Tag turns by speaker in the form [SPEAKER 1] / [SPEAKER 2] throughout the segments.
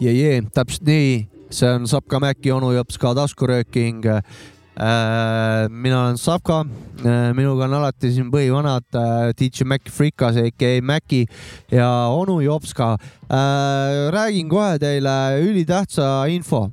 [SPEAKER 1] jee , jee , täpselt nii , see on Sapka Mäki onu jops ka taskurööking . mina olen Sapka , minuga on alati siin põhivanad äh, DJ Mac Frikas , AKA Maci ja onu jops ka . räägin kohe teile ülitähtsa info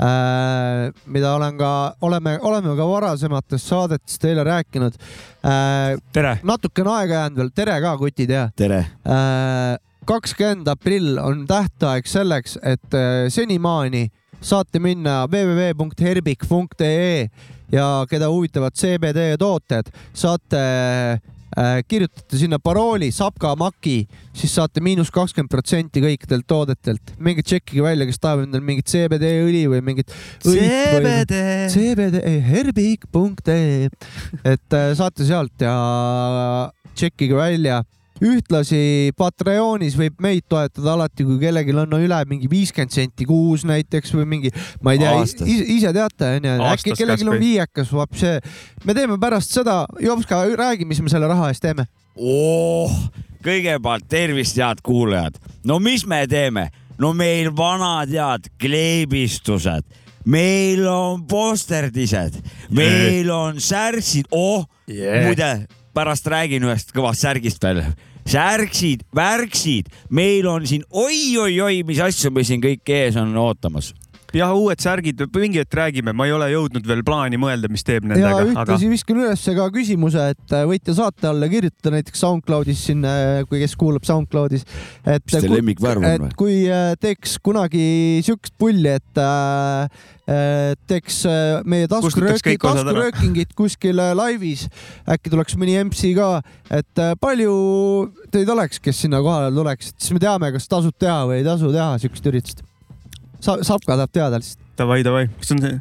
[SPEAKER 1] äh, mida olen ka , oleme , oleme ka varasemates saadetes teile rääkinud äh, .
[SPEAKER 2] tere .
[SPEAKER 1] natukene aega jäänud veel , tere ka , kutid ja .
[SPEAKER 3] tere .
[SPEAKER 1] Äh, kakskümmend aprill on tähtaeg selleks , et äh, senimaani saate minna www.herbik.ee ja keda huvitavad CBD tooted , saate äh, kirjutate sinna parooli Sapka Maki , siis saate miinus kakskümmend protsenti kõikidelt toodetelt . minge tšekkige välja , kas tahab endale mingit CBD õli või mingit .
[SPEAKER 3] CBD.
[SPEAKER 1] CBD , herbik.ee , et äh, saate sealt ja tšekkige välja ühtlasi Patreonis võib meid toetada alati , kui kellelgi on üle mingi viiskümmend senti kuus näiteks või mingi , ma ei tea ,
[SPEAKER 3] Aastas.
[SPEAKER 1] ise teate onju , äkki
[SPEAKER 2] Aastas
[SPEAKER 1] kellelgi on
[SPEAKER 2] kas või?
[SPEAKER 1] viiekas vaps , me teeme pärast seda , Jopska , räägi , mis me selle raha eest teeme .
[SPEAKER 3] oh, . kõigepealt tervist , head kuulajad . no mis me teeme ? no meil vanad head kleebistused , meil on posterdised , meil on särtsid , oh yeah. , muide pärast räägin ühest kõvast särgist veel särksid , värksid , meil on siin oi-oi-oi , mis asju meil siin kõik ees on ootamas .
[SPEAKER 2] jah , uued särgid , mingi hetk räägime , ma ei ole jõudnud veel plaani mõelda , mis teeb
[SPEAKER 1] ja
[SPEAKER 2] nendega , aga
[SPEAKER 1] ühtlasi viskan üles ka küsimuse , et äh, võite saate alla kirjutada näiteks SoundCloudis sinna , kui kes kuulab SoundCloudis , et
[SPEAKER 3] Mis teie
[SPEAKER 1] ku-
[SPEAKER 3] lemmikvärv on
[SPEAKER 1] et
[SPEAKER 3] või?
[SPEAKER 1] kui äh, teeks kunagi siukest pulli , et äh, äh, teeks äh, meie
[SPEAKER 2] Kustutaks
[SPEAKER 1] taskurööki-
[SPEAKER 2] kõik osad ära.
[SPEAKER 1] taskuröökingid kuskil äh, laivis , äkki tuleks mõni MC ka , et äh, palju teid oleks , kes sinna kohale tuleks , siis me teame , kas tasub teha või ei tasu teha siukest üritust . sa , Sapka tahab teada lihtsalt ,
[SPEAKER 2] davai , davai , kas on see ,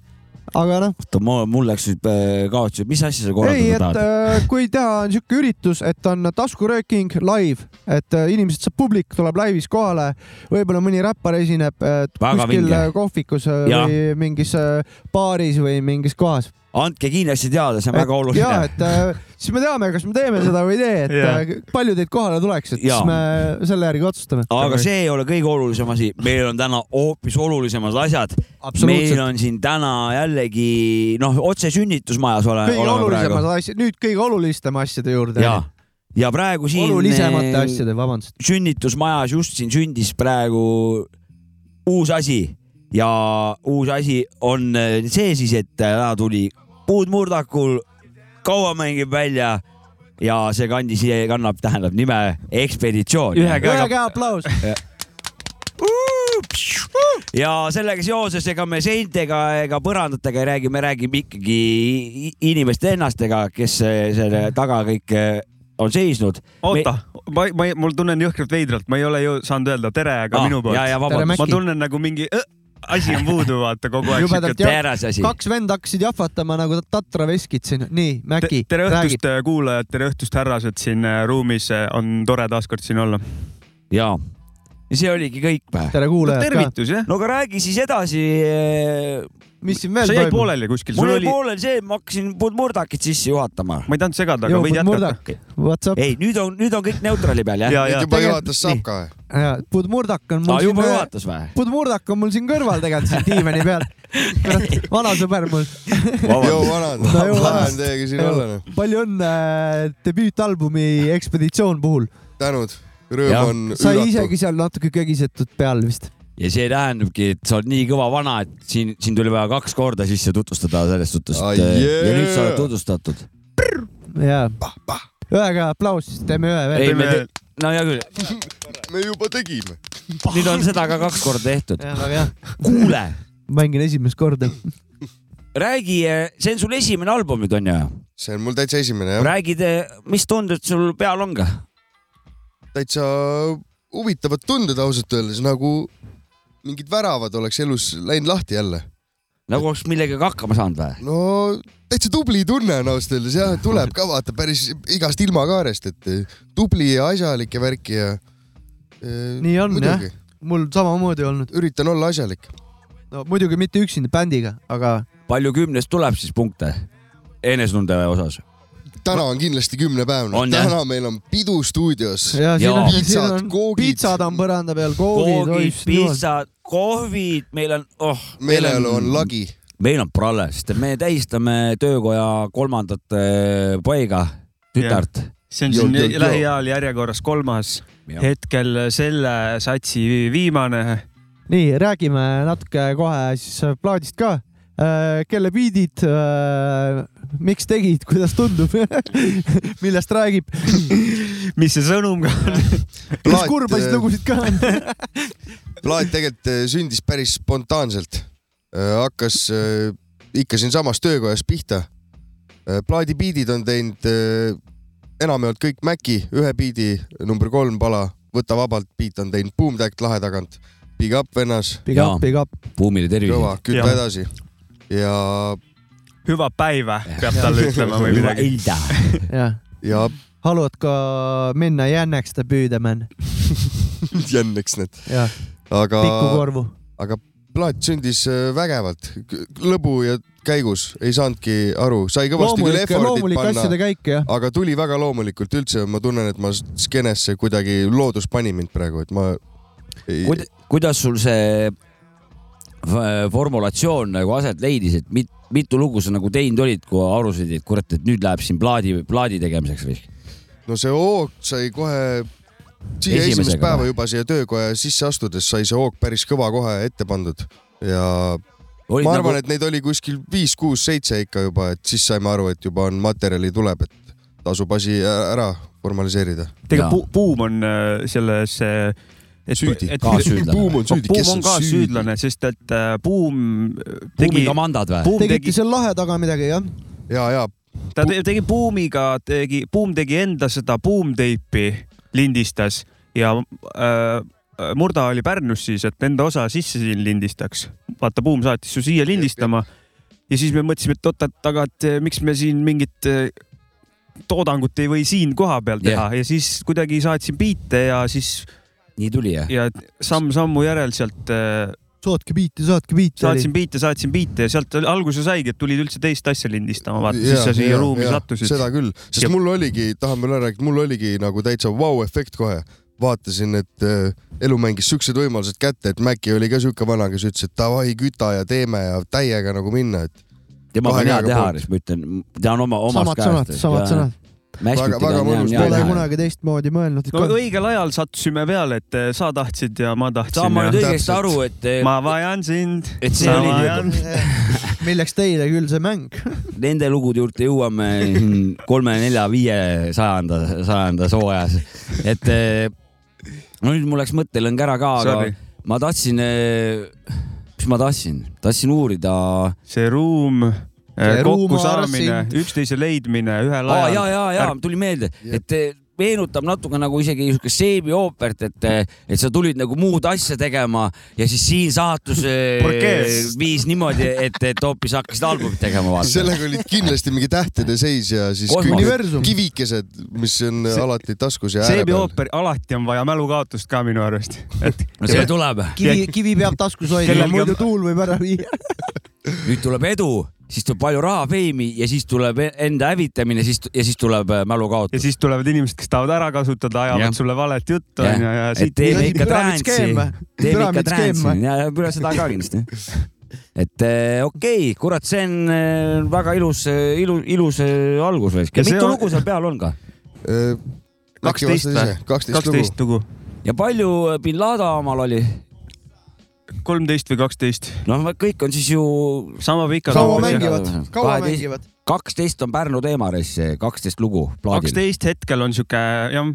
[SPEAKER 1] aga noh .
[SPEAKER 3] oota , mul läks nüüd äh, kaotsi , mis asja sa
[SPEAKER 1] ei ,
[SPEAKER 3] korraldada
[SPEAKER 1] et
[SPEAKER 3] tahad ?
[SPEAKER 1] äh, kui teha on siuke üritus , et on taskurööking live , et äh, inimesed saab , publik tuleb laivis kohale , võib-olla mõni räppar esineb äh,
[SPEAKER 3] Väga
[SPEAKER 1] kuskil
[SPEAKER 3] vinge.
[SPEAKER 1] äh, kohvikus äh,
[SPEAKER 3] Jaa.
[SPEAKER 1] või mingis äh, baaris või mingis kohas .
[SPEAKER 3] andke kindlasti teada , see on väga
[SPEAKER 1] ja
[SPEAKER 3] oluline .
[SPEAKER 1] et äh, siis me teame , kas me teeme seda või ei tee , et
[SPEAKER 2] Jaa.
[SPEAKER 1] äh, palju teid kohale tuleks , et
[SPEAKER 3] Jaa.
[SPEAKER 1] siis me selle järgi otsustame .
[SPEAKER 3] aga see ei ole kõige olulisem asi , meil on täna hoopis olulisemad asjad . meil
[SPEAKER 1] absoluutselt .
[SPEAKER 3] on siin täna jällegi noh , otse sünnitusmajas ole,
[SPEAKER 1] kõige
[SPEAKER 3] oleme praegu
[SPEAKER 1] olulisemad . asjad , nüüd kõige olulisemate asjade juurde
[SPEAKER 3] ja , ja praegu siin .
[SPEAKER 1] olulisemate asjade , vabandust .
[SPEAKER 3] sünnitusmajas just siin sündis praegu uus asi ja uus asi on eh, see siis , et täna tuli puudmurdakul , kaua mängib välja ja see kandis , kannab , tähendab nime Ekspeditsioon .
[SPEAKER 2] Ühe
[SPEAKER 1] ühe
[SPEAKER 2] käega-
[SPEAKER 1] käe aplaus .
[SPEAKER 3] ja sellega seoses , ega me seintega ega põrandatega ei räägi , me räägime ikkagi i- inimeste ennastega , kes eh, selle taga kõik eh, on seisnud .
[SPEAKER 2] oota , ma , ma , mul tunnen jõhkralt veidralt , ma ei ole ju saanud öelda tere , aga minu
[SPEAKER 3] ja ,
[SPEAKER 2] poolt .
[SPEAKER 3] ja Ah, vabandust ,
[SPEAKER 2] ma tunnen nagu mingi äh, asi on puudu , vaata kogu aeg
[SPEAKER 1] Jubedalt
[SPEAKER 2] siuke .
[SPEAKER 1] jah.
[SPEAKER 3] teras asi .
[SPEAKER 1] kaks venda hakkasid jahvatama nagu tatra veskid siin . nii , Mäki ,
[SPEAKER 2] tere
[SPEAKER 1] räägi .
[SPEAKER 2] õhtust , kuulajad , tere õhtust , härrased siin äh, ruumis , on tore taaskord siin olla .
[SPEAKER 3] ja , see oligi kõik või ?
[SPEAKER 1] tere kuulajad ka .
[SPEAKER 2] tervitus jah ,
[SPEAKER 3] no aga räägi siis edasi . eh,
[SPEAKER 1] mis siin veel
[SPEAKER 2] sa jäid
[SPEAKER 1] toimub ?
[SPEAKER 2] pooleli kuskil ,
[SPEAKER 3] mul
[SPEAKER 2] sul
[SPEAKER 3] oli
[SPEAKER 2] oli ,
[SPEAKER 3] poolel see , ma hakkasin murdakit sisse juhatama .
[SPEAKER 2] ma ei tahtnud segada , aga võid jätkata . Eh.
[SPEAKER 1] What's up ?
[SPEAKER 3] ei , nüüd on , nüüd on kõik neutrali peal jah
[SPEAKER 2] ja ,
[SPEAKER 4] nüüd
[SPEAKER 2] ja ,
[SPEAKER 4] juba
[SPEAKER 1] tegelikult-
[SPEAKER 4] juhatas
[SPEAKER 1] nii.
[SPEAKER 4] Sapka .
[SPEAKER 1] Budmurdak on
[SPEAKER 3] ah,
[SPEAKER 1] mul
[SPEAKER 3] juba
[SPEAKER 1] siin ,
[SPEAKER 3] juhatas või ?
[SPEAKER 1] Budmurdak on mul siin kõrval tegelikult siin diivani peal . vana sõber mul .
[SPEAKER 4] jõu vanad ,
[SPEAKER 1] No jõu
[SPEAKER 4] lahe
[SPEAKER 1] vanad.
[SPEAKER 4] on teiega siin
[SPEAKER 1] Jõu.
[SPEAKER 4] olla noh .
[SPEAKER 1] palju õnne äh, debüütalbumi Ekspeditsioon puhul .
[SPEAKER 4] tänud ,
[SPEAKER 3] Jah.
[SPEAKER 4] rõõm on
[SPEAKER 1] sai
[SPEAKER 4] üllatav .
[SPEAKER 1] isegi seal natuke kögisetud peal vist .
[SPEAKER 3] ja see tähendabki , et sa oled nii kõva vana , et siin , sind oli vaja kaks korda sisse tutvustada selles suhtes
[SPEAKER 4] Ah,
[SPEAKER 3] et, eh, ja
[SPEAKER 4] yeah.
[SPEAKER 3] nüüd sa oled tutvustatud .
[SPEAKER 1] jaa . ühega aplaus , siis teeme ühe veel .
[SPEAKER 3] ei , me
[SPEAKER 2] teeme-
[SPEAKER 3] te... , no hea küll ,
[SPEAKER 4] me juba tegime .
[SPEAKER 3] nüüd on seda ka kaks korda tehtud .
[SPEAKER 1] jaa , väga hea .
[SPEAKER 3] kuule ,
[SPEAKER 1] mängin esimest korda .
[SPEAKER 3] räägi , see on sul esimene album nüüd onju ?
[SPEAKER 4] see on mul täitsa esimene jah ,
[SPEAKER 3] räägid , mis tunded sul peal on ka ?
[SPEAKER 4] täitsa huvitavad tunded ausalt öeldes , nagu mingid väravad oleks elus läinud lahti jälle .
[SPEAKER 3] nagu oleks millegagi hakkama saanud või ?
[SPEAKER 4] no täitsa tubli tunne on ausalt öeldes jah , tuleb ka vaata päris igast ilmakaarest , et eh, tubli ja asjalik ja värki ja .
[SPEAKER 1] nii on jah , mul samamoodi olnud .
[SPEAKER 4] üritan olla asjalik .
[SPEAKER 1] no muidugi mitte üksinda bändiga , aga .
[SPEAKER 3] palju kümnest tuleb siis punkte enesetunde osas ?
[SPEAKER 4] täna on kindlasti kümne päev ,
[SPEAKER 3] On, jah?
[SPEAKER 4] täna meil on pidu stuudios .
[SPEAKER 1] ja siin on , siin
[SPEAKER 4] pitsad ,
[SPEAKER 1] on ,
[SPEAKER 4] koogid ,
[SPEAKER 1] pitsad on põranda peal ,
[SPEAKER 3] koogid ,
[SPEAKER 1] koogid .
[SPEAKER 3] pitsad , kohvid , meil on , oh ,
[SPEAKER 4] meeleolu on lagi .
[SPEAKER 3] meil on prale , sest me tähistame töökoja kolmandat eh, paiga , tütart .
[SPEAKER 2] see on
[SPEAKER 4] Joo,
[SPEAKER 2] siin
[SPEAKER 4] joo, joo.
[SPEAKER 2] lähiajal järjekorras kolmas , hetkel selle satsi viimane .
[SPEAKER 1] nii räägime natuke kohe siis äh, plaadist ka . kelle biidid , miks tegid , kuidas tundub , millest räägib ,
[SPEAKER 2] mis see sõnum ka on ?
[SPEAKER 1] kas
[SPEAKER 4] äh,
[SPEAKER 1] kurbasid lugusid ka on ?
[SPEAKER 4] plaat tegelikult eh, sündis päris spontaanselt . hakkas eh, ikka siinsamas töökojas pihta . plaadibiidid on teinud eh, enamjaolt kõik Maci , ühe biidi number kolm pala , Võta vabalt biit on teinud Boom Tact lahe tagant , Big Up vennas ,
[SPEAKER 1] Big
[SPEAKER 3] Jaa.
[SPEAKER 1] up , big up .
[SPEAKER 3] buumile tervist .
[SPEAKER 4] kõva , küta
[SPEAKER 2] Jah.
[SPEAKER 4] edasi . ja ,
[SPEAKER 2] hüva päeva peab talle ütlema või midagi .
[SPEAKER 1] jah ,
[SPEAKER 4] ja
[SPEAKER 1] haluad ka minna jännekste püüdema ,
[SPEAKER 4] jänneks need ,
[SPEAKER 1] jah ,
[SPEAKER 4] aga ,
[SPEAKER 1] pikukorvu .
[SPEAKER 4] aga plaat sündis eh, vägevalt , lõbu ja käigus ei saanudki aru , sai kõvasti küll
[SPEAKER 1] loomulik ,
[SPEAKER 4] effort'it
[SPEAKER 1] loomulik
[SPEAKER 4] panna
[SPEAKER 1] asjade käik jah .
[SPEAKER 4] aga tuli väga loomulikult üldse , ma tunnen , et ma s- skeenesse kuidagi , loodus pani mind praegu , et ma ei,
[SPEAKER 3] Kuida- , kuidas sul see f- formulatsioon nagu aset leidis , et mit, mitu lugu sa nagu teinud olid , kui aru said , et kurat , et nüüd läheb siin plaadi , plaadi tegemiseks või ?
[SPEAKER 4] no see hoog sai kohe siia
[SPEAKER 3] Esimesega
[SPEAKER 4] esimest päeva
[SPEAKER 3] või?
[SPEAKER 4] juba siia töökoja sisse astudes sai see hoog päris kõva kohe ette pandud ja
[SPEAKER 3] olid
[SPEAKER 4] ma arvan
[SPEAKER 3] nagu ,
[SPEAKER 4] nagu... , et neid oli kuskil viis , kuus , seitse ikka juba , et siis saime aru , et juba on materjali tuleb , et tasub asi ä- ära formaliseerida .
[SPEAKER 2] tega
[SPEAKER 3] Jaa.
[SPEAKER 2] bu- buum on äh, selles .
[SPEAKER 4] Süüdi.
[SPEAKER 3] Kaassüüdlane.
[SPEAKER 4] Buum on süüdi , kes
[SPEAKER 2] buum on
[SPEAKER 4] on
[SPEAKER 2] ka
[SPEAKER 4] süüdi ?
[SPEAKER 2] süüdlane , sest et äh, buum tegi
[SPEAKER 3] buumiga , mandad või ?
[SPEAKER 2] buum
[SPEAKER 1] tegite
[SPEAKER 2] tegi ,
[SPEAKER 1] seal lahe taga midagi jah ?
[SPEAKER 4] ja , ja
[SPEAKER 2] ta te- tegi buumiga , tegi , buum tegi enda seda buumteipi , lindistas ja äh, Murda oli Pärnus siis , et enda osa sisse siin lindistaks . vaata , buum saatis su siia lindistama ja siis me mõtlesime , et oot-oot , aga et eh, miks me siin mingit eh, toodangut ei või siin kohapeal teha yeah. ja siis kuidagi saatsin biite ja siis
[SPEAKER 3] nii tuli jah ?
[SPEAKER 2] ja samm-sammu järel sealt äh,
[SPEAKER 1] saatke biiti , saatke biiti .
[SPEAKER 2] saatsin biite , saatsin biite ja sealt oli- alguse saigi , et tulid üldse teist asja lindistama , vaata siis
[SPEAKER 4] Jaa,
[SPEAKER 2] sa siia
[SPEAKER 4] jaa,
[SPEAKER 2] ruumi
[SPEAKER 4] jaa,
[SPEAKER 2] sattusid .
[SPEAKER 4] seda küll , sest
[SPEAKER 2] Ja-
[SPEAKER 4] mul oligi , tahan veel ära rääkida , mul oligi nagu täitsa vau-efekt kohe . vaatasin , et äh, elu mängis siuksed võimalused kätte , et Maci oli ka siuke vana , kes ütles , et davai , küta ja teeme ja täiega nagu minna , et
[SPEAKER 3] temaga
[SPEAKER 4] Kahe
[SPEAKER 3] on hea
[SPEAKER 4] käega
[SPEAKER 3] teha
[SPEAKER 4] poolt. ,
[SPEAKER 3] siis ma ütlen , ta on oma , omas
[SPEAKER 1] samad sõnad , samad sõnad .
[SPEAKER 4] Väga- väga mõnus Ja,
[SPEAKER 1] Pole
[SPEAKER 4] ja.
[SPEAKER 1] kunagi teistmoodi mõelnud .
[SPEAKER 2] no õigel ajal sattusime peale , et eh, sa tahtsid ja ma
[SPEAKER 3] saan ma
[SPEAKER 2] tahtsin .
[SPEAKER 3] nüüd
[SPEAKER 4] jah.
[SPEAKER 3] õigesti
[SPEAKER 4] Täpselt.
[SPEAKER 3] aru , et ,
[SPEAKER 2] ma vajan sind .
[SPEAKER 3] et see oli nüüd-
[SPEAKER 1] milleks teile küll see mäng ?
[SPEAKER 3] nende lugude juurde jõuame siin kolme-nelja-viie sajanda , sajanda sooajas , et eh, no nüüd mul läks mõttelõng ära ka , aga
[SPEAKER 2] Sorry.
[SPEAKER 3] ma tahtsin , mis ma tahtsin , tahtsin uurida ,
[SPEAKER 2] see ruum ,
[SPEAKER 1] See ruum
[SPEAKER 2] kokkusaamine
[SPEAKER 1] arsin- ,
[SPEAKER 2] üksteise leidmine ühel
[SPEAKER 3] aa ja ,
[SPEAKER 2] ajal .
[SPEAKER 3] ja , ja tuli meelde , et eh, meenutab natuke nagu isegi niisugust seebiooperit , et , et sa tulid nagu muud asja tegema ja siis siin saatus eh,
[SPEAKER 2] Orkest.
[SPEAKER 3] viis niimoodi , et , et hoopis hakkasid albumit tegema vaata .
[SPEAKER 4] sellega olid kindlasti mingi tähtede seis ja siis
[SPEAKER 3] Kosmos.
[SPEAKER 4] küüned-
[SPEAKER 1] Universum.
[SPEAKER 4] kivikesed , mis on
[SPEAKER 2] See-
[SPEAKER 4] alati taskus ja ääre peal .
[SPEAKER 2] seebiooper , alati on vaja mälukaotust ka minu arust , et
[SPEAKER 3] no see tuleb ,
[SPEAKER 1] kivi , kivi peab taskus hoidma ,
[SPEAKER 2] Kellelgi on-
[SPEAKER 1] muidu tuul võib ära viia .
[SPEAKER 3] nüüd tuleb edu , siis tuleb palju raha , feimi ja siis tuleb e- enda hävitamine , siis ja siis tuleb äh,
[SPEAKER 2] ja
[SPEAKER 3] mälukaotus .
[SPEAKER 2] siis tulevad inimesed , kes tahavad ära kasutada , ajavad
[SPEAKER 3] Jah.
[SPEAKER 2] sulle valet juttu
[SPEAKER 3] Jah.
[SPEAKER 2] onju ja, ja
[SPEAKER 3] et
[SPEAKER 2] siit
[SPEAKER 3] teeme
[SPEAKER 1] nii-
[SPEAKER 3] ikka
[SPEAKER 1] püramiidskeem
[SPEAKER 3] trance'i
[SPEAKER 1] või? ,
[SPEAKER 3] teeme ikka
[SPEAKER 1] Püramiidskeem
[SPEAKER 3] trance'i
[SPEAKER 1] või?
[SPEAKER 3] ja ja püra seda ka kindlasti . et eh, okei okay, , kurat , see on eh, väga ilus , ilus , ilus eh, algus vist .
[SPEAKER 2] Ja see
[SPEAKER 3] mitu
[SPEAKER 2] on-
[SPEAKER 3] lugu seal peal on ka
[SPEAKER 4] Äh,
[SPEAKER 2] kaksteist või ?
[SPEAKER 4] kaksteist lugu .
[SPEAKER 2] kaksteist lugu ,
[SPEAKER 3] ja palju bin Laden omal oli ?
[SPEAKER 2] kolmteist või kaksteist ,
[SPEAKER 3] noh , kõik on siis ju
[SPEAKER 2] sama pikad
[SPEAKER 1] kaua
[SPEAKER 3] Kaua mängi-
[SPEAKER 2] lugud .
[SPEAKER 1] mängivad , kaua
[SPEAKER 3] Kaheteist-
[SPEAKER 1] mängivad ?
[SPEAKER 3] kaksteist on Pärnu teema reis , kaksteist lugu plaadil .
[SPEAKER 2] kaksteist hetkel on siuke jah .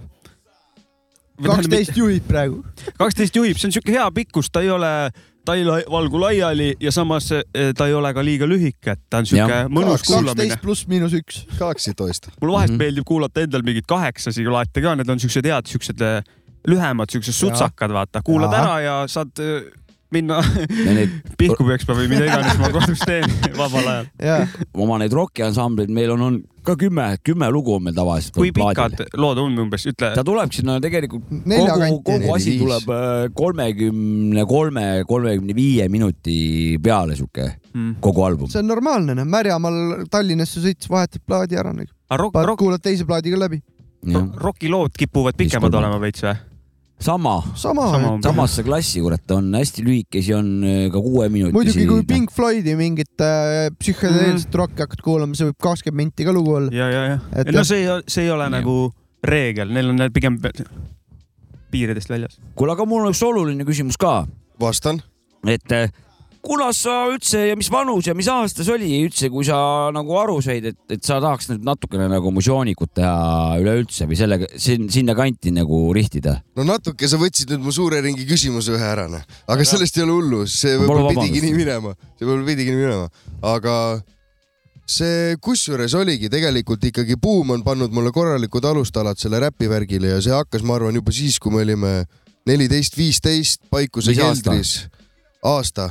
[SPEAKER 1] kaksteist juhid praegu .
[SPEAKER 2] kaksteist juhib , see on siuke hea pikkus , ta ei ole , ta ei la- valgu laiali ja samas eh, ta ei ole ka liiga lühike , et ta on siuke
[SPEAKER 3] Jah.
[SPEAKER 2] mõnus kuulamine
[SPEAKER 1] kaksteist . pluss miinus üks .
[SPEAKER 4] kaksteist toist .
[SPEAKER 2] mul vahest mm
[SPEAKER 3] Mhm.
[SPEAKER 2] -hmm. meeldib kuulata endal mingeid kaheksasi laate ka , need on siuksed head , siuksed eh, lühemad , siuksed sutsakad , vaata , kuulad
[SPEAKER 1] Jaa.
[SPEAKER 2] ära ja saad eh, minna
[SPEAKER 3] ja neid
[SPEAKER 2] pihku peksma või mida iganes ma kodus teen vabal ajal .
[SPEAKER 1] ja
[SPEAKER 3] oma neid rokiansambleid meil on, on ka kümme , kümme lugu on meil tavaliselt .
[SPEAKER 2] kui pikad lood on umbes , ütle
[SPEAKER 3] ta tuleb sinna tegelikult
[SPEAKER 1] Nelja
[SPEAKER 3] kogu
[SPEAKER 1] kanti. ,
[SPEAKER 3] kogu asi
[SPEAKER 4] Neli-viis.
[SPEAKER 3] tuleb äh, kolmekümne kolme , kolmekümne viie minuti peale sihuke
[SPEAKER 2] mm. .
[SPEAKER 3] kogu album .
[SPEAKER 1] see on normaalne , noh , Märjamaal Tallinnasse sõitis , vahetab plaadi ära ,
[SPEAKER 2] aga Ah, rock ,
[SPEAKER 1] paned ,
[SPEAKER 2] rock ,
[SPEAKER 1] kuulad teise plaadi ka läbi .
[SPEAKER 2] rocki lood kipuvad pikemad
[SPEAKER 3] Istun.
[SPEAKER 2] olema veits või ?
[SPEAKER 3] sama ,
[SPEAKER 1] sama,
[SPEAKER 2] Sama
[SPEAKER 1] sama .
[SPEAKER 2] umbes.
[SPEAKER 3] samasse klassi , kurat , on hästi lühikesi , on äh, ka kuueminutisi .
[SPEAKER 1] muidugi , kui Pink Floydi mingit äh, psühhedeelset
[SPEAKER 3] Mhm.
[SPEAKER 1] mm. rokki hakkad kuulama , see võib kakskümmend minti ka lugu olla .
[SPEAKER 2] ja , ja , ja
[SPEAKER 1] Et .
[SPEAKER 2] no
[SPEAKER 1] jah.
[SPEAKER 2] see ei , see ei ole
[SPEAKER 3] Jah.
[SPEAKER 2] nagu reegel , neil on need pigem pe- piiridest väljas .
[SPEAKER 3] kuule , aga mul on üks oluline küsimus ka ,
[SPEAKER 4] vastan .
[SPEAKER 3] et äh, kunas sa üldse ja mis vanus ja mis aasta see oli üldse , kui sa nagu aru said , et , et sa tahaks nüüd natukene nagu mužoonikut teha üleüldse või sellega sin, sinna kanti nagu rihtida ?
[SPEAKER 4] no natuke sa võtsid nüüd mu suure ringi küsimuse ühe ära , noh . aga sellest ei ole hullu , see
[SPEAKER 3] Ma
[SPEAKER 4] võib-olla
[SPEAKER 3] palun
[SPEAKER 4] pidigi
[SPEAKER 3] vabandust.
[SPEAKER 4] nii minema , see võib-olla pidigi nii minema , aga see kusjuures oligi tegelikult ikkagi buum on pannud mulle korralikud alustalad selle räpivärgile ja see hakkas , ma arvan , juba siis , kui me olime neliteist , viisteist Paikuse
[SPEAKER 3] Mis aasta?
[SPEAKER 4] keldris . aasta ,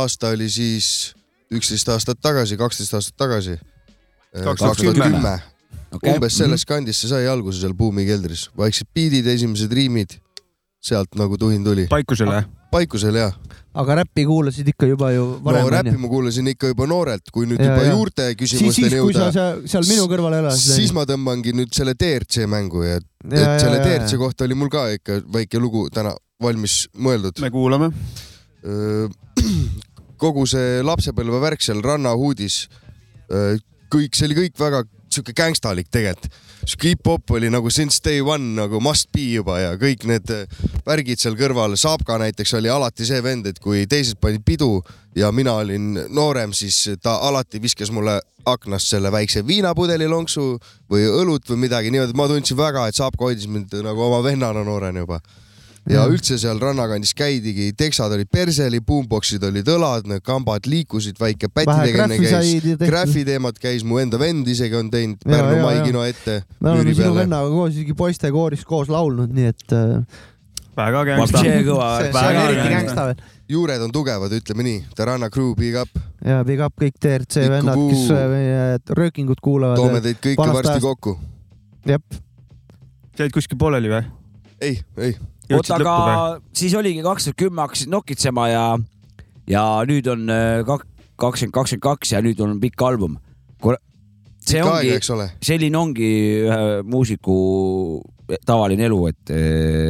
[SPEAKER 4] aasta oli siis üksteist aastat tagasi , kaksteist aastat tagasi .
[SPEAKER 2] tuhat
[SPEAKER 4] kaks tuhat
[SPEAKER 2] kümme.
[SPEAKER 4] kümme
[SPEAKER 1] Mhm.
[SPEAKER 4] umbes selles kandis see sai alguse seal Buumi keldris , vaiksed biidid , esimesed riimid , sealt nagu tuhin tuli .
[SPEAKER 2] paikusele .
[SPEAKER 4] paikusel ja ,
[SPEAKER 1] aga räppi kuulasid ikka juba ju
[SPEAKER 4] no
[SPEAKER 1] varem
[SPEAKER 4] räppi . ma kuulasin ikka juba noorelt , kui nüüd
[SPEAKER 1] Ja,
[SPEAKER 4] ja, juba
[SPEAKER 1] ja.
[SPEAKER 4] ja. juurte
[SPEAKER 1] siis , siis
[SPEAKER 4] küsimusteni
[SPEAKER 1] kui sa
[SPEAKER 4] jõuda ,
[SPEAKER 1] seal, seal minu kõrval elasid .
[SPEAKER 4] siis ma tõmbangi nüüd selle DRC mängu ja, ja , et selle DRC kohta oli mul ka ikka väike lugu täna valmis mõeldud .
[SPEAKER 2] me kuulame .
[SPEAKER 4] kogu see lapsepõlve värk seal rannahuudis , Äh, kõik , see oli kõik väga sihuke gängstalik tegelikult . sihuke hip-hop oli nagu since day one nagu must be juba ja kõik need äh, värgid seal kõrval , Saabka näiteks oli alati see vend , et kui teised panid pidu ja mina olin noorem , siis ta alati viskas mulle aknast selle väikse viinapudeli lonksu või õlut või midagi niimoodi , et ma tundsin väga , et Saabka hoidis mind nagu oma vennana noorena juba ja üldse seal rannakandis käidigi , teksad olid perseli , boombox'id olid õlad , need kambad liikusid , väike päti
[SPEAKER 1] Vähe
[SPEAKER 4] tegemine
[SPEAKER 1] graffi sai
[SPEAKER 4] käis
[SPEAKER 1] tehtud. .
[SPEAKER 4] Graffi teemat käis , mu enda vend isegi on teinud
[SPEAKER 1] Ja, ja,
[SPEAKER 4] Pärnu
[SPEAKER 1] ja.
[SPEAKER 4] maikino ette .
[SPEAKER 1] me oleme sinu vennaga koos isegi poistekooris koos laulnud , nii et äh,
[SPEAKER 2] väga
[SPEAKER 3] Vapšee
[SPEAKER 2] gangsta .
[SPEAKER 3] kõva
[SPEAKER 1] see, see
[SPEAKER 2] väga
[SPEAKER 1] on
[SPEAKER 2] hea
[SPEAKER 1] eriti
[SPEAKER 2] gängsta.
[SPEAKER 1] gängsta veel .
[SPEAKER 4] juured on tugevad , ütleme nii . The Ranna Crew , big up ,
[SPEAKER 1] ja big up kõik DRC
[SPEAKER 4] Pikku
[SPEAKER 1] vennad , kes
[SPEAKER 4] puu.
[SPEAKER 1] äh, meie röökingut
[SPEAKER 4] toome
[SPEAKER 1] kuulavad .
[SPEAKER 4] teid kõiki
[SPEAKER 1] vanast
[SPEAKER 4] varsti
[SPEAKER 1] ajast.
[SPEAKER 4] kokku .
[SPEAKER 1] jep ,
[SPEAKER 2] jäid kuskil pooleli või ?
[SPEAKER 4] ei , ei ,
[SPEAKER 3] oota ,
[SPEAKER 2] jõudsid lõppu või ?
[SPEAKER 3] aga siis oligi kaks tuhat kümme hakkasid nokitsema ja , ja nüüd on äh, kak- kakskümmend , kakskümmend kaks ja nüüd on pikk album . see
[SPEAKER 4] ikka
[SPEAKER 3] ongi
[SPEAKER 4] aega ,, eks ole .
[SPEAKER 3] selline ongi ühe muusiku tavaline elu , et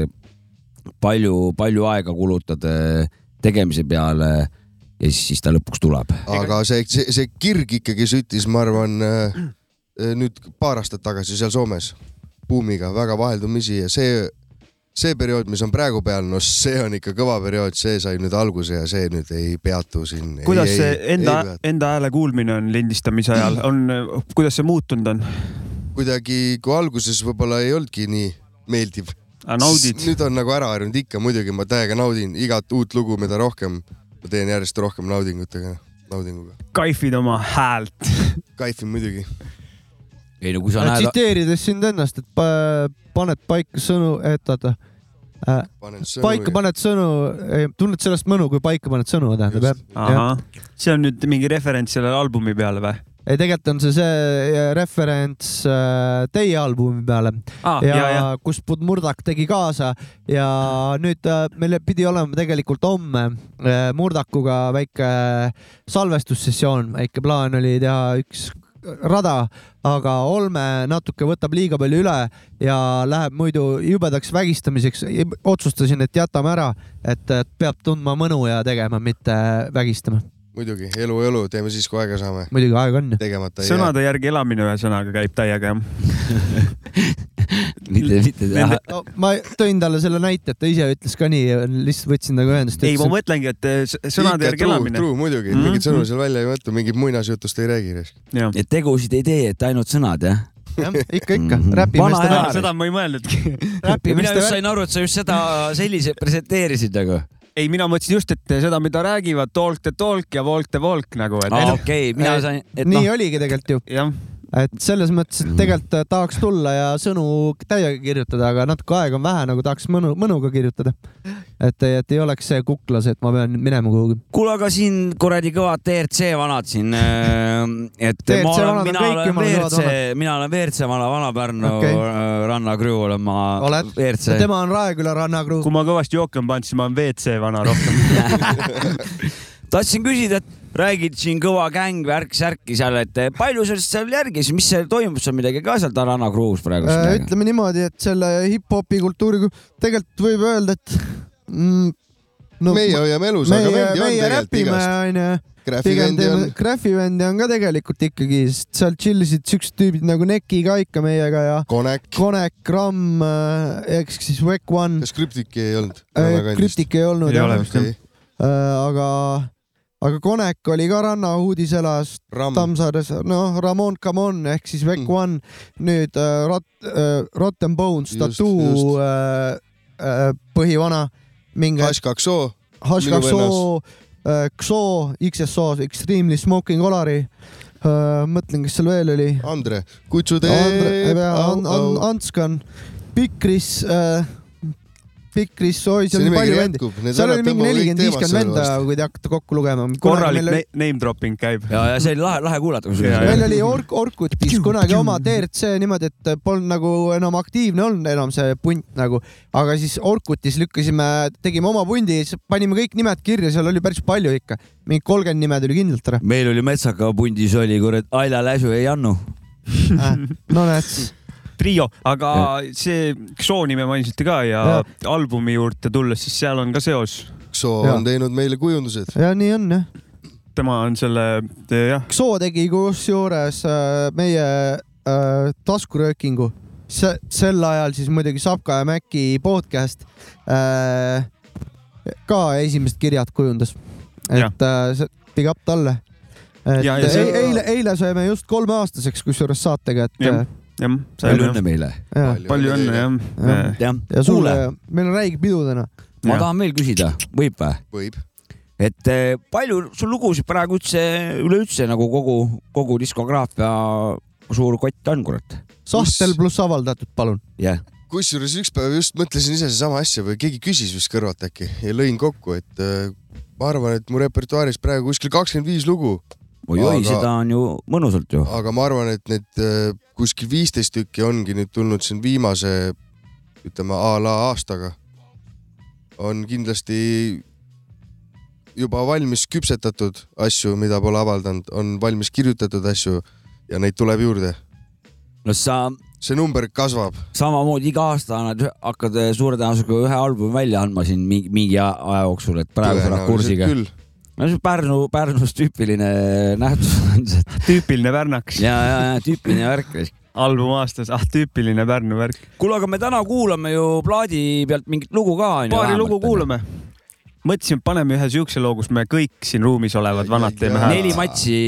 [SPEAKER 3] eh, palju , palju aega kulutad eh, tegemise peale ja siis , siis ta lõpuks tuleb .
[SPEAKER 4] aga see, see , see kirg ikkagi süttis , ma arvan , nüüd paar aastat tagasi seal Soomes buumiga väga vaheldumisi ja see , see periood , mis on praegu peal , no see on ikka kõva periood , see sai nüüd alguse ja see nüüd ei peatu siin .
[SPEAKER 2] kuidas see enda , enda hääle kuulmine on lindistamise ajal , on , kuidas see muutunud on ?
[SPEAKER 4] kuidagi , kui alguses võib-olla ei olnudki nii meeldiv ,
[SPEAKER 2] Ah, naudid ?
[SPEAKER 4] nüüd on nagu ära harjunud , ikka muidugi ma täiega naudin igat uut lugu , mida rohkem ma teen järjest rohkem naudingutega , naudinguga .
[SPEAKER 2] kaifid oma häält .
[SPEAKER 4] kaifin muidugi .
[SPEAKER 3] ei no kui sa näed ,
[SPEAKER 1] tsiteerides sind ennast , et pa- paned paika sõnu , et oota äh, , paika paned sõnu , tunned sellest mõnu , kui paika paned sõnu , tähendab jah . jah ,
[SPEAKER 2] see on nüüd mingi referents selle albumi peale või ?
[SPEAKER 1] ei tegelikult on see see referents äh, teie albumi peale ja,
[SPEAKER 2] aa , Ah, ja , ja
[SPEAKER 1] ja kus Murdak tegi kaasa ja nüüd äh, meil pidi olema tegelikult homme äh, Murdakuga väike äh, salvestussessioon , väike plaan oli teha üks rada , aga Olme natuke võtab liiga palju üle ja läheb muidu jubedaks vägistamiseks . otsustasin , et jätame ära , et äh, peab tundma mõnu ja tegema , mitte vägistama .
[SPEAKER 4] muidugi , elu , elu , teeme siis , kui aega saame .
[SPEAKER 1] muidugi aega on ju .
[SPEAKER 4] tegemata ei jää .
[SPEAKER 2] sõnade järgi elamine ühesõnaga käib täiega jah .
[SPEAKER 3] mitte , mitte teha
[SPEAKER 2] Nende-
[SPEAKER 1] no ma tõin talle selle näite , et ta ise ütles ka nii , lihtsalt võtsin temaga ühendust .
[SPEAKER 2] ei , ma mõtlengi , et eh, s- sõnade järgi elamine .
[SPEAKER 4] true , muidugi mm ,
[SPEAKER 2] Mhm.
[SPEAKER 4] -hmm. mingeid sõnu seal välja ei võta , mingit muinasjutust ei räägi .
[SPEAKER 2] jah ,
[SPEAKER 3] et tegusid ei tee , et ainult sõnad jah .
[SPEAKER 1] jah , ikka , ikka
[SPEAKER 3] Mhm. , Vana
[SPEAKER 1] räpimeeste
[SPEAKER 3] hea.
[SPEAKER 1] värk ,
[SPEAKER 2] seda ma ei mõelnudki .
[SPEAKER 3] mina
[SPEAKER 1] räpimeeste
[SPEAKER 3] just
[SPEAKER 1] värk ,
[SPEAKER 3] sain aru , et sa just seda sellise presenteerisid nagu .
[SPEAKER 2] ei , mina mõtlesin just , et seda , mida räägivad talk the talk ja walk the walk nagu , et
[SPEAKER 3] okei , mina
[SPEAKER 1] noh. ei,
[SPEAKER 3] sain , et
[SPEAKER 1] nii
[SPEAKER 3] noh ,
[SPEAKER 1] oligi tegelikult ju .
[SPEAKER 2] jah ,
[SPEAKER 1] et selles mõttes , et tegelikult äh, tahaks tulla ja sõnu täiega kirjutada , aga natuke aega on vähe , nagu tahaks mõnu , mõnuga kirjutada . et , et ei oleks see kuklas , et ma pean minema kuhugi .
[SPEAKER 3] kuule , aga siin kuradi kõvad TRC vanad siin , et
[SPEAKER 1] TRC
[SPEAKER 3] ma olen ,
[SPEAKER 1] vanad on
[SPEAKER 3] mina
[SPEAKER 1] kõik jumala
[SPEAKER 3] olen
[SPEAKER 1] kõvad
[SPEAKER 3] WRC
[SPEAKER 1] vanad. ,
[SPEAKER 3] mina olen WRC vana , Vana-Pärnu
[SPEAKER 1] Okei.
[SPEAKER 3] okay. rannakrüü olen ma .
[SPEAKER 1] Oled.
[SPEAKER 3] WRC .
[SPEAKER 1] tema on Raeküla rannakruu .
[SPEAKER 2] kui ma kõvasti jooke olen pannud , siis ma olen WC vana rohkem .
[SPEAKER 3] tahtsin küsida , et räägid siin kõva gäng , värk , särki seal , et palju sellest seal järgi , siis mis seal toimub seal midagi ka seal Tarana Kruus praegu ?
[SPEAKER 1] Äh, ütleme niimoodi , et selle hip-hopi kultuuriga tegelikult võib öelda , et mm, no,
[SPEAKER 4] meie hoiame elus , aga
[SPEAKER 1] meie ,
[SPEAKER 4] vendi on
[SPEAKER 1] meie
[SPEAKER 4] tegelikult
[SPEAKER 1] räpime
[SPEAKER 4] igast .
[SPEAKER 1] onju , pigem
[SPEAKER 4] graafivendi on
[SPEAKER 1] teeme , Graffi-vendi on ka tegelikult ikkagi , sest seal tšillisid siuksed tüübid nagu Neki ka ikka meiega ja
[SPEAKER 4] Konek ,
[SPEAKER 1] Konek , Gramm , eks äh, siis Wack One ,
[SPEAKER 4] kas Krüptiki ei olnud ?
[SPEAKER 1] Krüptik Äh, ei olnud
[SPEAKER 2] Ei
[SPEAKER 1] jah Äh,
[SPEAKER 2] ole. ,
[SPEAKER 1] aga , aga Konek oli ka rannahuudis elas
[SPEAKER 4] Ramm ,
[SPEAKER 1] Tammsaares , noh , Ramon Camon ehk siis Wack
[SPEAKER 4] Mm.
[SPEAKER 1] One , nüüd äh, Rot- äh, , Rotten Bones ,
[SPEAKER 4] Just,
[SPEAKER 1] Tattoo
[SPEAKER 4] just. ,
[SPEAKER 1] äh, põhivana , mingi
[SPEAKER 4] H2O , minu
[SPEAKER 1] H2XO , XO , XSO , Extremely Smoking Olari . mõtlen , kes seal veel oli .
[SPEAKER 4] Andre , kutsu teed .
[SPEAKER 1] Antskan , Pikris , Pikris , äh, oi , seal
[SPEAKER 4] see
[SPEAKER 1] oli palju
[SPEAKER 4] nimekiri
[SPEAKER 1] vendi .
[SPEAKER 4] jätkub .
[SPEAKER 1] seal oli mingi nelikümmend , viiskümmend venda , kui te hakkate kokku lugema .
[SPEAKER 2] korralik ne name dropping käib .
[SPEAKER 3] ja , ja see oli lahe , lahe kuulata
[SPEAKER 2] Ja,
[SPEAKER 1] meil
[SPEAKER 3] kusjuures .
[SPEAKER 2] ja.
[SPEAKER 1] oli ork- , Orkutis kunagi oma DRC niimoodi , et polnud nagu enam aktiivne olnud enam see punt nagu , aga siis Orkutis lükkasime , tegime oma pundi , siis panime kõik nimed kirja , seal oli päris palju ikka , mingi kolmkümmend nime tuli kindlalt ära
[SPEAKER 3] meil oli Metsaka pundis oli kurat Aila Läsu ja Jannu .
[SPEAKER 1] äh, . no näed ,
[SPEAKER 2] trio , aga see Xo nime mainisite ka ja,
[SPEAKER 1] Jah.
[SPEAKER 2] ja albumi juurde tulles , siis seal on ka seos .
[SPEAKER 4] Xo
[SPEAKER 1] Jaa.
[SPEAKER 4] on teinud meile kujundused .
[SPEAKER 1] ja nii on jah .
[SPEAKER 2] tema on selle , jah ,
[SPEAKER 1] Xo tegi kusjuures äh, meie äh, taskuröökingu , see sel ajal siis muidugi Sapka ja Mäki podcast äh, ka esimesed kirjad kujundas .
[SPEAKER 2] Jah.
[SPEAKER 1] et äh, see- big up talle . et
[SPEAKER 2] Ja-
[SPEAKER 1] ja,
[SPEAKER 2] ja
[SPEAKER 1] ja
[SPEAKER 2] see-
[SPEAKER 1] see... eile , eile saime just kolmeaastaseks kusjuures saatega , et
[SPEAKER 2] Jah.
[SPEAKER 1] ja,
[SPEAKER 2] jah .
[SPEAKER 3] palju õnne meile .
[SPEAKER 1] ja,
[SPEAKER 2] palju õnne ,
[SPEAKER 1] Jah.
[SPEAKER 2] jah .
[SPEAKER 3] jah ,
[SPEAKER 1] ja sulle
[SPEAKER 3] kuule ,,
[SPEAKER 1] meil on räige pidu täna .
[SPEAKER 3] ma
[SPEAKER 2] jah.
[SPEAKER 3] tahan veel küsida , võib või ?
[SPEAKER 4] võib .
[SPEAKER 3] et eh, palju sul lugusid praegu üldse , üleüldse nagu kogu , kogu diskograafia suur kott on , kurat ?
[SPEAKER 1] sahtel
[SPEAKER 4] Kus-
[SPEAKER 1] pluss avaldatud , palun .
[SPEAKER 3] jah ,
[SPEAKER 4] kusjuures üks päev just mõtlesin ise sedasama asja või keegi küsis vist kõrvalt äkki ja lõin kokku , et äh, ma arvan , et mu repertuaaris praegu kuskil kakskümmend viis lugu ,
[SPEAKER 3] oi-oi ,
[SPEAKER 4] Aga-
[SPEAKER 3] seda on ju mõnusalt ju .
[SPEAKER 4] aga ma arvan , et need äh, kuskil viisteist tükki ongi nüüd tulnud siin viimase ütleme a la aastaga . on kindlasti juba valmis küpsetatud asju , mida pole avaldanud , on valmis kirjutatud asju ja neid tuleb juurde .
[SPEAKER 3] no sa
[SPEAKER 4] see number kasvab ,
[SPEAKER 3] samamoodi iga aasta annad , hakkad eh, suure tõenäosusega ühe albumi välja andma siin mingi , mingi a- aja jooksul , et praeguse rakursiga .
[SPEAKER 4] küll ,
[SPEAKER 3] no see on Pärnu , Pärnus tüüpiline nähtus on see .
[SPEAKER 2] tüüpiline Pärnaks ,
[SPEAKER 3] ja , ja , ja tüüpiline värk .
[SPEAKER 2] album aastas , ah tüüpiline Pärnu värk .
[SPEAKER 3] kuule , aga me täna kuulame ju plaadi pealt mingit lugu ka onju .
[SPEAKER 2] paari lugu . kuulame . mõtlesime , et paneme ühe siukse loo , kus me kõik siin ruumis olevad vanad teeme
[SPEAKER 4] Jaa.
[SPEAKER 3] neli
[SPEAKER 2] häält .
[SPEAKER 3] matši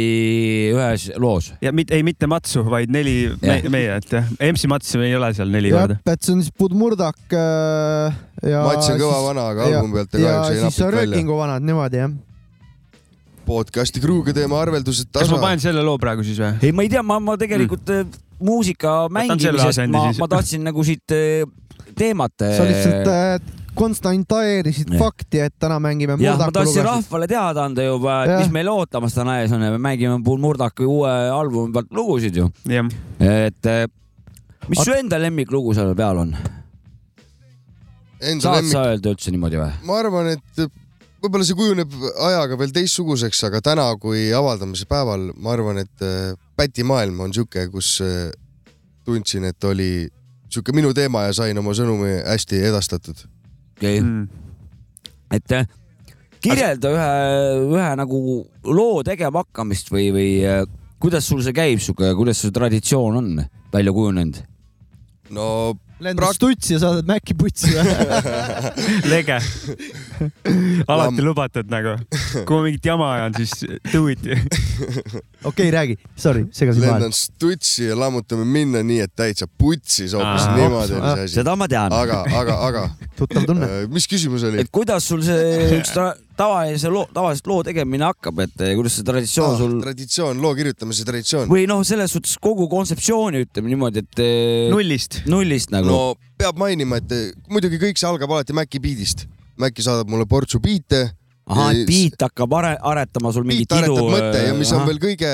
[SPEAKER 3] ühes loos .
[SPEAKER 2] ja mitte , ei mitte Matsu , vaid neli me,
[SPEAKER 3] Jah.
[SPEAKER 2] meie , et jah , MC Mats ei ole seal neli
[SPEAKER 1] jah
[SPEAKER 2] korda .,
[SPEAKER 1] et see on siis Budmurdak äh, ja .
[SPEAKER 4] Mats on kõva vana , aga albumi pealt ta
[SPEAKER 1] ja
[SPEAKER 4] kahjuks ei
[SPEAKER 1] siis
[SPEAKER 4] napinud välja .
[SPEAKER 1] röökingu vanad niimoodi jah .
[SPEAKER 4] podcast'i kruuga teeme arveldused
[SPEAKER 2] kas ma
[SPEAKER 4] tasa ,
[SPEAKER 2] panen selle loo praegu siis või ?
[SPEAKER 3] ei , ma ei tea , ma , ma tegelikult mm. muusika
[SPEAKER 2] selle
[SPEAKER 3] mängimisest ,
[SPEAKER 2] asendi
[SPEAKER 3] ma
[SPEAKER 2] siis. ,
[SPEAKER 3] ma tahtsin nagu siit eh, teemat .
[SPEAKER 1] sa lihtsalt äh, konstanteerisid
[SPEAKER 3] jah.
[SPEAKER 1] fakti , et täna mängime
[SPEAKER 3] jah , ma
[SPEAKER 1] Murdaku
[SPEAKER 3] tahtsin
[SPEAKER 1] lugesid .
[SPEAKER 3] rahvale teada anda juba , et
[SPEAKER 1] Jah.
[SPEAKER 3] mis meil ootamas täna ees on ja me mängime Paul Murdaku uue albumi pealt lugusid ju ,
[SPEAKER 2] jah ,
[SPEAKER 3] et eh, mis
[SPEAKER 1] At-
[SPEAKER 3] su enda lemmiklugu seal peal on ,
[SPEAKER 4] enda
[SPEAKER 3] saad
[SPEAKER 4] lemmik .
[SPEAKER 3] sa öelda üldse niimoodi või ?
[SPEAKER 4] ma arvan , et võib-olla see kujuneb ajaga veel teistsuguseks , aga täna , kui avaldamise päeval , ma arvan , et äh, pätimaailm on sihuke , kus äh, tundsin , et oli sihuke minu teema ja sain oma sõnumi hästi edastatud .
[SPEAKER 3] okei , Mm.
[SPEAKER 2] Mm.
[SPEAKER 3] et eh, kirjelda ühe , ühe nagu loo tegema hakkamist või , või eh, kuidas sul see käib sihuke , kuidas see traditsioon on välja kujunenud ?
[SPEAKER 4] no
[SPEAKER 1] lendad stutsi ja saadad Maci putsi .
[SPEAKER 2] lege . alati
[SPEAKER 4] Lamm.
[SPEAKER 2] lubatud nagu , kui ma mingit jama ajan , siis do it .
[SPEAKER 1] okei , räägi , sorry , segasin vahele .
[SPEAKER 4] lendan stutsi ja lammutame minna nii , et täitsa putsis hoopis
[SPEAKER 2] Aa.
[SPEAKER 4] niimoodi oli see asi .
[SPEAKER 3] seda ma tean .
[SPEAKER 4] aga , aga , aga
[SPEAKER 1] tuttav tunne .
[SPEAKER 4] äh, mis küsimus oli
[SPEAKER 3] et ? kuidas sul see üks tra tavalise loo , tavaliselt loo tegemine hakkab , et eh, kuidas see traditsioon sul
[SPEAKER 4] Ah, traditsioon , loo kirjutamise traditsioon .
[SPEAKER 3] või noh , selles suhtes kogu kontseptsiooni ütleme niimoodi , et eh,
[SPEAKER 2] nullist .
[SPEAKER 3] nullist nagu
[SPEAKER 4] no peab mainima , et eh, muidugi kõik see algab alati Maci beat'ist . Maci saadab mulle portsu biite .
[SPEAKER 3] ahah , et
[SPEAKER 4] eh,
[SPEAKER 3] beat hakkab are, aretama sul mingit
[SPEAKER 4] biit
[SPEAKER 3] idu .
[SPEAKER 4] aretab mõtte
[SPEAKER 3] eh,
[SPEAKER 4] ja mis on veel kõige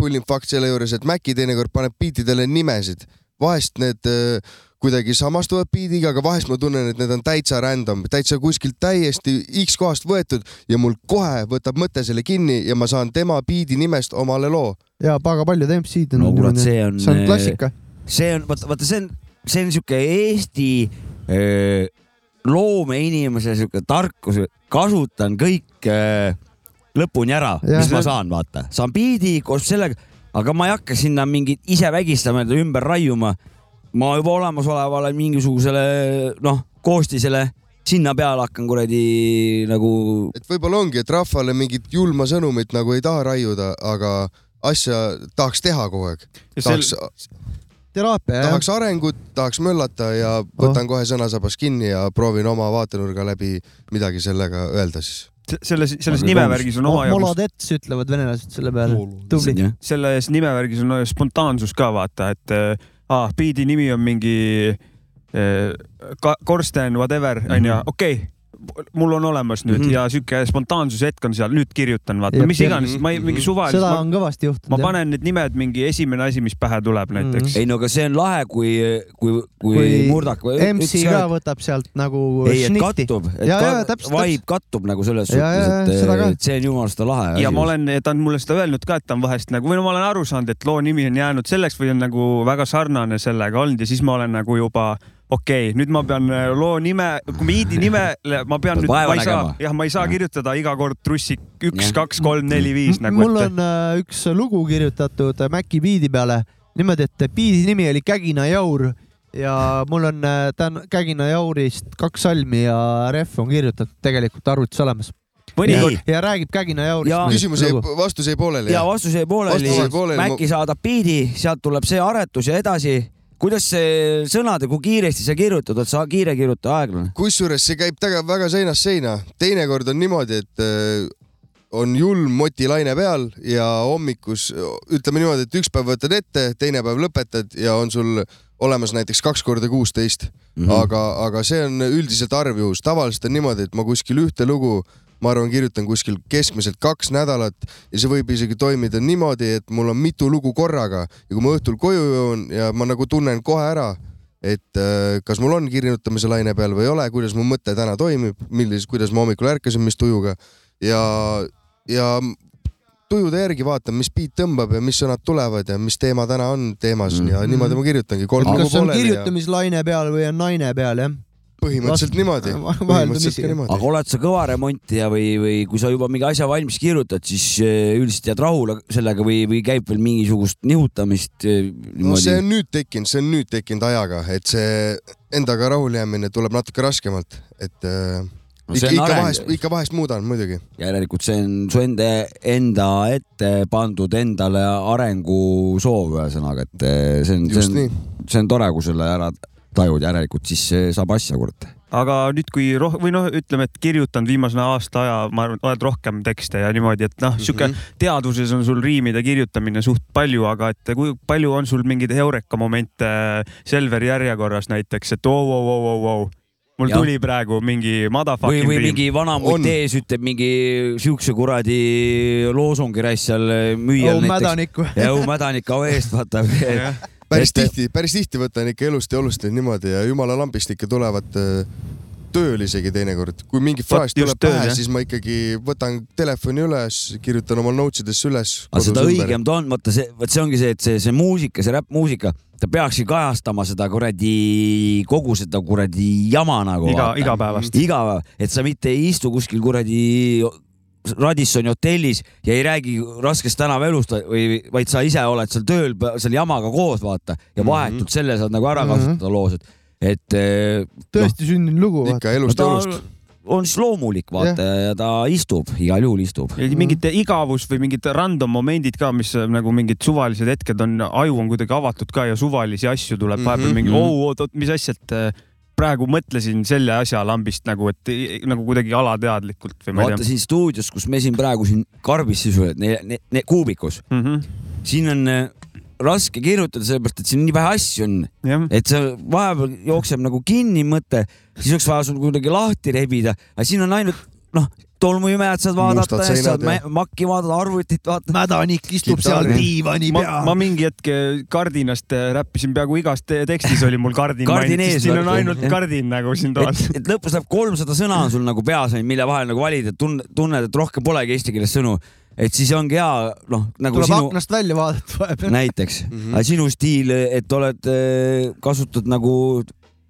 [SPEAKER 4] pullim fakt selle juures , et Maci teinekord paneb biitidele nimesid . vahest need eh, kuidagi samastuvad biidiga , aga vahest ma tunnen , et need on täitsa random , täitsa kuskilt täiesti X kohast võetud ja mul kohe võtab mõte selle kinni ja ma saan tema biidi nimest omale loo .
[SPEAKER 1] ja paga paljud MC-d on
[SPEAKER 3] no kurat ,
[SPEAKER 1] niimoodi.
[SPEAKER 3] see on , äh,
[SPEAKER 1] see on klassika .
[SPEAKER 3] see on , vaata , vaata , see on , see on sihuke Eesti öö, loomeinimese sihuke tarkus , kasutan kõik öö, lõpuni ära ,
[SPEAKER 1] Jah.
[SPEAKER 3] mis ma saan , vaata , saan biidi koos sellega , aga ma ei hakka sinna mingit ise vägistama ja ümber raiuma . ma juba olemasolevale mingisugusele noh , koostisele sinna peale hakkan kuradi nagu
[SPEAKER 4] et võib-olla ongi , et rahvale mingit julma sõnumit nagu ei taha raiuda , aga asja tahaks teha kogu aeg . tahaks ,
[SPEAKER 1] teraapia jah
[SPEAKER 4] tahaks arengut , tahaks möllata ja võtan kohe sõnasabas kinni ja proovin oma vaatenurga läbi midagi sellega öelda siis .
[SPEAKER 2] selles , selles
[SPEAKER 3] Aga
[SPEAKER 2] nimevärgis on
[SPEAKER 1] Mo-
[SPEAKER 2] omajagu ,
[SPEAKER 1] Molodets ütlevad venelased selle peale . tubli .
[SPEAKER 3] jah.
[SPEAKER 2] selles nimevärgis on spontaansus ka vaata , et äh, ah, biidi nimi on mingi äh, ka- Korsten , whatever
[SPEAKER 1] Mhm.
[SPEAKER 2] onju , okei mul on olemas nüüd mm
[SPEAKER 3] Mhm.
[SPEAKER 2] -hmm. ja sihuke spontaansuse hetk on seal , nüüd kirjutan , vaata
[SPEAKER 1] Jep,
[SPEAKER 2] mis
[SPEAKER 1] jep. Mhm.
[SPEAKER 2] iganes , ma ei , mingi suvaliselt ,
[SPEAKER 1] seda
[SPEAKER 2] ma,
[SPEAKER 1] on kõvasti juhtunud .
[SPEAKER 2] ma panen need nimed mingi esimene asi , mis pähe tuleb näiteks mm .
[SPEAKER 3] ei no aga see on lahe , kui , kui , kui, kui
[SPEAKER 1] Kui
[SPEAKER 3] Murdak või
[SPEAKER 1] MC ka võtab sealt nagu
[SPEAKER 3] ei , et
[SPEAKER 1] šnitti .
[SPEAKER 3] kattub , et
[SPEAKER 1] Jaa, jaa,
[SPEAKER 3] ka,
[SPEAKER 1] täpselt,
[SPEAKER 3] vibe kattub nagu selles
[SPEAKER 1] Jaa, jaa, jaa,
[SPEAKER 3] suhtes ,
[SPEAKER 1] seda
[SPEAKER 3] et
[SPEAKER 1] ka. ,
[SPEAKER 3] et see on jumala seda lahe
[SPEAKER 2] ja ma . olen , ta on mulle seda öelnud ka , et ta on vahest nagu või no ma olen aru saanud , et loo nimi on jäänud selleks või on nagu väga sarnane sellega olnud ja siis ma olen nagu juba okei okay, , nüüd ma pean äh, loo nime , biidi nimele ma pean
[SPEAKER 3] Pead
[SPEAKER 2] nüüd ,
[SPEAKER 3] vaeva
[SPEAKER 2] ma ei saa
[SPEAKER 3] nägema. ,
[SPEAKER 2] jah , ma ei saa
[SPEAKER 3] Jah.
[SPEAKER 2] kirjutada iga kord trussik üks ,
[SPEAKER 3] Jah.
[SPEAKER 2] kaks , kolm , neli , viis nagu .
[SPEAKER 1] mul on äh, üks lugu kirjutatud äh, Maci biidi peale niimoodi , et biidi nimi oli Kägina jaur ja mul on , ta on Kägina jaurist kaks salmi ja ref on kirjutatud tegelikult arvutis olemas
[SPEAKER 2] mõnikord ,
[SPEAKER 1] ja räägib Kägina
[SPEAKER 3] Jaa.
[SPEAKER 1] jaurist .
[SPEAKER 4] küsimus jäi , vastus jäi pooleli
[SPEAKER 3] ja . vastus jäi pooleli
[SPEAKER 4] Vastus jäi , pooleli,
[SPEAKER 3] Maci saadab biidi , sealt tuleb see aretus ja edasi . kuidas see sõnad ja kui kiiresti sa kirjutad , oled sa kiire kirjutaja , aeglane ?
[SPEAKER 4] kusjuures see käib taga väga seinast seina , teinekord on niimoodi , et äh, on julm motilaine peal ja hommikus ütleme niimoodi , et üks päev võtad ette , teine päev lõpetad ja on sul olemas näiteks kaks korda kuusteist mm , -hmm. aga , aga see on üldiselt arv juhus , tavaliselt on niimoodi , et ma kuskil ühte lugu , ma arvan , kirjutan kuskil keskmiselt kaks nädalat ja see võib isegi toimida niimoodi , et mul on mitu lugu korraga ja kui ma õhtul koju jõuan ja ma nagu tunnen kohe ära , et äh, kas mul on kirjutamise laine peal või ei ole , kuidas mu mõte täna toimib , millises , kuidas ma hommikul ärkasin , mis tujuga ja , ja tujude järgi vaatan , mis beat tõmbab ja mis sõnad tulevad ja mis teema täna on teemas mm.
[SPEAKER 3] Mhm.
[SPEAKER 4] ja niimoodi ma kirjutangi kolm lugu
[SPEAKER 1] kas on
[SPEAKER 4] pooleli ja
[SPEAKER 1] kirjutamislaine peal või on naine peal jah ?
[SPEAKER 4] põhimõtteliselt niimoodi ,
[SPEAKER 1] Vaheldumisi.
[SPEAKER 4] põhimõtteliselt ka niimoodi .
[SPEAKER 3] aga oled sa kõva remontija või , või kui sa juba mingi asja valmis kirjutad , siis eh, üldiselt jääd rahule sellega või , või käib veel mingisugust nihutamist eh,
[SPEAKER 4] no
[SPEAKER 3] niimoodi ?
[SPEAKER 4] see on nüüd tekkinud , see on nüüd tekkinud ajaga , et see endaga rahule jäämine tuleb natuke raskemalt , et äh,
[SPEAKER 3] No see
[SPEAKER 4] ikka,
[SPEAKER 3] on
[SPEAKER 4] ikka
[SPEAKER 3] areng.
[SPEAKER 4] vahest , ikka vahest muudan muidugi .
[SPEAKER 3] järelikult see on su enda , enda ette pandud endale arengusoov , ühesõnaga , et eh, see on , see
[SPEAKER 4] just
[SPEAKER 3] on
[SPEAKER 4] nii .
[SPEAKER 3] see on tore , kui selle ära tajud , järelikult siis eh, saab asja , kurat .
[SPEAKER 2] aga nüüd , kui roh- või noh , ütleme , et kirjutanud viimasena aasta aja , ma arvan , oled rohkem tekste ja niimoodi , et noh , sihuke mm
[SPEAKER 3] Mhm.
[SPEAKER 2] -hmm. teadvuses on sul riimide kirjutamine suht palju , aga et kui palju on sul mingeid Eureka momente Selveri järjekorras näiteks , et oo-oo-oo-oo-oo , mul
[SPEAKER 3] Jah.
[SPEAKER 2] ja. tuli praegu mingi
[SPEAKER 3] või ,
[SPEAKER 2] motherfucking
[SPEAKER 3] või
[SPEAKER 2] riim.
[SPEAKER 3] mingi vana mutt
[SPEAKER 4] On.
[SPEAKER 3] ees ütleb mingi siukse kuradi loosungi raisk seal müüjal
[SPEAKER 1] oh
[SPEAKER 3] näiteks .
[SPEAKER 1] mädanikku .
[SPEAKER 3] jõu mädanik au eest , vaata .
[SPEAKER 2] Jah.
[SPEAKER 4] päris
[SPEAKER 3] Et-
[SPEAKER 4] tihti , päris tihti võtan ikka elust ja olust neid niimoodi ja jumala lambist ikka tulevad äh, tööl isegi teinekord , kui mingi fraas
[SPEAKER 2] just
[SPEAKER 4] tuleb pähe
[SPEAKER 2] tööl, jah. ,
[SPEAKER 4] siis ma ikkagi võtan telefoni üles , kirjutan oma notes idesse üles .
[SPEAKER 3] aga seda õigem ta on , vaata see , vot see ongi see , et see , see muusika , see räppmuusika , ta peakski kajastama seda kuradi , kogu seda kuradi jama nagu .
[SPEAKER 2] iga , igapäevast .
[SPEAKER 3] igav , et sa mitte ei istu kuskil kuradi Radissoni hotellis ja ei räägi raskest tänavaelust või , vaid sa ise oled seal tööl , seal jamaga koos , vaata , ja
[SPEAKER 2] Mhm.
[SPEAKER 3] vahetult mm -hmm. selle saad nagu ära
[SPEAKER 1] Mhm.
[SPEAKER 3] kasutada mm -hmm. loos , et , et eh,
[SPEAKER 1] tõesti sündinud lugu .
[SPEAKER 4] Noh. ikka
[SPEAKER 3] no,
[SPEAKER 4] elust
[SPEAKER 3] ta
[SPEAKER 4] ja olust .
[SPEAKER 3] on siis loomulik , vaata yeah. , ja ta istub , igal juhul istub .
[SPEAKER 2] Ja mingid igavus või mingid random momendid ka , mis nagu mingid suvalised
[SPEAKER 3] Mhm.
[SPEAKER 2] "Oh, hetked on , aju on kuidagi avatud ka ja suvalisi asju tuleb vahepeal mm -hmm. mingi oo , oot , oot , mis asjad . praegu mõtlesin selle asja lambist nagu , et i- nagu kuidagi alateadlikult või ma ei
[SPEAKER 3] vaata
[SPEAKER 2] tea .
[SPEAKER 3] siin stuudios , kus me siin praegu siin karbis sisuliselt , ne- , ne- , ne- , kuubikus ,
[SPEAKER 2] Mm -hmm.
[SPEAKER 3] siin on äh, raske kirjutada , sellepärast et siin nii vähe asju on ,
[SPEAKER 2] jah ,
[SPEAKER 3] et see vahepeal jookseb nagu kinni mõte , siis oleks vaja sul kuidagi lahti rebida , aga siin on ainult noh , tolmuimejad saad vaadata
[SPEAKER 5] Mustad ,
[SPEAKER 3] saad
[SPEAKER 5] seinad ja-
[SPEAKER 3] mä- makki vaadata , arvutit vaadata .
[SPEAKER 1] mädanik istub seal
[SPEAKER 5] Kitarri.
[SPEAKER 1] diivani
[SPEAKER 2] ma , ma
[SPEAKER 1] peal .
[SPEAKER 2] mingi hetk äh, kardinast räppisin peaaegu igas te tekstis oli mul kardin
[SPEAKER 3] Kardin
[SPEAKER 2] mainitud ,
[SPEAKER 3] ees
[SPEAKER 2] siin on
[SPEAKER 3] vaata,
[SPEAKER 2] ainult
[SPEAKER 3] jah.
[SPEAKER 2] kardin nagu siin toas
[SPEAKER 3] et , et lõpus läheb kolmsada sõna on sul nagu peas , mille vahel nagu valida , tunned , tunned , et rohkem polegi eesti keeles sõnu , et siis ongi hea noh , nagu
[SPEAKER 1] tuleb
[SPEAKER 3] sinu
[SPEAKER 1] aknast välja vaadata vahepeal .
[SPEAKER 3] näiteks mm ,
[SPEAKER 2] Mhm.
[SPEAKER 3] -hmm. sinu stiil , et oled , kasutad nagu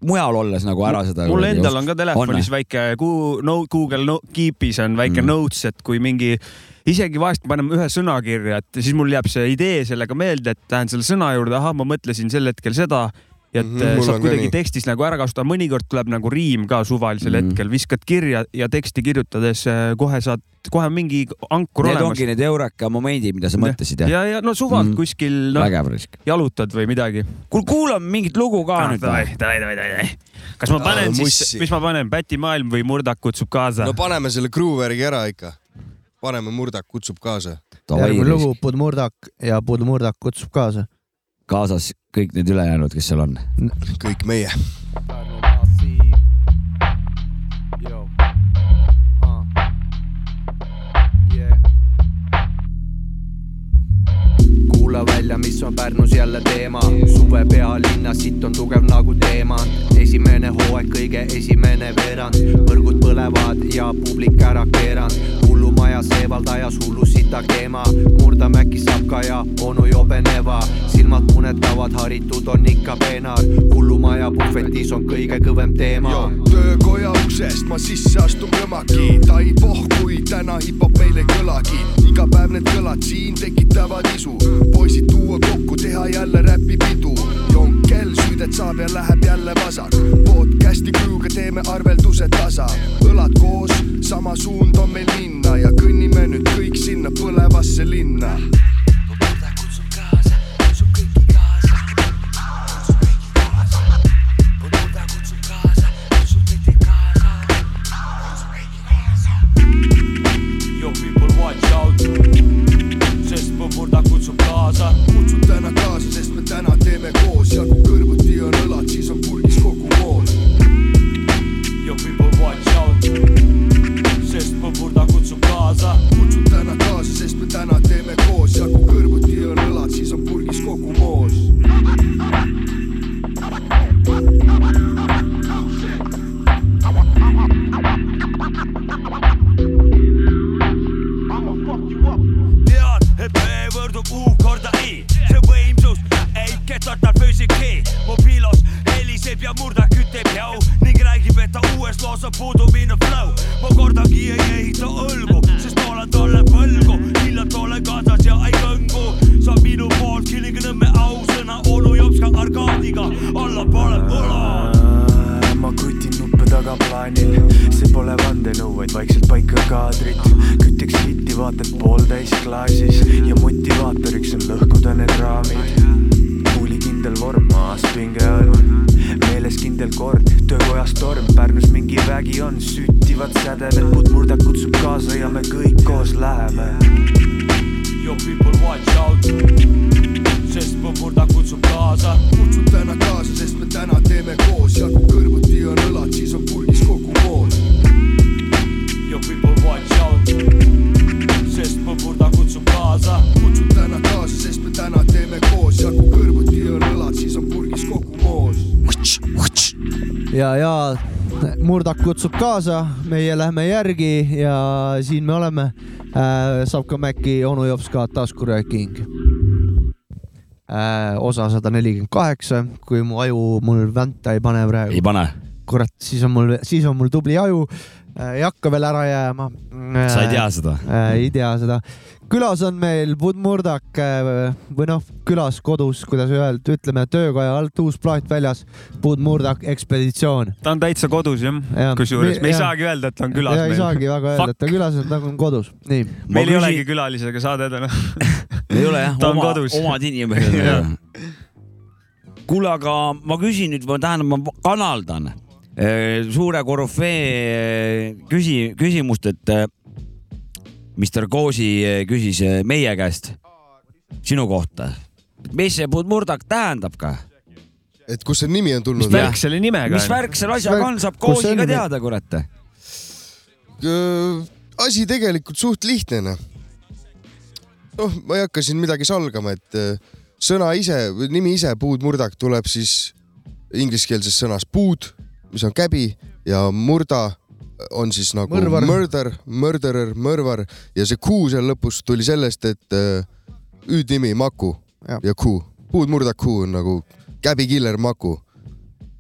[SPEAKER 3] mujal olles nagu ära seda .
[SPEAKER 2] mul endal on ka telefonis
[SPEAKER 3] On.
[SPEAKER 2] on. väike Gu- no, Google no, Keepis on väike
[SPEAKER 3] Mm.
[SPEAKER 2] mm. notes , et kui mingi , isegi vahest paneme ühe sõna kirja , et siis mul jääb see idee sellega meelde , et lähen selle sõna juurde , ahah , ma mõtlesin sel hetkel seda ja et
[SPEAKER 5] Mhm,
[SPEAKER 2] mm -hmm,
[SPEAKER 5] mul
[SPEAKER 2] saab
[SPEAKER 5] on ka
[SPEAKER 2] kuidagi
[SPEAKER 5] nii.
[SPEAKER 2] tekstis nagu ära kasutada , mõnikord tuleb nagu riim ka suvalisel
[SPEAKER 3] Mm.
[SPEAKER 2] mm. hetkel , viskad kirja ja teksti kirjutades äh, kohe saad , kohe on mingi ankur
[SPEAKER 3] Need
[SPEAKER 2] olemas
[SPEAKER 3] ongi . need eureka momendid , mida sa
[SPEAKER 2] Jah.
[SPEAKER 3] mõtlesid jah ja, ?
[SPEAKER 2] ja , ja no suvalt
[SPEAKER 3] Mm.
[SPEAKER 2] mm. kuskil no,
[SPEAKER 3] vägev risk .
[SPEAKER 2] jalutad või midagi .
[SPEAKER 3] kuule , kuulame mingit lugu ka
[SPEAKER 2] Ah,
[SPEAKER 3] nüüd .
[SPEAKER 2] kas ma panen
[SPEAKER 5] Ah,
[SPEAKER 2] siis
[SPEAKER 5] mussi. ,
[SPEAKER 2] mis ma panen , Pätimaailm või Murdak kutsub kaasa
[SPEAKER 5] no ? paneme selle Gruuvergi ära ikka . paneme Murdak kutsub kaasa .
[SPEAKER 1] järgmine lugu Bud Murdak ja Bud Murdak kutsub kaasa .
[SPEAKER 3] kaasas kõik need ülejäänud , kes seal on .
[SPEAKER 5] kõik meie .
[SPEAKER 1] Yo. Uh. Yeah. kuula välja , mis on Pärnus jälle teema , suve pealinna , sitt on tugev nagu teemant . esimene hooaeg , kõige esimene veerand , võrgud põlevad ja publik ära keeranud . hullumaja seevaldajas hullu sita keema , murdamäki sapka ja onu jobeneva , silmad punetavad , haritud on ikka peenar , hullumaja puhvetis on kõige kõvem teema
[SPEAKER 4] töökoja uksest ma sisse astun kõmaki , ta ei pohku , täna hip-hop meil ei kõlagi . iga päev need kõlad siin tekitavad isu , poisid tuua kokku , teha jälle räpipidu . jonkel süüdet saab ja läheb jälle vasak , podcast'i kujuga teeme arvelduse tasa . õlad koos , sama suund on meil minna ja kõnnime nüüd kõik sinna põlevasse linna
[SPEAKER 6] Yo people watch out sest mu murda kutsub kaasa
[SPEAKER 4] kutsun täna kaasa , sest me täna teeme koos ja kui kõrvuti on õlad , siis on purgis kogu moon .
[SPEAKER 6] Yo people watch out sest mu murda kutsub kaasa
[SPEAKER 4] kutsun täna kaasa , sest me täna teeme koos ja kui kõrvuti on õlad , siis on purgis kogu moos .
[SPEAKER 6] tead , et me võrdub U korda I , see võimsus ei ketata füüsiki . mobiilos heliseb ja murdak ütleb jau ning räägib , et ta uues loos on puudu minu flow . ma kordagi ei ehita õlgu , sest olen talle võlgu , hiljalt olen kaasas ja ei kõngu . sa minu poolt killing Nõmme ausõna onu jops ka arkaadiga , allapoole põlad .
[SPEAKER 4] ma krutin nuppe tagaplaanil , see pole vandenõuid , vaikselt paika kaadrid . küttiks hitti , vaatad pooltäis klaasis ja motivaatoriks on lõhkuda need raamid . kuulikindel vorm maas , pinge on , meeles kindel kord , töökojas torm , Pärnus mingi vägi on , süttivad sädemed , muud murdak kutsub kaasa ja me kõik koos läheme
[SPEAKER 6] Yo people watch out sest mu murda kutsub kaasa
[SPEAKER 4] kutsun täna kaasa , sest me täna teeme koos ja kui kõrvuti on õlad , siis on purgis kogu moon .
[SPEAKER 6] Yo people watch out sest mu murda kutsub kaasa
[SPEAKER 4] kutsun täna kaasa , sest me täna teeme koos ja kui kõrvuti on õlad , siis on purgis kogu moos .
[SPEAKER 1] ja , ja Murdak kutsub kaasa , meie lähme järgi ja siin me oleme äh, . saab ka Maci onu jops ka taskurööking äh, . osa sada nelikümmend kaheksa , kui mu aju mul vänta ei pane
[SPEAKER 3] ei
[SPEAKER 1] praegu ,
[SPEAKER 3] pane ,
[SPEAKER 1] kurat , siis on mul , siis on mul tubli aju äh, , ei hakka veel ära jääma äh, .
[SPEAKER 3] sa ei tea seda .
[SPEAKER 1] äh, . ei tea seda . külas on meil Bud Murdak äh, või noh , külas kodus , kuidas öelda , ütleme töökoja alt uus plaat väljas , Bud Murdak ekspeditsioon .
[SPEAKER 2] ta on täitsa kodus jah
[SPEAKER 1] Jah.
[SPEAKER 2] ja. , kusjuures me ei
[SPEAKER 1] Jah.
[SPEAKER 2] saagi öelda , et ta on külas
[SPEAKER 1] ja ei
[SPEAKER 2] meil .
[SPEAKER 1] saagi väga öelda , et ta külas on , nagu on kodus . nii ,
[SPEAKER 2] meil ei olegi külalisega noh, saadet enam .
[SPEAKER 3] ei ole jah ,
[SPEAKER 2] Ta on
[SPEAKER 3] oma
[SPEAKER 2] kodus. ,
[SPEAKER 3] omad inimesed . kuule , aga ma küsin nüüd , ma tähendab , ma kanaldan , suure korüfee eh, küsi- , küsimust , et äh, Mr. Koosi äh, küsis äh, meie käest sinu kohta . mis see Budmurdak tähendab ka ?
[SPEAKER 4] et kust see nimi on tulnud
[SPEAKER 2] mis ? värk selle nimega
[SPEAKER 3] mis
[SPEAKER 2] on ?
[SPEAKER 3] värk selle asjaga on , saab
[SPEAKER 1] Kus see
[SPEAKER 3] Koosi ka
[SPEAKER 1] on?
[SPEAKER 3] teada , kurat .
[SPEAKER 4] Äh, asi tegelikult suht lihtne , noh . noh , ma ei hakka siin midagi salgama , et öö, sõna ise , nimi ise , puudmurdak , tuleb siis ingliskeelsest sõnast puud , mis on käbi ja murda on siis nagu
[SPEAKER 1] Mõrvar.
[SPEAKER 4] murder , murderer , mõrvar ja see kuu seal lõpus tuli sellest , et öö, hüüdnimi Maku ja,
[SPEAKER 1] Ja.
[SPEAKER 4] ja kuu , puudmurdak kuu on nagu käbikiller Maku .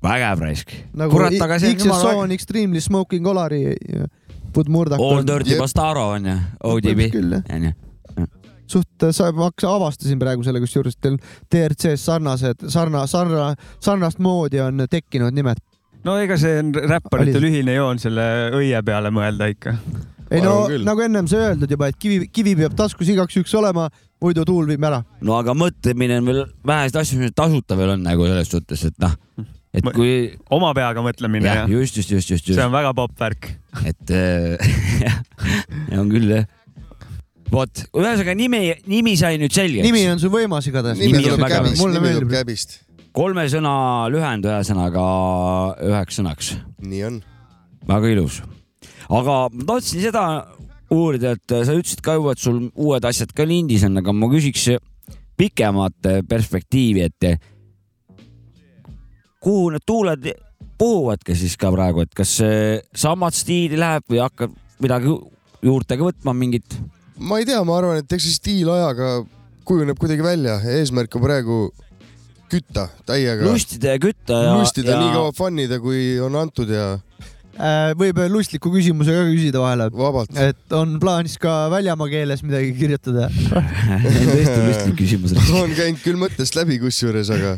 [SPEAKER 3] vägev raisk .
[SPEAKER 1] nagu
[SPEAKER 3] kurat , aga see on jumala
[SPEAKER 1] XSO on Extremely Smoking Olari ja Bud Murdak
[SPEAKER 3] All oh,
[SPEAKER 1] on
[SPEAKER 3] Dirty
[SPEAKER 4] Jep.
[SPEAKER 3] Bastaro on ju , ODB
[SPEAKER 1] Põhimõtteliselt küll, jah.
[SPEAKER 3] onju .
[SPEAKER 1] suht , ma hakkasin , avastasin praegu selle , kusjuures teil DRC-s sarnased , sarna , sarna , sarnast moodi on tekkinud nimed .
[SPEAKER 2] no ega see on räpparite
[SPEAKER 1] Oli-
[SPEAKER 2] lühine joon selle õie peale mõelda ikka .
[SPEAKER 1] ei
[SPEAKER 4] Ma
[SPEAKER 1] no
[SPEAKER 4] arvan küll.
[SPEAKER 1] nagu ennem sai öeldud juba , et kivi , kivi peab taskus igaks juhuks olema , muidu tuul viib ära .
[SPEAKER 3] no aga mõtlemine on veel väheseid asju , mis tasuta veel on nagu selles suhtes , et noh , et
[SPEAKER 2] Ma-
[SPEAKER 3] kui
[SPEAKER 2] oma peaga mõtlemine
[SPEAKER 3] jah
[SPEAKER 2] ja, , ja. ,
[SPEAKER 3] just , just , just , just ,
[SPEAKER 2] see
[SPEAKER 3] just ,
[SPEAKER 2] on väga popp värk .
[SPEAKER 3] et äh, on küll jah . vot , ühesõnaga nimi , nimi sai nüüd
[SPEAKER 1] nimi
[SPEAKER 3] selgeks .
[SPEAKER 1] on sul võimas igatahes .
[SPEAKER 3] Nimi
[SPEAKER 4] nimi
[SPEAKER 3] on
[SPEAKER 4] tuleb
[SPEAKER 3] väga-
[SPEAKER 4] käbist ,
[SPEAKER 1] mulle
[SPEAKER 4] nimi tuleb
[SPEAKER 1] meeldib.
[SPEAKER 4] käbist .
[SPEAKER 3] kolme sõna lühend , ühesõnaga üheks sõnaks ,
[SPEAKER 4] nii on .
[SPEAKER 3] väga ilus . aga ma tahtsin seda uurida , et sa ütlesid ka juba , et sul uued asjad ka lindis on , aga ma küsiks pikemat perspektiivi , et kuhu need tuuled puhuvadki siis ka praegu , et kas äh, samad stiili läheb või hakkab midagi ju- juurde ka võtma mingit ?
[SPEAKER 4] ma ei tea , ma arvan , et eks see stiil ajaga kujuneb kuidagi välja , eesmärk on praegu kütta täiega ,
[SPEAKER 3] lustida ja kütta ja .
[SPEAKER 4] lustida
[SPEAKER 3] ja...
[SPEAKER 4] nii kaua fännida , kui on antud ja
[SPEAKER 1] Äh, võib lustliku küsimuse ka küsida vahele ,
[SPEAKER 4] vabalt .
[SPEAKER 1] et on plaanis ka väljamaa keeles midagi kirjutada .
[SPEAKER 3] tõesti lustlik küsimus oli .
[SPEAKER 4] on käinud küll mõttest läbi kusjuures , aga ,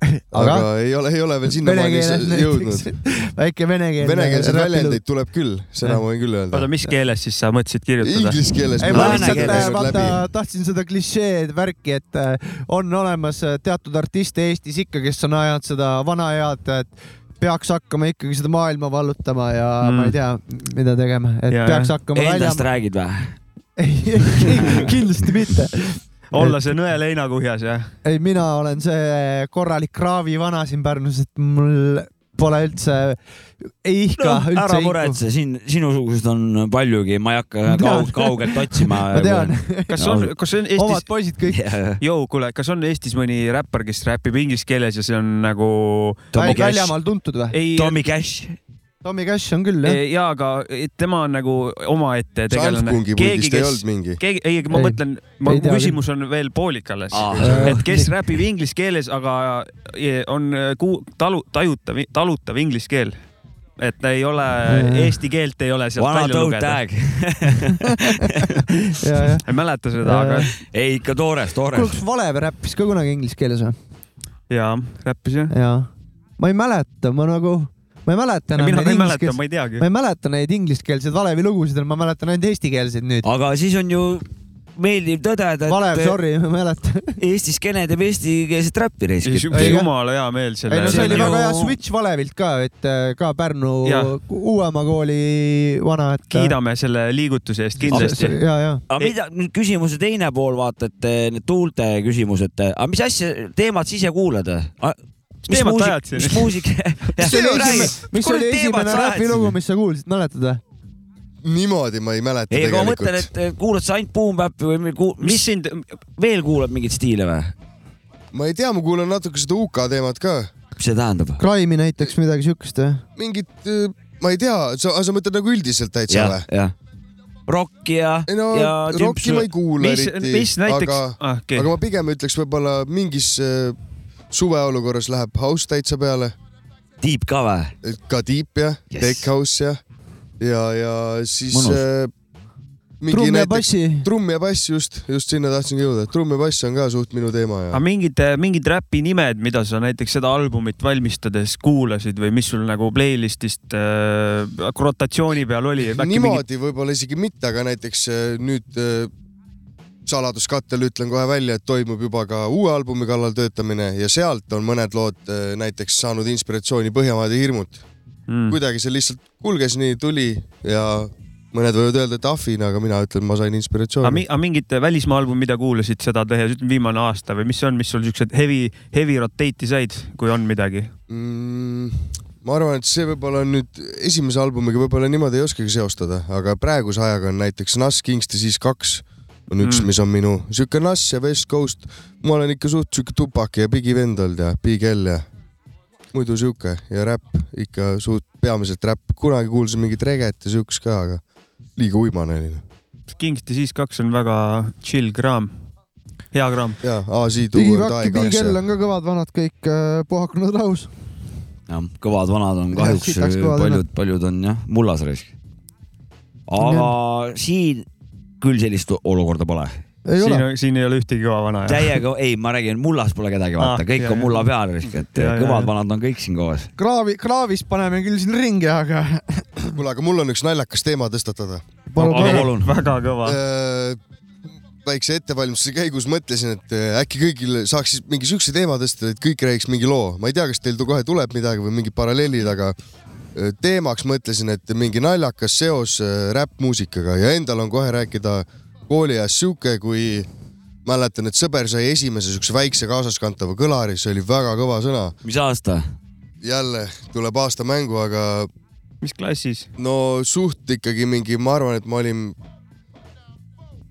[SPEAKER 4] aga
[SPEAKER 1] aga
[SPEAKER 4] ei ole , ei ole veel
[SPEAKER 1] vene
[SPEAKER 4] sinnamaani
[SPEAKER 1] keeles
[SPEAKER 4] s- jõudnud .
[SPEAKER 1] näiteks , väike venekeelne .
[SPEAKER 4] venekeelseid väljendeid tuleb küll , seda ma võin küll öelda
[SPEAKER 2] oota ,. mis keeles siis sa mõtlesid kirjutada ?
[SPEAKER 4] Inglise keeles .
[SPEAKER 1] ei , ma
[SPEAKER 3] Lääne
[SPEAKER 1] lihtsalt
[SPEAKER 3] keeles
[SPEAKER 1] äh, vaata , tahtsin seda klišeed värki , et äh, on olemas äh, teatud artiste Eestis ikka , kes on ajanud seda vana head , et peaks hakkama ikkagi seda maailma vallutama ja
[SPEAKER 2] Mm.
[SPEAKER 1] mm. ma ei tea , mida tegema , et
[SPEAKER 2] Ja,
[SPEAKER 1] ja, peaks hakkama välja
[SPEAKER 3] Endast . räägid või ?
[SPEAKER 1] kindlasti mitte .
[SPEAKER 2] olla see nõe leinakuhjas jah ?
[SPEAKER 1] ei , mina olen see korralik kraavi vana siin Pärnus , et mul pole üldse , ei ihka
[SPEAKER 3] noh ,
[SPEAKER 1] üldse
[SPEAKER 3] ära . muretse , siin sinusugused on paljugi , ma ei
[SPEAKER 1] Ma
[SPEAKER 3] hakka
[SPEAKER 1] tean.
[SPEAKER 3] kaug, kaugelt otsima .
[SPEAKER 1] ma
[SPEAKER 3] nagu
[SPEAKER 1] tean ,
[SPEAKER 2] kas on , kas on
[SPEAKER 1] omad
[SPEAKER 2] Eestis ,
[SPEAKER 1] poisid kõik .
[SPEAKER 2] jõu , kuule , kas on Eestis mõni räppar , kes räpib inglise keeles ja see on nagu
[SPEAKER 3] Tommy Cash ,
[SPEAKER 1] väljamaal tuntud või ?
[SPEAKER 2] ei ,
[SPEAKER 3] Tommy Cash ,
[SPEAKER 1] Tommy Cash on küll jah .
[SPEAKER 2] Eh, jaa , aga tema on nagu omaette tegelane .
[SPEAKER 4] Salfkungi puldist ei olnud mingi .
[SPEAKER 2] keegi , ei , ma
[SPEAKER 1] Ei.
[SPEAKER 2] mõtlen , mu
[SPEAKER 1] Ei tea küll.
[SPEAKER 2] küsimus on veel poolik alles
[SPEAKER 3] Aa.
[SPEAKER 2] et kes räpib inglise keeles , aga eh, on ku- , talu- , tajutav , talutav inglise keel . et ta ei ole , eesti keelt ei ole sealt
[SPEAKER 3] vana
[SPEAKER 2] välja
[SPEAKER 3] toe
[SPEAKER 2] lugeda .
[SPEAKER 3] tag .
[SPEAKER 1] ja , jah .
[SPEAKER 2] ei mäleta seda , aga
[SPEAKER 3] ei ikka toores ,
[SPEAKER 1] kuule ,
[SPEAKER 3] toores .
[SPEAKER 1] kas Valev räppis ka kunagi inglise keeles või ?
[SPEAKER 2] jaa , räppis jah .
[SPEAKER 1] jaa . ma ei mäleta , ma nagu , ma ei mäleta enam
[SPEAKER 2] mina ka ei mäleta ,
[SPEAKER 1] ingliskeelseid ,
[SPEAKER 2] ma ei teagi
[SPEAKER 1] ma . ei mäleta neid ingliskeelseid Valevi lugusid , ma mäletan ainult eestikeelseid nüüd .
[SPEAKER 3] aga siis on ju meeldiv tõdeda ,
[SPEAKER 1] Valev ,
[SPEAKER 3] et
[SPEAKER 1] sorry , ma ei mäleta . ei
[SPEAKER 3] Eesti skeene teeb eestikeelset räppi reiskit .
[SPEAKER 1] Ei, jah.
[SPEAKER 2] jumala hea meel selle .
[SPEAKER 1] no see
[SPEAKER 3] see
[SPEAKER 1] oli
[SPEAKER 3] on ju-
[SPEAKER 1] väga hea switch Valevilt ka , et äh, ka Pärnu
[SPEAKER 2] Jah.
[SPEAKER 1] ku- uuema kooli vana , et . äh,
[SPEAKER 2] kiidame selle liigutuse eest kindlasti .
[SPEAKER 1] ja , ja .
[SPEAKER 3] aga mida , nüüd küsimuse teine pool , vaata , et eh, need tuulte küsimus , et eh, aga mis asja , teemat sa ise kuulad ? mis
[SPEAKER 2] teemat ajad
[SPEAKER 3] muusik ,
[SPEAKER 2] siin?
[SPEAKER 3] mis muusik ,
[SPEAKER 1] mis oli esimene , mis oli esimene räpilugu , mis sa kuulsid , mäletad või ?
[SPEAKER 4] niimoodi ma ei mäleta
[SPEAKER 3] ei , aga ma mõtlen ,
[SPEAKER 4] tegelikult .
[SPEAKER 3] et eh, kuulad sa ainult Boom Bap'i või mi- kuul-
[SPEAKER 2] mis
[SPEAKER 3] mis
[SPEAKER 2] sind ,
[SPEAKER 3] veel kuulad mingeid stiile või ?
[SPEAKER 4] ma ei tea , ma kuulan natuke seda UK teemat ka
[SPEAKER 3] mis see tähendab ?
[SPEAKER 1] Crime'i näiteks midagi siukest või ?
[SPEAKER 4] mingit , ma ei tea , sa , sa mõtled nagu üldiselt täitsa või
[SPEAKER 3] jah ?, jah . Rocki ja ,
[SPEAKER 4] ei no
[SPEAKER 3] ja
[SPEAKER 4] rocki ma ei kuule
[SPEAKER 2] mis ,
[SPEAKER 4] eriti ,
[SPEAKER 2] mis näiteks
[SPEAKER 4] aga ,
[SPEAKER 2] ah okei
[SPEAKER 4] aga ma pigem ütleks võib-olla mingis äh, suveolukorras läheb house täitsa peale ,
[SPEAKER 3] Deep ka või ?
[SPEAKER 4] ka deep ja
[SPEAKER 3] Yes.
[SPEAKER 4] yes. tech house ja , ja , ja siis
[SPEAKER 3] Mõnus.
[SPEAKER 4] äh, mingi
[SPEAKER 1] trumm ja
[SPEAKER 4] näiteks
[SPEAKER 1] bassi .
[SPEAKER 4] trumm ja bass just , just sinna tahtsingi jõuda , trumm ja bass on ka suht minu teema ja
[SPEAKER 2] aga mingid , mingid räpi nimed , mida sa näiteks seda albumit valmistades kuulasid või mis sul nagu playlist'ist äh, rotatsiooni peal oli ?
[SPEAKER 4] niimoodi võib-olla isegi mitte , aga näiteks äh, nüüd äh, saladuskattel ütlen kohe välja , et toimub juba ka uue albumi kallal töötamine ja sealt on mõned lood äh, näiteks saanud inspiratsiooni Põhjamaade hirmud .
[SPEAKER 2] mm. .
[SPEAKER 4] kuidagi see lihtsalt kulges nii , tuli ja mõned võivad öelda , et ahvina , aga mina ütlen , ma sain
[SPEAKER 2] aga
[SPEAKER 4] inspiratsiooni .
[SPEAKER 2] mi- aga mingit äh, välismaa albumi , mida kuulasid seda tehes , ütleme viimane aasta või mis see on , mis sul siuksed heavy , heavy rotate'i said , kui on midagi ?
[SPEAKER 4] Mm, ma arvan , et see võib-olla on nüüd esimese albumiga võib-olla niimoodi ei oskagi seostada , aga praeguse ajaga on näiteks Nas Kingsti siis kaks on üks
[SPEAKER 2] Mm.
[SPEAKER 4] mm. , mis on minu sihuke Nas ja West Coast . ma olen ikka suht sihuke tupaki ja Biggie vend olnud ja Big L ja muidu sihuke ja räpp ikka suht peamiselt räpp , kunagi kuulsin mingit reget ja siukest ka , aga liiga uimane oli .
[SPEAKER 2] Kingsti siis kaks on väga chill kraam , hea kraam .
[SPEAKER 4] ja AC Duo ja
[SPEAKER 1] digivakk
[SPEAKER 4] Tai
[SPEAKER 1] ja Big
[SPEAKER 4] kaks
[SPEAKER 1] L
[SPEAKER 4] ja
[SPEAKER 1] on ka kõvad vanad kõik äh, puhakanud rahus .
[SPEAKER 3] jah , kõvad vanad on
[SPEAKER 1] Jah,
[SPEAKER 3] kahjuks
[SPEAKER 1] sitaks kõvad
[SPEAKER 3] paljud , paljud on jah , mullas raisk . aga siin küll sellist olukorda pole .
[SPEAKER 1] ei ole .
[SPEAKER 2] siin , siin ei ole ühtegi kõva vana .
[SPEAKER 3] täiega , ei , ma räägin , mullas pole kedagi ,
[SPEAKER 2] Ah,
[SPEAKER 3] vaata , kõik
[SPEAKER 2] jah,
[SPEAKER 3] on
[SPEAKER 2] jah.
[SPEAKER 3] mulla peal raisk , et
[SPEAKER 2] Jah, jah,
[SPEAKER 3] kõvad
[SPEAKER 2] jah.
[SPEAKER 3] vanad on kõik siin koos .
[SPEAKER 1] kraavi , kraavis paneme küll siin ringi , aga
[SPEAKER 4] kuule , aga mul on üks naljakas teema tõstatada .
[SPEAKER 1] palun ,
[SPEAKER 3] Aga-
[SPEAKER 1] palun .
[SPEAKER 3] palun.
[SPEAKER 2] väga kõva .
[SPEAKER 4] Äh, väikse ettevalmistuse käigus mõtlesin , et äh, äkki kõigil saaks siis mingi siukse teema tõsta , et kõik räägiks mingi loo . ma ei tea , kas teil tu- kohe tuleb midagi või mingid paralleelid , aga äh, teemaks mõtlesin , et mingi naljakas seos äh, räppmuusikaga ja endal on kohe rääkida kooliajast sihuke , kui mäletan , et sõber sai esimese siukse väikse kaasaskantava kõlari , see oli väga kõva sõna .
[SPEAKER 3] mis aasta ?
[SPEAKER 4] jälle tuleb aasta mängu , aga
[SPEAKER 2] mis klassis ?
[SPEAKER 4] no suht ikkagi mingi , ma arvan , et ma olin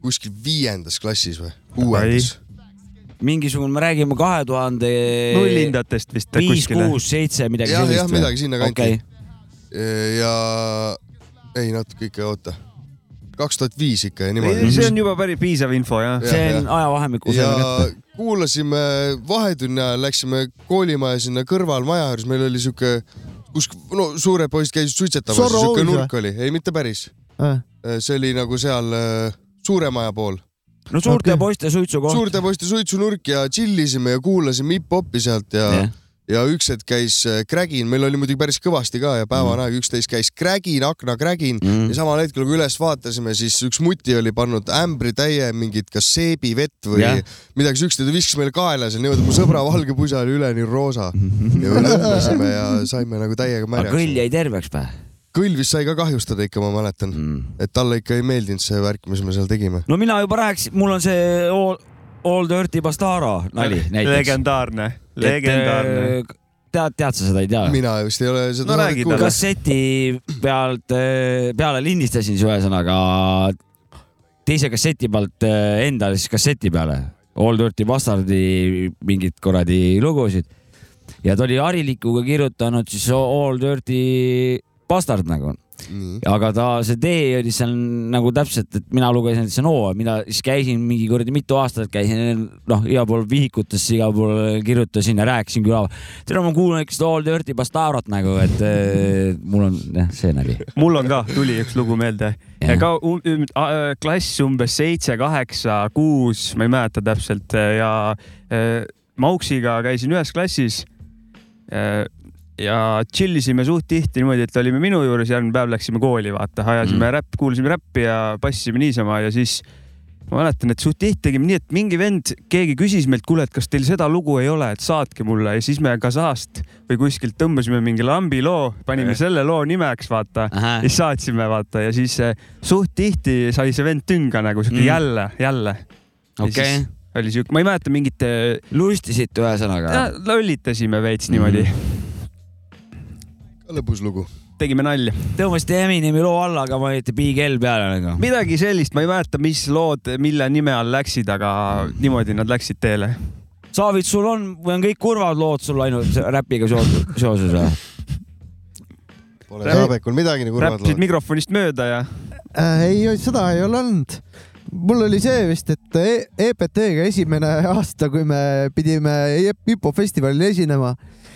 [SPEAKER 4] kuskil viiendas klassis või kuuendas .
[SPEAKER 3] mingisugune , me räägime kahe tuhande .
[SPEAKER 2] nullindatest vist
[SPEAKER 3] viis ,
[SPEAKER 2] kuskile .
[SPEAKER 3] kuus , seitse , midagi
[SPEAKER 4] Jah,
[SPEAKER 3] sellist .
[SPEAKER 4] jah, midagi sinnakanti.
[SPEAKER 3] okay. .
[SPEAKER 4] ja ei natuke ikka , oota , kaks tuhat viis ikka ja
[SPEAKER 2] Ei,
[SPEAKER 4] niimoodi .
[SPEAKER 2] see on juba päris piisav info jah .
[SPEAKER 4] Jah,
[SPEAKER 3] see on
[SPEAKER 4] jah.
[SPEAKER 3] ajavahemikus
[SPEAKER 4] ja
[SPEAKER 3] ja... kätte .
[SPEAKER 4] kuulasime vahetunni ajal , läksime koolimaja sinna kõrval maja juures , meil oli sihuke , kus no suured poisid käisid suitsetamas ,
[SPEAKER 1] Zorro
[SPEAKER 4] sihuke
[SPEAKER 1] Ovis või?
[SPEAKER 4] nurk oli , ei mitte päris ,
[SPEAKER 1] Äh,
[SPEAKER 4] see oli nagu seal äh, suure maja pool .
[SPEAKER 3] no suurte
[SPEAKER 1] okei.
[SPEAKER 3] okay. poiste suitsukoht .
[SPEAKER 4] suurte poiste suitsunurk ja tšillisime ja kuulasime hip-hopi sealt ja
[SPEAKER 3] Jah.
[SPEAKER 4] ja üks hetk käis äh, Krägin , meil oli muidugi päris kõvasti ka ja
[SPEAKER 3] Mm.
[SPEAKER 4] päevane aeg üksteist käis Krägin , akna Krägin mm. ja samal hetkel , kui üles vaatasime , siis üks muti oli pannud ämbritäie mingit kas seebivett või
[SPEAKER 3] Jah.
[SPEAKER 4] yeah. midagi siukest ja ta viskas meile kaela seal niimoodi , et mu sõbra valge pusa oli üleni roosa . ja me lõhkasime ja saime nagu täiega
[SPEAKER 3] Mhm. aga kõll
[SPEAKER 4] märjaks .
[SPEAKER 3] jäi terveks või
[SPEAKER 4] kõlvis sai ka kahjustada ikka , ma mäletan mm. ,
[SPEAKER 3] mm. ?
[SPEAKER 4] et talle ikka ei meeldinud see värk , mis me seal tegime .
[SPEAKER 3] no mina juba rääkisin , mul on see All, all Dirty Bastaro nali näiteks .
[SPEAKER 2] legendaarne , legendaarne .
[SPEAKER 3] tead , tead sa seda , ei tea ?
[SPEAKER 4] mina vist ei ole seda
[SPEAKER 2] No
[SPEAKER 4] saadet
[SPEAKER 2] räägi
[SPEAKER 4] kuulnud.
[SPEAKER 2] talle.
[SPEAKER 3] kasseti pealt , peale lindistasin siis ühesõnaga teise kasseti pealt eh, enda siis kasseti peale . All Dirty Bastardi mingid kuradi lugusid . ja ta oli harilikuga kirjutanud siis All Dirty Bastard nagu .
[SPEAKER 4] Nii.
[SPEAKER 3] aga ta , see tee oli seal nagu täpselt , et mina lugesin , et see on hoo , mina siis käisin mingi kuradi mitu aastat käisin , noh , igal pool vihikutes , igal pool kirjutasin ja rääkisin küla . tere , ma kuulan ikka seda All Dirty Bastarot nagu , et eh, mul on jah , see nali .
[SPEAKER 2] mul on ka , tuli üks lugu meelde .
[SPEAKER 3] Jah.
[SPEAKER 2] ka u- üm- a- äh, klass umbes seitse , kaheksa , kuus , ma ei mäleta täpselt äh, ja eh, Mauksiga käisin ühes klassis . ja tšillisime suht tihti niimoodi , et olime minu juures , järgmine päev läksime kooli , vaata , ajasime
[SPEAKER 3] Mm.
[SPEAKER 2] mm. räpp , kuulasime räppi ja passisime niisama ja siis ma mäletan , et suht tihti tegime nii , et mingi vend , keegi küsis meilt , kuule , et kas teil seda lugu ei ole , et saatke mulle ja siis me Kasahst või kuskilt tõmbasime mingi lambi loo , panime selle loo nimeks , vaata . ja siis saatsime , vaata , ja siis eh, suht tihti sai see vend tünga nagu siuke
[SPEAKER 3] Mm.
[SPEAKER 2] mm. jälle , jälle .
[SPEAKER 3] okei ,
[SPEAKER 2] oli siuke , ma ei mäleta mingit ,
[SPEAKER 3] lustisite ühesõnaga .
[SPEAKER 2] lollitasime veits niimoodi mm. ,
[SPEAKER 4] lõbus lugu .
[SPEAKER 2] tegime nalja .
[SPEAKER 3] tõmbasite Eminemi loo alla , aga panite Big L peale nagu .
[SPEAKER 2] midagi sellist , ma ei mäleta , mis lood , mille nime all läksid , aga niimoodi nad läksid teele .
[SPEAKER 3] Saavits , sul on , või on kõik kurvad lood sul ainult räpiga seos- seoses või ?
[SPEAKER 4] Pole
[SPEAKER 2] Räpp-
[SPEAKER 4] Taabekul midagi nagu kurvad
[SPEAKER 2] räppisid
[SPEAKER 4] lood .
[SPEAKER 2] mikrofonist mööda ja
[SPEAKER 1] äh, . ei , seda ei ole olnud . mul oli see vist , et E- EPT-ga esimene aasta , kui me pidime hipofestivalil esinema ,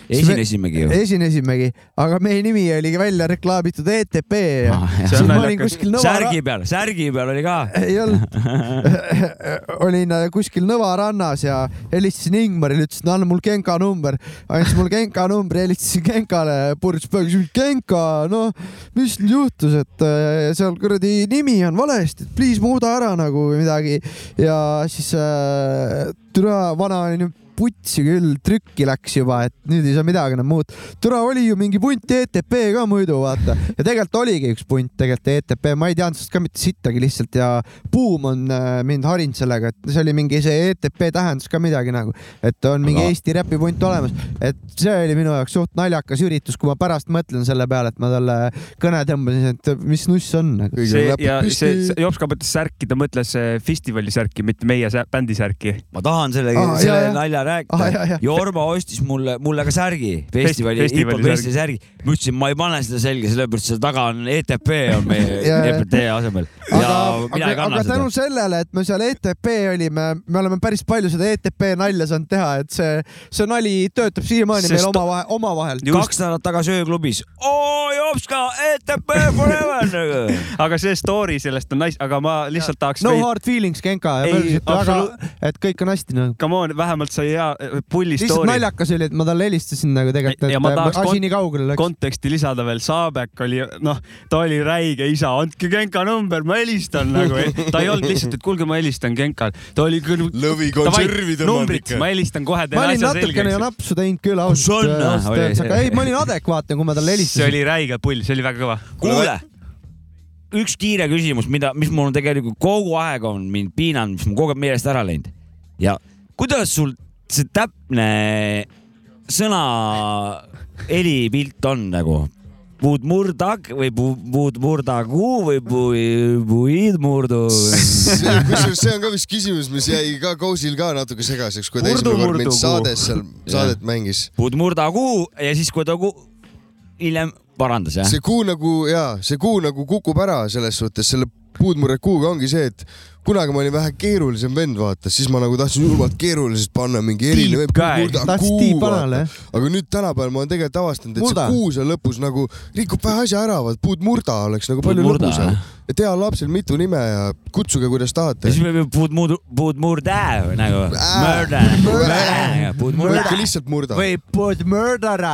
[SPEAKER 3] esinesimegi ju .
[SPEAKER 1] esinesimegi , aga meie nimi oli välja reklaamitud ETP ja
[SPEAKER 3] Ah, jah.
[SPEAKER 2] See
[SPEAKER 1] siis
[SPEAKER 2] on
[SPEAKER 1] ma olin
[SPEAKER 2] naljakas.
[SPEAKER 1] kuskil Nõva
[SPEAKER 3] särgi peal , särgi peal oli ka .
[SPEAKER 1] ei olnud , olin äh, kuskil Nõva rannas ja helistasin Ingmarile , ütlesin , anna mul Genka number , andis mulle Genka numbri , helistasin Genkale , purjus peaga , siis Genka , noh , mis nüüd juhtus , et äh, seal kuradi nimi on valesti , et please muuda ära nagu või midagi ja siis äh, türa vana onju putsi küll , trükki läks juba , et nüüd ei saa midagi enam muud . tore oli ju mingi punt ETP ka muidu vaata ja tegelikult oligi üks punt tegelikult ETP , ma ei teadnud sellest ka mitte sittagi lihtsalt ja Buum on äh, mind harinud sellega , et see oli mingi see ETP tähendus ka midagi nagu , et on mingi
[SPEAKER 3] Aga-
[SPEAKER 1] Eesti räpi punt olemas , et see oli minu jaoks suht naljakas üritus , kui ma pärast mõtlen selle peale , et ma talle kõne tõmbasin , et mis nuss on nagu .
[SPEAKER 4] kõigil on
[SPEAKER 2] see ja
[SPEAKER 4] näpud
[SPEAKER 2] see see
[SPEAKER 4] püsti .
[SPEAKER 2] Jops ka mõtles särki , ta mõtles eh, festivali särki , mitte meie sä- bändi särki .
[SPEAKER 3] ma tahan selle
[SPEAKER 1] Aa,
[SPEAKER 3] ah, , selle
[SPEAKER 1] jaa,
[SPEAKER 3] jah.
[SPEAKER 1] jah.
[SPEAKER 3] nalja rääkida
[SPEAKER 1] Aa, jaa,
[SPEAKER 3] ah,
[SPEAKER 1] jah. .
[SPEAKER 3] Jorma ostis mulle , mulle ka särgi , festivali ,
[SPEAKER 2] festivali
[SPEAKER 3] hip-hop-festivali särgi . ma ütlesin , ma ei pane seda selge , sellepärast et seal taga on ETP on meie
[SPEAKER 1] Jaa, jaa.
[SPEAKER 3] EPT asemel . ja
[SPEAKER 1] aga ,
[SPEAKER 3] mina
[SPEAKER 1] aga,
[SPEAKER 3] ei kanna
[SPEAKER 1] aga tänu
[SPEAKER 3] seda .
[SPEAKER 1] sellele , et me seal ETP olime , me oleme päris palju seda ETP nalja saanud teha , et see , see nali töötab siiamaani meil
[SPEAKER 2] Sest-
[SPEAKER 1] omavahe , omavahel .
[SPEAKER 3] kaks nädalat tagasi ööklubis . oo , Jopska , ETP forever . nagu.
[SPEAKER 2] aga see story sellest on nice , aga ma lihtsalt tahaks
[SPEAKER 1] no
[SPEAKER 2] veid-
[SPEAKER 1] hard feelings , Genka ,
[SPEAKER 2] Ei,
[SPEAKER 1] väga
[SPEAKER 2] absoluut- ,
[SPEAKER 1] et kõik on hästi nagu .
[SPEAKER 2] Come on , vähemalt sai hea eh, pulli
[SPEAKER 1] lihtsalt
[SPEAKER 2] story .
[SPEAKER 1] naljakas oli , et ma talle helistasin nagu tegelikult ,
[SPEAKER 2] Ja-
[SPEAKER 1] et
[SPEAKER 2] ja ma
[SPEAKER 1] äh,
[SPEAKER 2] tahaks kont-
[SPEAKER 1] asi nii kaugele läks .
[SPEAKER 2] konteksti lisada veel , Saabek oli , noh , ta oli räige isa , andke Genka number , ma helistan nagu , ta ei olnud lihtsalt , et kuulge , ma helistan Genkal , ta oli küll .
[SPEAKER 4] lõvikonservi tõmban
[SPEAKER 2] numbrit ,
[SPEAKER 4] ikka .
[SPEAKER 2] ma helistan kohe , teen
[SPEAKER 1] ma olin
[SPEAKER 2] asja
[SPEAKER 1] natukene ju
[SPEAKER 2] selgeks .
[SPEAKER 1] napsu teinud küll
[SPEAKER 3] on,
[SPEAKER 1] ausalt ausalt
[SPEAKER 3] oli
[SPEAKER 1] öeldes ,
[SPEAKER 3] see-
[SPEAKER 1] aga ei , ma olin adekvaatne , kui ma talle
[SPEAKER 2] see
[SPEAKER 1] helistasin .
[SPEAKER 2] oli räige pull , see oli väga kõva .
[SPEAKER 3] kuule , üks kiire küsimus , mida , mis mul on tegelikult kogu aeg on mind piinanud , mis mul kogu aeg meelest ära läinud ja kuidas sul see täpne sõna helipilt on nagu ? puud murdag või puu- puud murdagu või puu- puid murdu ?
[SPEAKER 4] kusjuures see on ka vist küsimus , mis jäi ka Kousil ka natuke segaseks , kui ta
[SPEAKER 2] Murdu,
[SPEAKER 4] esimene kord
[SPEAKER 2] murdu,
[SPEAKER 4] mind
[SPEAKER 2] kuhu.
[SPEAKER 4] saades seal , saadet mängis .
[SPEAKER 3] puud murdagu ja siis , kui ta ku- hiljem parandas jah ?
[SPEAKER 4] see kuu nagu jaa , see kuu nagu kukub ära selles suhtes , selle puudmurret kuuga ongi see , et kunagi ma olin vähe keerulisem vend , vaata , siis ma nagu tahtsin julmalt keerulisest panna mingi eriline
[SPEAKER 2] Deep
[SPEAKER 3] eh?
[SPEAKER 2] guy.
[SPEAKER 1] tahtis tiib vanale , jah ?
[SPEAKER 4] aga nüüd tänapäeval ma olen tegelikult avastanud , et
[SPEAKER 1] Murda.
[SPEAKER 4] see kuu seal lõpus nagu rikub vähe asja ära , vaat puudmurda oleks nagu palju
[SPEAKER 3] Puudmurda,
[SPEAKER 4] lõbusam
[SPEAKER 3] jah. .
[SPEAKER 4] et hea lapsel mitu nime ja kutsuge , kuidas
[SPEAKER 3] ja
[SPEAKER 4] tahate
[SPEAKER 3] siis . me peame puud murdu , puud murdä nagu . murda , murda , puud murda .
[SPEAKER 4] ikka lihtsalt murda .
[SPEAKER 1] või put murder .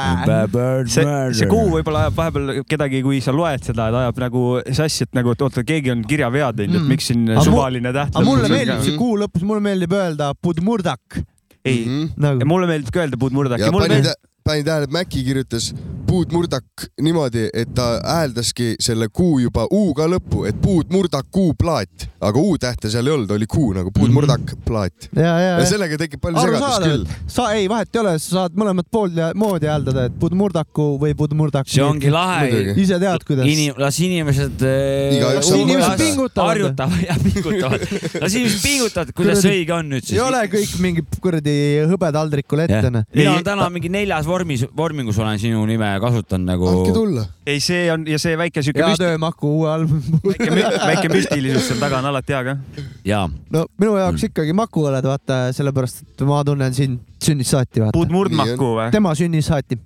[SPEAKER 2] see , see kuu võib-olla ajab vahepeal kedagi , kui sa loed seda , et ajab nagu sassi , et nagu , et oota , keegi on kirjavea teinud , et
[SPEAKER 1] Mm.
[SPEAKER 2] miks siin
[SPEAKER 1] Aga mu-
[SPEAKER 2] suvaline täht .
[SPEAKER 1] aga mulle meeldib see kuu lõpus , mulle meeldib öelda put murdak
[SPEAKER 2] ei ,
[SPEAKER 1] nagu .
[SPEAKER 2] mulle meeldib ka öelda puudmurdaki
[SPEAKER 4] Mhm. ja .
[SPEAKER 2] mulle
[SPEAKER 4] panin
[SPEAKER 2] meeldib
[SPEAKER 4] tä- , panin tähele , et Mäkki kirjutas puudmurdak niimoodi , et ta hääldaski selle kuu juba U-ga lõppu , et puudmurdak kuuplaat , aga U-tähte seal ei olnud , oli kuu nagu
[SPEAKER 3] Mhm.
[SPEAKER 4] puudmurdak plaat .
[SPEAKER 1] ja , ja ,
[SPEAKER 4] ja
[SPEAKER 1] ja .
[SPEAKER 4] sellega tekib palju segadust
[SPEAKER 1] arusaadav
[SPEAKER 4] küll .,
[SPEAKER 1] sa ei , vahet ei ole , sa saad mõlemat poolt ja- moodi hääldada , et pudmurdaku või pudmurdak .
[SPEAKER 3] see ongi lahe .
[SPEAKER 4] Muidugi.
[SPEAKER 1] ise tead , kuidas .
[SPEAKER 3] Inim- , las inimesed . äh,
[SPEAKER 4] Igaüks
[SPEAKER 1] oma Las inimesed pingutavad.
[SPEAKER 3] harjutavad ja pingutavad . las inimesed pingutavad , kuidas
[SPEAKER 1] Kuradi-
[SPEAKER 3] õige on nüüd
[SPEAKER 1] ei
[SPEAKER 3] siis .
[SPEAKER 1] ole kõik mingi kuradi hõbedaldrikul ette , noh .
[SPEAKER 3] mina
[SPEAKER 2] Ei-
[SPEAKER 3] olen täna mingi neljas vormis , vormingus olen sinu nime kasutanud
[SPEAKER 4] andke
[SPEAKER 3] nagu .
[SPEAKER 4] tulla .
[SPEAKER 2] ei , see on ja see väike siuke
[SPEAKER 1] hea
[SPEAKER 2] müsti- ,
[SPEAKER 1] töö , Maku , uue album .
[SPEAKER 2] väike , väike müstilisus seal taga on alati hea ka .
[SPEAKER 3] jaa ,
[SPEAKER 1] no minu jaoks ikkagi Maku oled , vaata , sellepärast et ma tunnen sind sünnist saati , vaata .
[SPEAKER 2] puudmurdmaku või ?
[SPEAKER 1] tema sünnist saati .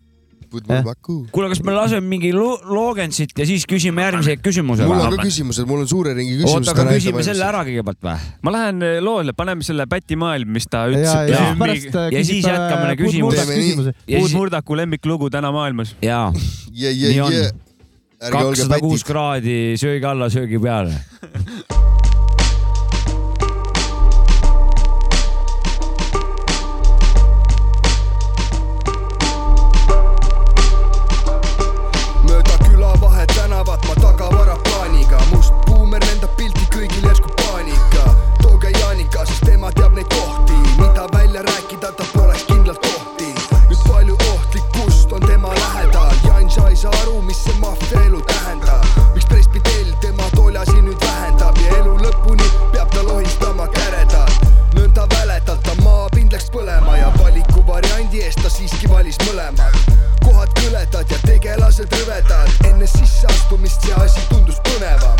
[SPEAKER 4] puudmurdak kuu .
[SPEAKER 3] kuule , kas me laseme mingi lo- loogentsit ja siis küsime järgmise küsimuse
[SPEAKER 4] mul on
[SPEAKER 3] või ?
[SPEAKER 4] ka küsimused , mul on suure ringi küsimus
[SPEAKER 3] oota , aga küsime selle . ära kõigepealt või ?
[SPEAKER 2] ma lähen loole , paneme selle Päti maailm , mis ta
[SPEAKER 1] ja , ja siis
[SPEAKER 2] ütles
[SPEAKER 1] pärast . äh,
[SPEAKER 3] Ja siis jätkame neid
[SPEAKER 4] küsimusi.
[SPEAKER 1] küsimuse .
[SPEAKER 3] ja siis ,
[SPEAKER 2] puudmurdaku lemmiklugu täna maailmas .
[SPEAKER 3] jaa ,
[SPEAKER 4] ja , ja ,
[SPEAKER 3] Nii on.
[SPEAKER 4] ja ärge olge
[SPEAKER 3] kakssada kuus
[SPEAKER 4] pätid .
[SPEAKER 3] kraadi söögi alla , söögi peale .
[SPEAKER 7] mööda külavahet tänavat ma tagavaraplaaniga , must buumer lendab pilti kõigil järsku paanika . tooge Jaanika , sest tema teab neid kohti , mida välja rääkida ta poleks kindlalt tohti . nüüd palju ohtlikkust on tema lähedal , Jan sa ei saa aru , mis see maffia elu tähendab . miks presbidel tema toolasi nüüd vähendab ja elu lõpuni peab ta lohistama käredalt . nõnda väledalt ta maapind läks põlema ja valikuvariandi eest ta siiski valis mõlemad kohad kõledad ja tegelased rõvedad , enne sisseastumist see asi tundus põnevam ,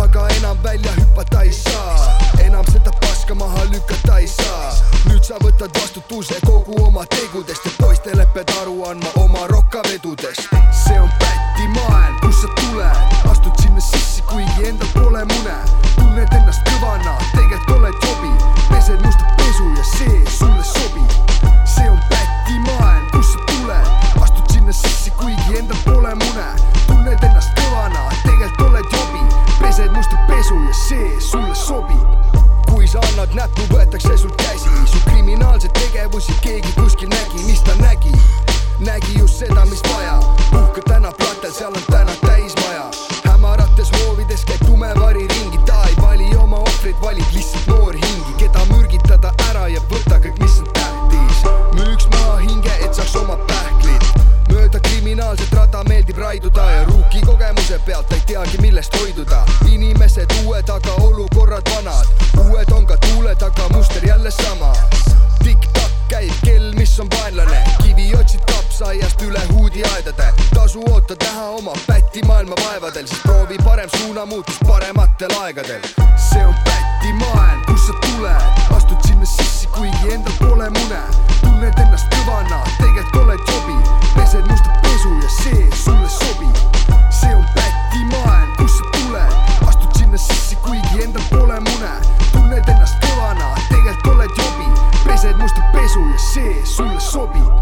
[SPEAKER 7] aga enam välja hüpata ei saa , enam seda paska maha lükata ei saa . nüüd sa võtad vastutuse kogu oma tegudest ja poistele pead aru andma oma rokkavedudest . see on päti maailm , kust sa tuled , astud sinna sisse , kuigi endal pole mune , tunned ennast kõvana , tegelikult oled jobi , pesed musta pesu ja see sulle sobib , see on päti maailm , kust sa tuled , astud sinna sisse , kuigi endal pole mune . tunned ennast kõvana , tegelikult oled jobi , pesed musta pesu ja see sulle sobib . kui sa annad näppu , võetakse sult käsi , su kriminaalseid tegevusi keegi vist vaja puhka täna platel , seal on täna täismaja hämarates hoovides käib tume vari ringi , ta ei vali oma ohvreid , valib lihtsalt noori hingi , keda mürgitada ära ja võta kõik , mis on tähtis müüks maha hinge , et saaks oma pähklit mööda kriminaalset rada meeldib raiduda ja ruuki kogemuse pealt ei teagi , millest hoiduda inimesed uued , aga olukorrad vanad uued on ka tuuled , aga muster jälle sama tiktak käib kell , mis on vaenlane , kivi otsid kapsaaiast üle huudiaedade , tasu oota näha oma päti maailma vaevadel , siis proovi parem suunamuutus parematel aegadel . see on päti maailm , kust sa tuled , astud sinna sisse , kuigi endal pole mune , tunned ennast kõvana , tegelikult oled jobi , pesed musta pesu ja see sulle sobib . see on päti maailm , kust sa tuled , astud sinna sisse , kuigi endal pole mune , tunned ennast kõvana , tegelikult oled jobi , pesed musta pesu ja see sulle sobib .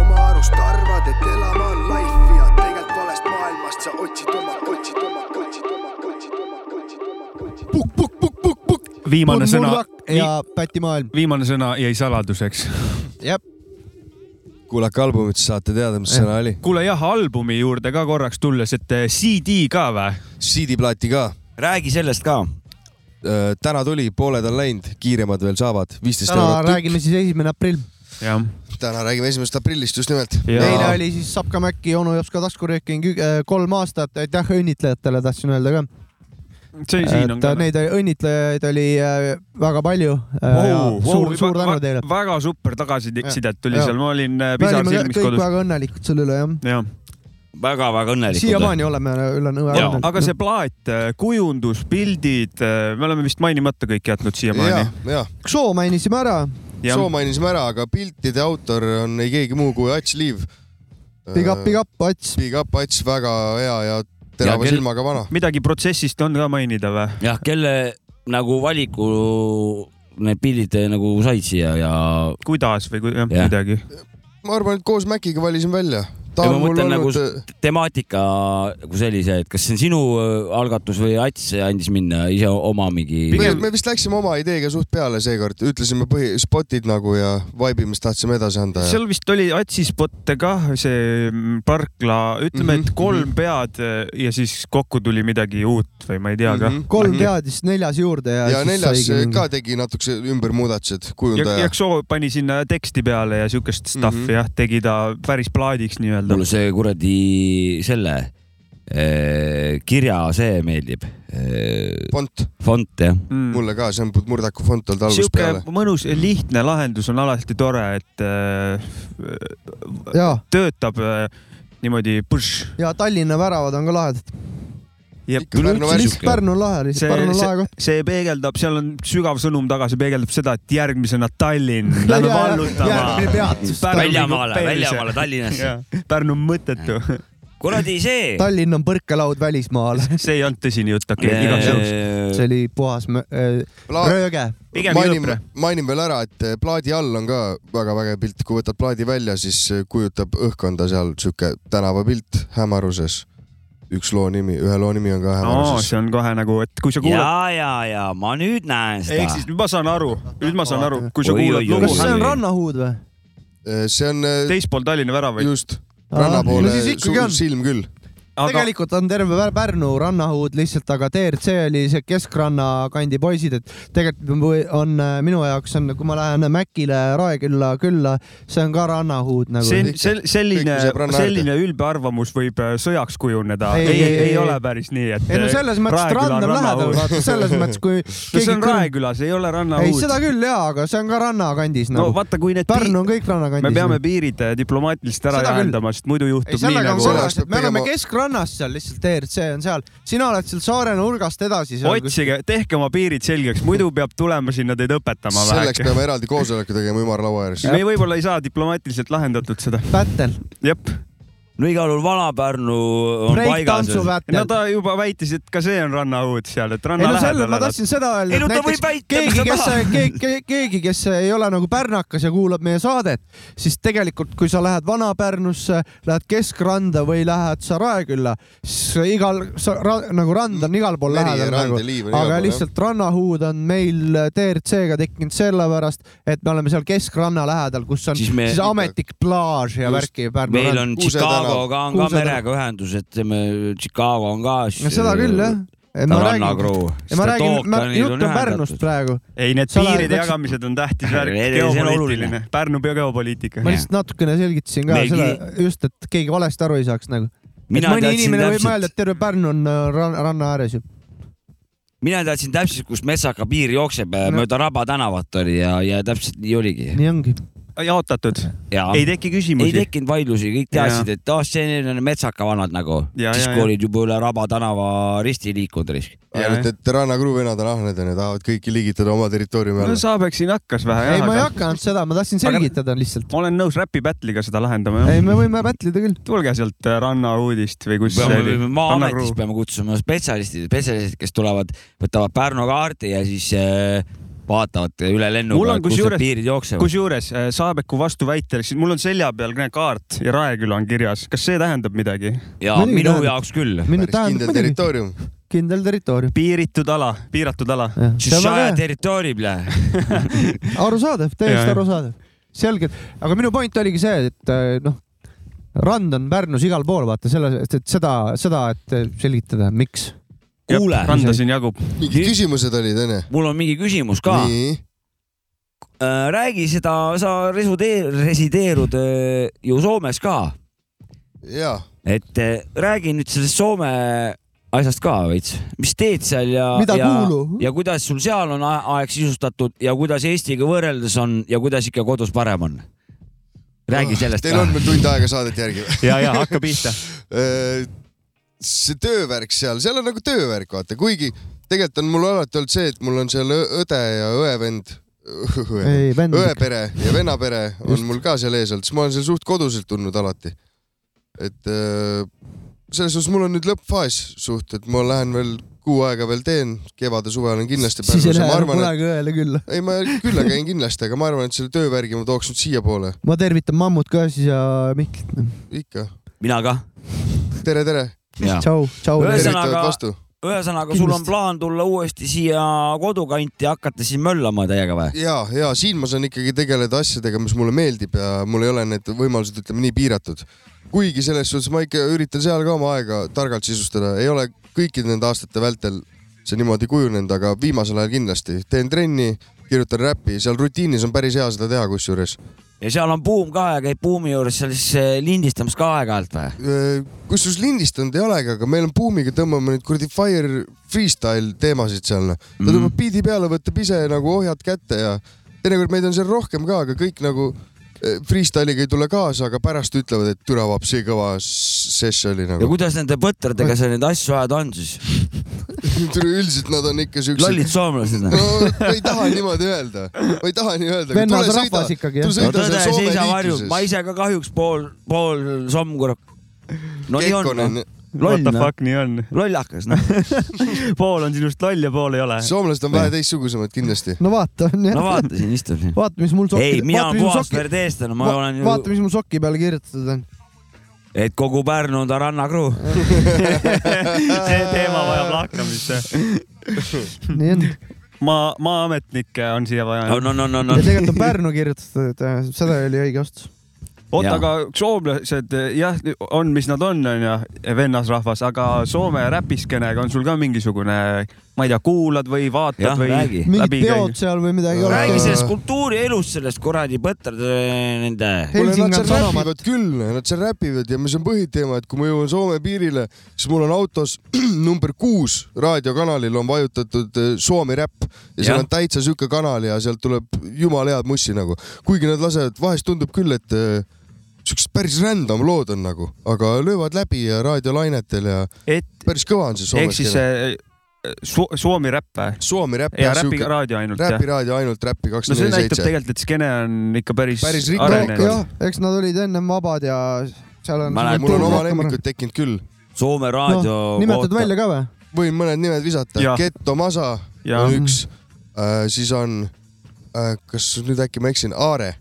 [SPEAKER 7] oma arust arvad , et elama on life ja tegelikult valest maailmast sa otsid oma , otsid oma , otsid oma , otsid oma , otsid oma , otsid oma .
[SPEAKER 1] pukk , pukk , pukk , pukk , pukk .
[SPEAKER 2] viimane sõna ,
[SPEAKER 1] ja pätimaailm ,
[SPEAKER 2] viimane sõna jäi saladuseks .
[SPEAKER 1] jah .
[SPEAKER 4] kuulake albumit , siis saate teada , mis sõna oli .
[SPEAKER 2] kuule jah , albumi juurde ka korraks tulles , et eh, CD ka või ?
[SPEAKER 4] CD-plaati ka .
[SPEAKER 3] räägi sellest ka .
[SPEAKER 4] täna tuli , pooled on läinud , kiiremad veel saavad , viisteist
[SPEAKER 1] täna
[SPEAKER 4] eurot tükk .
[SPEAKER 1] räägime siis esimene aprill .
[SPEAKER 2] jah ,
[SPEAKER 4] täna räägime esimesest aprillist just nimelt .
[SPEAKER 1] eile oli siis Sapka Mäkki , onu Jopska taskurööking , kolm aastat , aitäh õnnitlejatele , tahtsin öelda ka .
[SPEAKER 2] see siin on
[SPEAKER 1] et
[SPEAKER 2] ka .
[SPEAKER 1] Äh, neid õnnitlejaid oli äh, väga palju . suur , suur tänu teile .
[SPEAKER 2] väga super tagasisidet tuli
[SPEAKER 1] Jah.
[SPEAKER 2] seal , ma olin eh,
[SPEAKER 1] me
[SPEAKER 2] pisar
[SPEAKER 1] olime
[SPEAKER 2] silmis
[SPEAKER 1] kõik
[SPEAKER 2] kodus .
[SPEAKER 1] väga õnnelikud selle üle jah .
[SPEAKER 2] jah ,
[SPEAKER 3] väga-väga õnnelikud .
[SPEAKER 1] siiamaani oleme üle nõue
[SPEAKER 3] Jaa,
[SPEAKER 2] aga see . plaat , kujundus , pildid , me oleme vist mainimata kõik jätnud
[SPEAKER 4] ja
[SPEAKER 2] siiamaani .,
[SPEAKER 4] ja ,
[SPEAKER 1] Xo mainisime ära ,
[SPEAKER 2] Jah.
[SPEAKER 4] soo mainisime ära , aga piltide autor on ei keegi muu kui Ats Liiv .
[SPEAKER 1] big up , big up , Ats .
[SPEAKER 4] Big up Ats , väga hea ja
[SPEAKER 3] Ja
[SPEAKER 4] terava ja
[SPEAKER 3] kel-
[SPEAKER 4] kel... silmaga vana .
[SPEAKER 2] midagi protsessist on ka mainida või ?
[SPEAKER 3] jah , kelle nagu valiku need pildid nagu said siia ja
[SPEAKER 2] kuidas või kui, jah,
[SPEAKER 3] Jah.
[SPEAKER 2] ja. midagi ?
[SPEAKER 4] ma arvan , et koos Mäkiga valisin välja . ta
[SPEAKER 3] Ei,
[SPEAKER 4] on
[SPEAKER 3] ma
[SPEAKER 4] mul
[SPEAKER 3] mõtlen nagu
[SPEAKER 4] olnud , äh,
[SPEAKER 3] temaatika kui sellise , et kas see on sinu äh, algatus või Ats andis minna ise oma mingi
[SPEAKER 2] Pigem-
[SPEAKER 4] me, me vist läksime oma ideega suht peale seekord , ütlesime põhi , spotid nagu ja vibe'i , mis tahtsime edasi anda ja
[SPEAKER 2] seal vist oli atsispotte kah , see mm, parkla , ütleme , et
[SPEAKER 4] Mhm,
[SPEAKER 2] kolm pead eh, ja siis kokku tuli midagi uut või ma ei tea ka mm .
[SPEAKER 4] Mhm.
[SPEAKER 1] kolm teadist , neljas juurde ja .
[SPEAKER 4] ja neljas äh, ka . tegi natukese ümbermuudatused ,
[SPEAKER 2] ja
[SPEAKER 4] kujundaja .
[SPEAKER 2] Jaksoo pani sinna teksti peale ja siukest stuff'i mm
[SPEAKER 4] Mhm.
[SPEAKER 2] -hmm. jah , tegi ta päris plaadiks nii-öelda
[SPEAKER 3] mulle . see kuradi selle eh, kirja see meeldib .
[SPEAKER 4] fond ,
[SPEAKER 3] fond jah ,
[SPEAKER 4] mulle ka , see on Murdaku fond olnud algusest
[SPEAKER 2] Mm. sihuke
[SPEAKER 4] peale .
[SPEAKER 2] mõnus ja lihtne lahendus on alati tore , et äh,
[SPEAKER 1] ja ,
[SPEAKER 2] töötab äh, niimoodi põš
[SPEAKER 1] ja Tallinna väravad on ka lahedad .
[SPEAKER 4] ikka Pärnu värsk .
[SPEAKER 3] sihuke-
[SPEAKER 1] Pärnu on lahe ,
[SPEAKER 2] see ,
[SPEAKER 1] Pärnu on lahe
[SPEAKER 2] see,
[SPEAKER 1] koht .
[SPEAKER 2] see peegeldab , seal on sügav sõnum taga , see peegeldab seda , et järgmisena Tallinn läheb
[SPEAKER 1] järgmine
[SPEAKER 2] allutama .
[SPEAKER 1] peatus ,
[SPEAKER 3] väljamaale , väljamaale Tallinnasse .
[SPEAKER 2] Pärnu on mõttetu ,
[SPEAKER 3] kuradi see .
[SPEAKER 1] Tallinn on põrkelaud välismaal .
[SPEAKER 2] see ei olnud tõsine jutt , okei okay, , igaks juhuks .
[SPEAKER 3] eh,
[SPEAKER 1] see oli puhas mö- äh,
[SPEAKER 4] Ah.
[SPEAKER 1] rööge .
[SPEAKER 2] pigem
[SPEAKER 4] mainin
[SPEAKER 2] jõlpre. ,
[SPEAKER 4] mainin veel ära , et eh, plaadi all on ka väga vägev pilt , kui võtad plaadi välja , siis eh, kujutab õhkkonda seal sihuke tänavapilt Hämaruses . üks loo nimi , ühe loo nimi on ka
[SPEAKER 2] aa ,
[SPEAKER 4] Hämaruses .
[SPEAKER 2] see on kohe nagu , et kui sa kuulad ,
[SPEAKER 3] ja , ja , ja ma nüüd näen
[SPEAKER 2] ehk
[SPEAKER 3] seda
[SPEAKER 2] siis . nüüd ma saan aru , nüüd ma saan aru , kui sa
[SPEAKER 3] Oi,
[SPEAKER 2] kuulad
[SPEAKER 3] oi, oi.
[SPEAKER 1] kas
[SPEAKER 2] lugu
[SPEAKER 1] see on
[SPEAKER 3] Oi.
[SPEAKER 1] rannahuud või ?
[SPEAKER 4] see on eh,
[SPEAKER 2] teispool Tallinna väravaid ,
[SPEAKER 4] just ranna
[SPEAKER 1] no
[SPEAKER 4] poole
[SPEAKER 1] siis ikkagi
[SPEAKER 4] suur
[SPEAKER 1] on .
[SPEAKER 4] silm küll .
[SPEAKER 2] aga
[SPEAKER 1] tegelikult on terve Pär- Pärnu rannahuud lihtsalt , aga TRC oli see keskranna kandi poisid , et tegelikult või- on äh, minu jaoks on , kui ma lähen Mäkile Raekülla külla , see on ka rannahuud nagu .
[SPEAKER 2] see on
[SPEAKER 4] ikka.
[SPEAKER 2] sel- , selline
[SPEAKER 4] Kõik, mis jääb , ranna
[SPEAKER 2] selline ülbe arvamus võib äh, sõjaks kujuneda .
[SPEAKER 1] Ei,
[SPEAKER 2] ei , ei,
[SPEAKER 1] ei,
[SPEAKER 2] ei,
[SPEAKER 1] ei.
[SPEAKER 2] ei ole päris nii , et . äh,
[SPEAKER 1] ei no selles mõttes , et rand on lähedal , vaata selles mõttes , kui
[SPEAKER 2] no see on
[SPEAKER 1] kõrv-
[SPEAKER 2] Raekülas , ei ole
[SPEAKER 1] ei ,
[SPEAKER 2] rannahuud .
[SPEAKER 1] seda küll jaa , aga see on ka rannakandis
[SPEAKER 2] no
[SPEAKER 1] nagu no, .
[SPEAKER 2] vaata , kui need
[SPEAKER 1] Pärnu on kõik rannakandis . nagu.
[SPEAKER 2] me peame piirid äh, diplomaatiliselt ära
[SPEAKER 1] Seda küll.
[SPEAKER 2] jahendama , sest muidu
[SPEAKER 1] ei ,
[SPEAKER 2] juhtub nii
[SPEAKER 1] sellega on
[SPEAKER 2] nagu
[SPEAKER 1] korras , et me
[SPEAKER 4] Peab
[SPEAKER 1] oleme
[SPEAKER 4] tegema-
[SPEAKER 1] keskrannas seal lihtsalt , ERC on seal , sina oled seal saare nurgast edasi seal .
[SPEAKER 2] otsige , tehke oma piirid selgeks , muidu peab tulema sinna teid õpetama
[SPEAKER 4] selleks
[SPEAKER 2] väheke .
[SPEAKER 4] peame eraldi koosoleku tegema ümarlaua ääres .
[SPEAKER 2] me võib-olla ei saa diplomaatiliselt lahendatud seda .
[SPEAKER 1] Battle ,
[SPEAKER 2] jep ,
[SPEAKER 3] no igal juhul Vana-Pärnu on paigas .
[SPEAKER 1] breiktantsu
[SPEAKER 2] no
[SPEAKER 1] vätel .
[SPEAKER 2] ta juba väitis , et ka see on rannaõud seal , et
[SPEAKER 1] ei
[SPEAKER 2] ranna
[SPEAKER 1] no selle ,
[SPEAKER 2] lähedal
[SPEAKER 1] ma tahtsin seda öelda ,
[SPEAKER 3] Ei no
[SPEAKER 1] et
[SPEAKER 3] ta võib
[SPEAKER 1] näiteks
[SPEAKER 3] väita,
[SPEAKER 1] keegi ,
[SPEAKER 3] mida
[SPEAKER 1] kes
[SPEAKER 3] ta tahab. ,
[SPEAKER 1] keegi , keegi , kes ei ole nagu pärnakas ja kuulab meie saadet , siis tegelikult , kui sa lähed Vana-Pärnusse , lähed Keskranda või lähed sa Raekülla , siis igal , sa ra, nagu rand on igal pool
[SPEAKER 4] Meri ja
[SPEAKER 1] lähedal
[SPEAKER 4] rand
[SPEAKER 1] nagu
[SPEAKER 4] ja liiv on , igal pool,
[SPEAKER 1] aga
[SPEAKER 4] jah.
[SPEAKER 1] lihtsalt rannahuud on meil TRC-ga tekkinud sellepärast , et me oleme seal keskranna lähedal , kus on
[SPEAKER 3] Siis
[SPEAKER 1] siis,
[SPEAKER 3] me-
[SPEAKER 1] me... siis ametlik plaaž ja
[SPEAKER 4] Just.
[SPEAKER 1] värki Pärnu
[SPEAKER 3] meil
[SPEAKER 1] rand .
[SPEAKER 3] on
[SPEAKER 4] Kuuse
[SPEAKER 3] Chicagoga on ka
[SPEAKER 1] Kuuse tänav.
[SPEAKER 3] merega ühendus , ütleme Chicago on ka .
[SPEAKER 1] no seda küll jah . ma räägin ,
[SPEAKER 3] äh, rannakruu .
[SPEAKER 1] ma räägin , jutt on Pärnust . praegu
[SPEAKER 2] ei , need
[SPEAKER 1] Sa oled-
[SPEAKER 2] piiride
[SPEAKER 1] läks-
[SPEAKER 2] jagamised on tähtis värk ,
[SPEAKER 3] Reede, see on
[SPEAKER 2] geopoliitiline
[SPEAKER 3] oluline. ,
[SPEAKER 2] Pärnu bio- geopoliitika .
[SPEAKER 1] ma lihtsalt natukene selgitasin ka
[SPEAKER 3] Meil
[SPEAKER 1] selle
[SPEAKER 3] ki- ,
[SPEAKER 1] just , et keegi valesti aru ei saaks nagu .
[SPEAKER 3] mina
[SPEAKER 1] mõni
[SPEAKER 3] teadsin
[SPEAKER 1] inimene võib mõelda ,
[SPEAKER 3] täpselt ,
[SPEAKER 1] et terve Pärnu on äh, ran- , ranna ääres ju .
[SPEAKER 3] mina teadsin täpselt , kus metsaka piir jookseb no. ,
[SPEAKER 1] No.
[SPEAKER 3] mööda Raba tänavat oli ja , ja täpselt nii oligi .
[SPEAKER 1] nii ongi .
[SPEAKER 2] jaotatud ,
[SPEAKER 3] ja
[SPEAKER 2] ei teki
[SPEAKER 3] ei
[SPEAKER 2] küsimusi .
[SPEAKER 3] tekkinud vaidlusi , kõik teadsid , et ah , see on metsaka vanad nagu .
[SPEAKER 2] Ja,
[SPEAKER 3] siis
[SPEAKER 2] ja,
[SPEAKER 3] kui
[SPEAKER 2] ja.
[SPEAKER 3] olid juba üle Raba tänava risti liikunud risk .
[SPEAKER 4] ainult , et rannakruvi venad on ahned onju , tahavad kõiki liigitada oma territooriumi
[SPEAKER 2] no
[SPEAKER 4] alla .
[SPEAKER 2] Saabek siin hakkas vähe
[SPEAKER 1] ei , ma ei
[SPEAKER 2] jah ,
[SPEAKER 1] hakanud seda , ma tahtsin
[SPEAKER 2] Aga-
[SPEAKER 1] selgitada lihtsalt .
[SPEAKER 2] ma olen nõus Räpi Battle'iga seda lahendama
[SPEAKER 1] ei ,
[SPEAKER 2] jah .
[SPEAKER 1] me võime pätlida küll .
[SPEAKER 2] tulge sealt äh, Ranna uudist või kus see oli .
[SPEAKER 3] maa-ametis peame kutsuma spetsialistid , spetsialistid , kes tulevad , võtavad Pärnu kaardi ja siis äh, vaatavad üle
[SPEAKER 2] Mul
[SPEAKER 3] lennuga
[SPEAKER 2] on ,
[SPEAKER 3] kus
[SPEAKER 2] kusjuures-
[SPEAKER 3] need piirid jooksevad .
[SPEAKER 2] kusjuures äh, Saabeku vastuväiteks , mul on selja peal ka kaart ja Raeküla on kirjas , kas see tähendab midagi ?
[SPEAKER 3] ja
[SPEAKER 1] Muidugi
[SPEAKER 3] minu
[SPEAKER 1] tähendab.
[SPEAKER 3] jaoks küll .
[SPEAKER 1] minu
[SPEAKER 4] päris
[SPEAKER 1] tähendab
[SPEAKER 4] kindel
[SPEAKER 1] muidugi ,
[SPEAKER 4] territoorium .
[SPEAKER 1] kindel territoorium .
[SPEAKER 2] piiritud ala , piiratud ala .
[SPEAKER 3] Tšišaja territoorium ,
[SPEAKER 1] arusaadav ,
[SPEAKER 2] Jaa,
[SPEAKER 1] täiesti
[SPEAKER 2] jah.
[SPEAKER 1] arusaadav . selgelt , aga minu point oligi see , et äh, noh , rand on Pärnus igal pool , vaata selle , et seda , seda , et äh, selgitada , miks .
[SPEAKER 3] kuule ,
[SPEAKER 2] randa siin jagub .
[SPEAKER 4] mingid küsimused olid onju ?
[SPEAKER 3] mul on mingi küsimus ka .
[SPEAKER 4] nii ,
[SPEAKER 3] räägi seda , sa resudee- resideerud äh, ju Soomes ka
[SPEAKER 4] jaa .
[SPEAKER 3] et eh, räägi nüüd sellest Soome asjast ka veits , mis teed seal ja ,
[SPEAKER 1] Mida
[SPEAKER 3] ja
[SPEAKER 1] kuulu? ,
[SPEAKER 3] ja kuidas sul seal on a- aeg sisustatud ja kuidas Eestiga võrreldes on ja kuidas ikka kodus parem on ? räägi sellest
[SPEAKER 4] Teil on veel tund aega saadet järgi või ?
[SPEAKER 2] ja , ja hakka pihta .
[SPEAKER 4] see töövärk seal , seal on nagu töövärk , vaata , kuigi tegelikult on mul alati olnud see , et mul on seal ö- õde ja õevend ,
[SPEAKER 1] ei , vend .
[SPEAKER 4] õepere ja vennapere on
[SPEAKER 1] Just.
[SPEAKER 4] mul ka seal ees olnud , siis ma olen seal suht koduselt tundnud alati . et öö, selles suhtes mul on nüüd lõppfaas suht , et ma lähen veel kuu aega veel teen , kevade-suve olen kindlasti
[SPEAKER 1] siis ei
[SPEAKER 4] Pärnus ja
[SPEAKER 1] lähe
[SPEAKER 4] ma
[SPEAKER 1] enam
[SPEAKER 4] arvan ,
[SPEAKER 1] kunagi õele külla .
[SPEAKER 4] et ei ma küll aga käin kindlasti , aga ma arvan , et selle töövärgi ma tooks nüüd siiapoole
[SPEAKER 1] ma tervitan Mammut ka siis ja Mihklit .
[SPEAKER 4] ikka .
[SPEAKER 3] mina ka .
[SPEAKER 4] tere , tere ,
[SPEAKER 1] tšau , tšau .
[SPEAKER 3] Ühesõnaga-
[SPEAKER 4] tervitavad vastu .
[SPEAKER 3] ühesõnaga , sul on
[SPEAKER 1] Kindlasti.
[SPEAKER 3] plaan tulla uuesti siia kodukanti ja hakata siin möllama teiega või ?
[SPEAKER 4] ja , ja siin ma saan ikkagi tegeleda asjadega , mis mulle meeldib ja mul ei ole need võimalused , ütleme nii piiratud . kuigi selles suhtes ma ikka üritan seal ka oma aega targalt sisustada , ei ole kõikide nende aastate vältel see niimoodi kujunenud , aga viimasel ajal kindlasti teen trenni , kirjutan räppi , seal rutiinis on päris hea seda teha kusjuures .
[SPEAKER 3] ja seal on buum ka ja käid buumi juures seal siis eh, lindistamas ka aeg-ajalt või ?
[SPEAKER 4] Äh, kusjuures lindistanud ei olegi , aga meil on buumiga tõmbame neid kuradi fire freestyle teemasid seal . ta
[SPEAKER 3] Mhm.
[SPEAKER 4] tõmbab biidi peale , võtab ise nagu ohjad kätte ja teinekord meid on seal rohkem ka , aga kõik nagu eh, freestyle'iga ei tule kaasa , aga pärast ütlevad , et türa vaps , see kõva sess oli
[SPEAKER 3] ja
[SPEAKER 4] nagu .
[SPEAKER 3] kuidas nende põtradega seal neid asju ajada on siis ?
[SPEAKER 4] üldiselt nad on ikka siuksed .
[SPEAKER 3] lollid soomlased või ?
[SPEAKER 4] no ma ei taha niimoodi öelda , ma ei taha nii öelda .
[SPEAKER 1] Vennas rahvas ikkagi, jah.
[SPEAKER 4] tule
[SPEAKER 3] no
[SPEAKER 4] sõida
[SPEAKER 3] tõde
[SPEAKER 4] seal
[SPEAKER 3] ei
[SPEAKER 4] Soome
[SPEAKER 3] seisa varjus , ma
[SPEAKER 4] liikluses .
[SPEAKER 3] ise ka kahjuks pool , pool somm kurat . no nii on , noh.
[SPEAKER 2] What
[SPEAKER 3] loll
[SPEAKER 2] the
[SPEAKER 3] noh ,
[SPEAKER 2] fuck nii on ?
[SPEAKER 3] lollakas noh .
[SPEAKER 2] pool on sinust loll ja pool ei ole .
[SPEAKER 4] soomlased on vähe teistsugusemad kindlasti .
[SPEAKER 1] no vaata , on jah
[SPEAKER 3] no . vaata siin istub siin .
[SPEAKER 1] vaata , mis mul
[SPEAKER 3] ei ,
[SPEAKER 1] sokki ,
[SPEAKER 3] mina
[SPEAKER 1] vaata ,
[SPEAKER 3] olen
[SPEAKER 1] mis mul
[SPEAKER 3] puhas
[SPEAKER 1] sokki ,
[SPEAKER 3] verdeestlane , ma
[SPEAKER 1] Va-
[SPEAKER 3] olen
[SPEAKER 1] vaata ,
[SPEAKER 3] ju ,
[SPEAKER 1] mis mul soki peale kirjutatud on .
[SPEAKER 3] et kogu Pärnu on ta rannakruu .
[SPEAKER 1] Äh.
[SPEAKER 2] see teema vajab lahkamist .
[SPEAKER 1] nii on .
[SPEAKER 2] maa , maa-ametnikke on siia
[SPEAKER 3] no
[SPEAKER 2] vaja .
[SPEAKER 3] no no no no
[SPEAKER 1] ja . tegelikult on Pärnu kirjutatud , et äh, seda oli õige vastus .
[SPEAKER 2] oota ,
[SPEAKER 3] jaa.
[SPEAKER 2] aga soomlased eh, jah , on , mis nad on , onju , vennasrahvas , aga Soome räpiskenega on sul ka mingisugune , ma ei tea , kuulad või vaatad
[SPEAKER 3] jah ,
[SPEAKER 2] või ?
[SPEAKER 3] räägi .
[SPEAKER 1] mingid
[SPEAKER 2] Läbi
[SPEAKER 1] peod seal või midagi . äh,
[SPEAKER 3] räägi sellest kultuurielust , sellest kuradi põtrade nende .
[SPEAKER 4] kuule , nad
[SPEAKER 1] Helsing on
[SPEAKER 4] seal
[SPEAKER 1] sadamat .
[SPEAKER 4] räpivad küll , nad seal räpivad ja mis on põhiteema , et kui ma jõuan Soome piirile , siis mul on autos number kuus raadiokanalil on vajutatud äh, Soome räpp ja
[SPEAKER 3] Jah.
[SPEAKER 4] seal on täitsa sihuke kanal ja sealt tuleb jumala head mussi nagu . kuigi nad lasevad , vahest tundub küll , et äh, siuksed päris random lood on nagu , aga löövad läbi ja raadiolainetel ja
[SPEAKER 2] et
[SPEAKER 4] päris kõva on see
[SPEAKER 2] ehk
[SPEAKER 4] Soomes
[SPEAKER 2] siis . see su Suomi räpp või ?
[SPEAKER 4] Soome räpp
[SPEAKER 2] ja
[SPEAKER 4] jah,
[SPEAKER 2] räpi
[SPEAKER 4] sihuke-
[SPEAKER 2] raadio ainult jah ?
[SPEAKER 4] räpiraadio ainult räppi
[SPEAKER 2] no see
[SPEAKER 4] kakskümmend neli
[SPEAKER 2] näitab
[SPEAKER 4] seitse .
[SPEAKER 2] tegelikult , et skeene on ikka päris,
[SPEAKER 4] Päris rikkalik
[SPEAKER 2] arenenud .
[SPEAKER 1] jah , eks nad olid ennem vabad ja seal on .
[SPEAKER 3] Ma lähen-
[SPEAKER 4] mul on oma lemmikud . tekkinud küll ,
[SPEAKER 3] Soome raadio
[SPEAKER 1] noh , nimetad . välja ka või ?
[SPEAKER 4] võin mõned nimed visata
[SPEAKER 2] Jah. ,
[SPEAKER 4] Getto Masa
[SPEAKER 2] Jah.
[SPEAKER 4] on üks , siis on , kas nüüd äkki ma eksin , Aare ,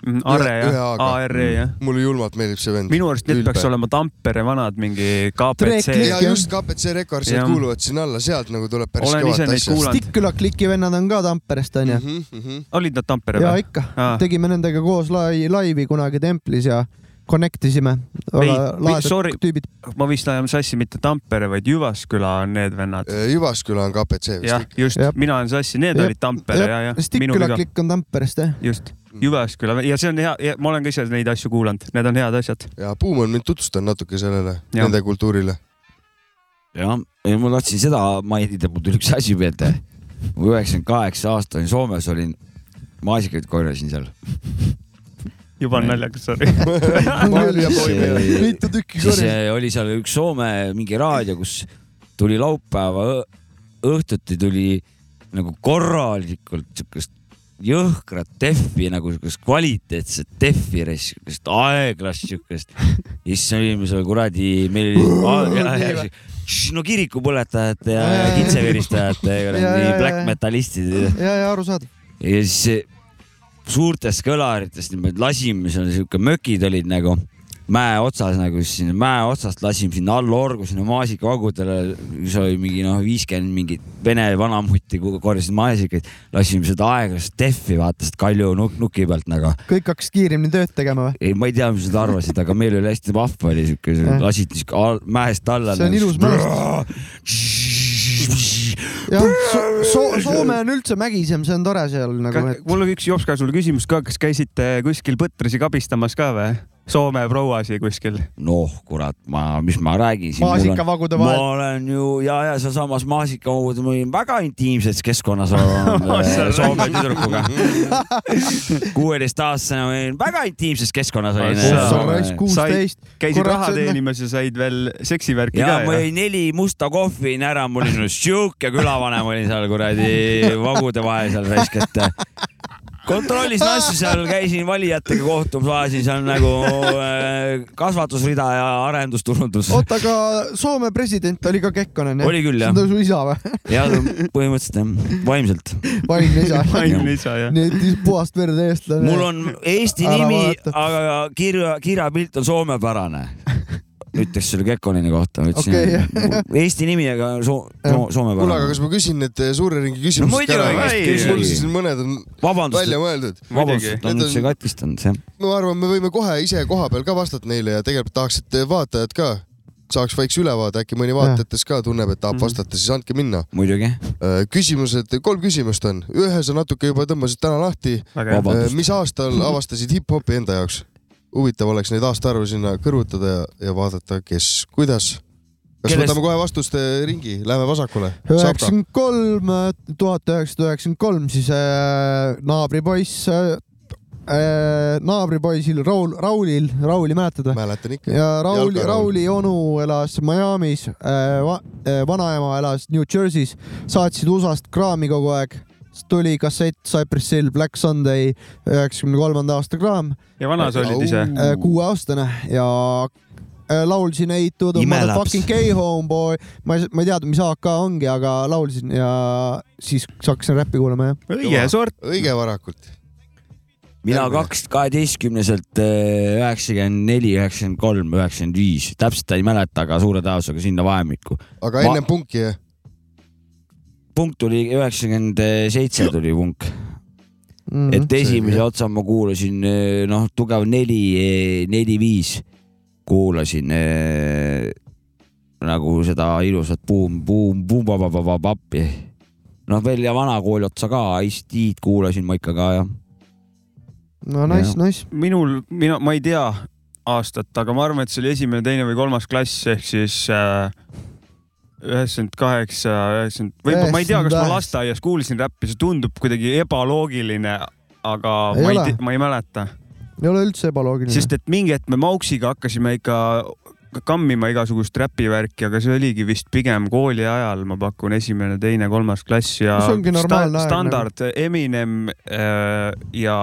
[SPEAKER 2] Arre
[SPEAKER 4] ühe
[SPEAKER 2] Mm, jah ,
[SPEAKER 4] A-ga.
[SPEAKER 2] ARE jah .
[SPEAKER 4] mulle julmalt meeldib see vend .
[SPEAKER 2] minu arust need peaks
[SPEAKER 4] Ülbe.
[SPEAKER 2] olema Tampere vanad , mingi
[SPEAKER 1] Drake
[SPEAKER 2] KPC .
[SPEAKER 4] ja
[SPEAKER 1] jah.
[SPEAKER 4] just KPC Records , need
[SPEAKER 2] Jah.
[SPEAKER 4] kuuluvad sinna alla , sealt nagu tuleb päris
[SPEAKER 2] Olen ise
[SPEAKER 4] kõvat
[SPEAKER 2] neid
[SPEAKER 4] asja .
[SPEAKER 2] kuulanud.
[SPEAKER 1] Stikküla kliki vennad on ka Tamperest onju .
[SPEAKER 4] Mhm, mhm.
[SPEAKER 2] olid nad Tampere
[SPEAKER 1] ja
[SPEAKER 2] või ?
[SPEAKER 1] ikka
[SPEAKER 2] Aa. ,
[SPEAKER 1] tegime nendega koos lai- , laivi kunagi templis ja connect isime .
[SPEAKER 2] Ei, sorry.
[SPEAKER 1] laadad tüübid .
[SPEAKER 2] ma vist ajan sassi mitte Tampere , vaid Jyvaskyla on need vennad .
[SPEAKER 4] Jyvaskyla Äh, on KPC
[SPEAKER 2] jah
[SPEAKER 4] vist . ,
[SPEAKER 2] just
[SPEAKER 1] Jah. ,
[SPEAKER 2] mina olen sassi , need
[SPEAKER 1] Jah,
[SPEAKER 2] olid Tampere ja , ja minu
[SPEAKER 1] Stikküla
[SPEAKER 2] viga ,
[SPEAKER 1] klikk on Tamperest jah .
[SPEAKER 2] just .
[SPEAKER 4] Mm.
[SPEAKER 2] Jyvaskyla ja see on hea, hea , ma olen ka ise neid asju kuulanud , need on head asjad .
[SPEAKER 4] ja Buum on mind tutvustanud natuke sellele ,
[SPEAKER 2] Jah.
[SPEAKER 4] nende kultuurile .
[SPEAKER 3] jah , ma tahtsin seda mainida , mul tuli üks asi meelde . ma üheksakümmend kaheksa aasta olin Soomes , olin , maasikaid korjasin seal .
[SPEAKER 2] juba
[SPEAKER 3] Ei.
[SPEAKER 2] on naljakas , sorry .
[SPEAKER 1] mitu tükki
[SPEAKER 3] siis
[SPEAKER 1] korjas .
[SPEAKER 3] eh, oli seal üks Soome mingi raadio , kus tuli laupäeva õ- õhtuti tuli nagu korralikult siukest jõhkrat tehvi nagu siukest kvaliteetset tehvi , siukest aeglast siukest . ja siis olime seal kuradi , meil oli , no kirikupõletajate ja ja kitseveristajate ja
[SPEAKER 1] Ja, ja,
[SPEAKER 3] kuradi
[SPEAKER 1] ja,
[SPEAKER 3] black
[SPEAKER 1] ja.
[SPEAKER 3] metalistid ja
[SPEAKER 1] ja , ja arusaadav .
[SPEAKER 3] ja siis see- suurtest kõlaritest niimoodi lasime , seal siuke mökid olid nagu mäe otsas nagu siis sinna mäe otsast lasime sinna alla orgu sinna maasikavagudele , kus oli mingi noh , viiskümmend mingit vene vanamutti ku- korjasid maasikaid , lasime seda aeglast tehvi vaata sealt kalju nuk nuki pealt nagu .
[SPEAKER 1] kõik hakkas kiiremini tööd tegema või ?
[SPEAKER 3] ei , ma ei tea , mis nad arvasid , aga meil oli hästi vahva oli siuke
[SPEAKER 1] Jah. ,
[SPEAKER 3] lasid siuke al- mäest alla . nagu
[SPEAKER 1] see on ilus
[SPEAKER 3] mälestus .
[SPEAKER 1] jah , so Soome on üldse mägisem , see on tore seal nagu , et
[SPEAKER 2] mul on üks Jops ka sulle küsimus ka , kas käisite kuskil põtrisi kabistamas ka või ? Soome prouasi kuskil .
[SPEAKER 3] noh , kurat , ma , mis ma räägin siin .
[SPEAKER 1] maasikavagude vahel .
[SPEAKER 3] ma olen ju ja , ja sealsamas maasikahoovad ma olin väga intiimses keskkonnas olnud eh, Soome tüdrukuga . kuueteistaastasena ma olin väga intiimses keskkonnas olin
[SPEAKER 2] Ah, sa-
[SPEAKER 1] ossa raisk
[SPEAKER 3] eh, .
[SPEAKER 1] kuusteist .
[SPEAKER 2] käisid
[SPEAKER 1] Korraks
[SPEAKER 2] raha
[SPEAKER 1] enne.
[SPEAKER 2] teenimas ja said veel seksivärki
[SPEAKER 3] ja
[SPEAKER 2] ka
[SPEAKER 3] ma
[SPEAKER 2] ja ?
[SPEAKER 3] jõin neli musta kohvi jõin ära , mul oli siuke külavanem oli seal kuradi vagude vahel seal raisk , et eh, kontrollisin asju seal , käisin valijatega kohtumas , ajasin seal nagu eh, kasvatusrida ja arendusturundus .
[SPEAKER 1] oota , aga Soome president oli ka Kekkonen jah ?
[SPEAKER 3] oli küll
[SPEAKER 1] see
[SPEAKER 3] jah
[SPEAKER 1] on , ta su isa või ?
[SPEAKER 3] ja põhimõtteliselt jah , vaimselt .
[SPEAKER 1] vaimne isa .
[SPEAKER 2] ainult isa jah .
[SPEAKER 1] nii et puhast verd eestlane .
[SPEAKER 3] mul on Eesti
[SPEAKER 1] Ära
[SPEAKER 3] nimi ,
[SPEAKER 1] vaata.
[SPEAKER 3] aga kirja , kirjapilt on soomepärane . ütleks selle Kekkoneni kohta , ütlesin
[SPEAKER 1] Okei, jah.
[SPEAKER 3] okay, Eesti nimi , aga soo- , soo- ,
[SPEAKER 4] kuule , aga
[SPEAKER 3] soomepärane .
[SPEAKER 4] kas ma küsin need eh, suure ringi
[SPEAKER 3] No
[SPEAKER 4] küsimused
[SPEAKER 3] muidugi,
[SPEAKER 2] ei,
[SPEAKER 4] mul
[SPEAKER 3] ei.
[SPEAKER 4] siin mõned on
[SPEAKER 3] vabandust
[SPEAKER 4] välja , mõeldud .
[SPEAKER 3] vabandust ,
[SPEAKER 4] Need
[SPEAKER 3] on
[SPEAKER 4] on-
[SPEAKER 3] üldse katkestanud , jah .
[SPEAKER 4] ma arvan , me võime kohe ise koha peal ka vastata neile ja tegelikult tahaks , et vaatajad ka saaks väikse ülevaade , äkki mõni vaatajatest ka tunneb , et
[SPEAKER 3] Mhm.
[SPEAKER 4] tahab vastata , siis andke minna .
[SPEAKER 3] muidugi ,
[SPEAKER 4] küsimused , kolm küsimust on , ühe sa natuke juba tõmbasid täna lahti .
[SPEAKER 2] väga hea .
[SPEAKER 3] Vabandust.
[SPEAKER 4] mis aastal avastasid hip-hopi enda jaoks ? huvitav oleks neid aastaarve sinna kõrvutada ja , ja vaadata , kes , kuidas .
[SPEAKER 3] Kellest-
[SPEAKER 4] kas Kellest... võtame kohe vastuste ringi , lähme vasakule .
[SPEAKER 1] üheksakümmend kolm , tuhat üheksasada üheksakümmend kolm , siis äh, naabripoiss äh, , naabripoisil Raul , Raulil , Rauli mäletad või ?
[SPEAKER 4] mäletan ikka .
[SPEAKER 1] ja Rauli ,
[SPEAKER 4] Jalga-
[SPEAKER 1] Rauli onu elas Miami's äh, , va, äh, vanaema elas New Jersey's , saatsid USA-st kraami kogu aeg , siis tuli kassett Cypress Hill Black Sunday üheksakümne kolmanda aasta kraam
[SPEAKER 2] ja vana sa olid ise ?
[SPEAKER 1] äh, , kuueaastane ja äh, laulsin Hey to the
[SPEAKER 3] Imelaps.
[SPEAKER 1] motherfucking gay homeboy , ma ei , ma ei teadnud , mis AK ongi , aga laulsin ja siis hakkasin räppi kuulama jah .
[SPEAKER 2] õige sort .
[SPEAKER 4] õige varakult .
[SPEAKER 3] mina
[SPEAKER 4] Järgmine.
[SPEAKER 3] kaks , kaheteistkümneselt eh, üheksakümmend neli , üheksakümmend kolm , üheksakümmend viis , täpselt ei mäleta , aga suure tõenäosusega sinna vahemikku .
[SPEAKER 4] aga
[SPEAKER 3] Ma-
[SPEAKER 4] ennem punki jah ?
[SPEAKER 3] punkt tuli üheksakümmend seitse tuli punk .
[SPEAKER 1] Mm
[SPEAKER 3] et esimese
[SPEAKER 4] Selge.
[SPEAKER 3] otsa ma kuulasin eh, noh , tugev neli , neli-viis kuulasin eh, nagu seda ilusat buum , buum , buum-papapapapappi . noh , veel ja vanakooli otsa ka , Ice-T-d kuulasin ma ikka ka ja .
[SPEAKER 1] no nice , nice .
[SPEAKER 2] minul , mina , ma ei tea aastat , aga ma arvan , et see oli esimene , teine või kolmas klass ehk siis äh, üheksakümmend kaheksa , üheksakümmend , võib-olla ma ei tea , kas ma
[SPEAKER 1] 98.
[SPEAKER 2] lasteaias kuulsin räppi , see tundub kuidagi ebaloogiline , aga
[SPEAKER 1] Ei
[SPEAKER 2] ei ma
[SPEAKER 1] ole.
[SPEAKER 2] ei tea , ma ei mäleta ,
[SPEAKER 1] ei ole üldse ebaloogiline .
[SPEAKER 2] Mm. sest et mingi hetk me Mauksiga hakkasime ikka kammima igasugust räpivärki , aga see oligi vist pigem kooli ajal , ma pakun , esimene , teine , kolmas klass ja
[SPEAKER 1] See ongi normaalne aeg nagu.
[SPEAKER 2] standard Eminem äh, ja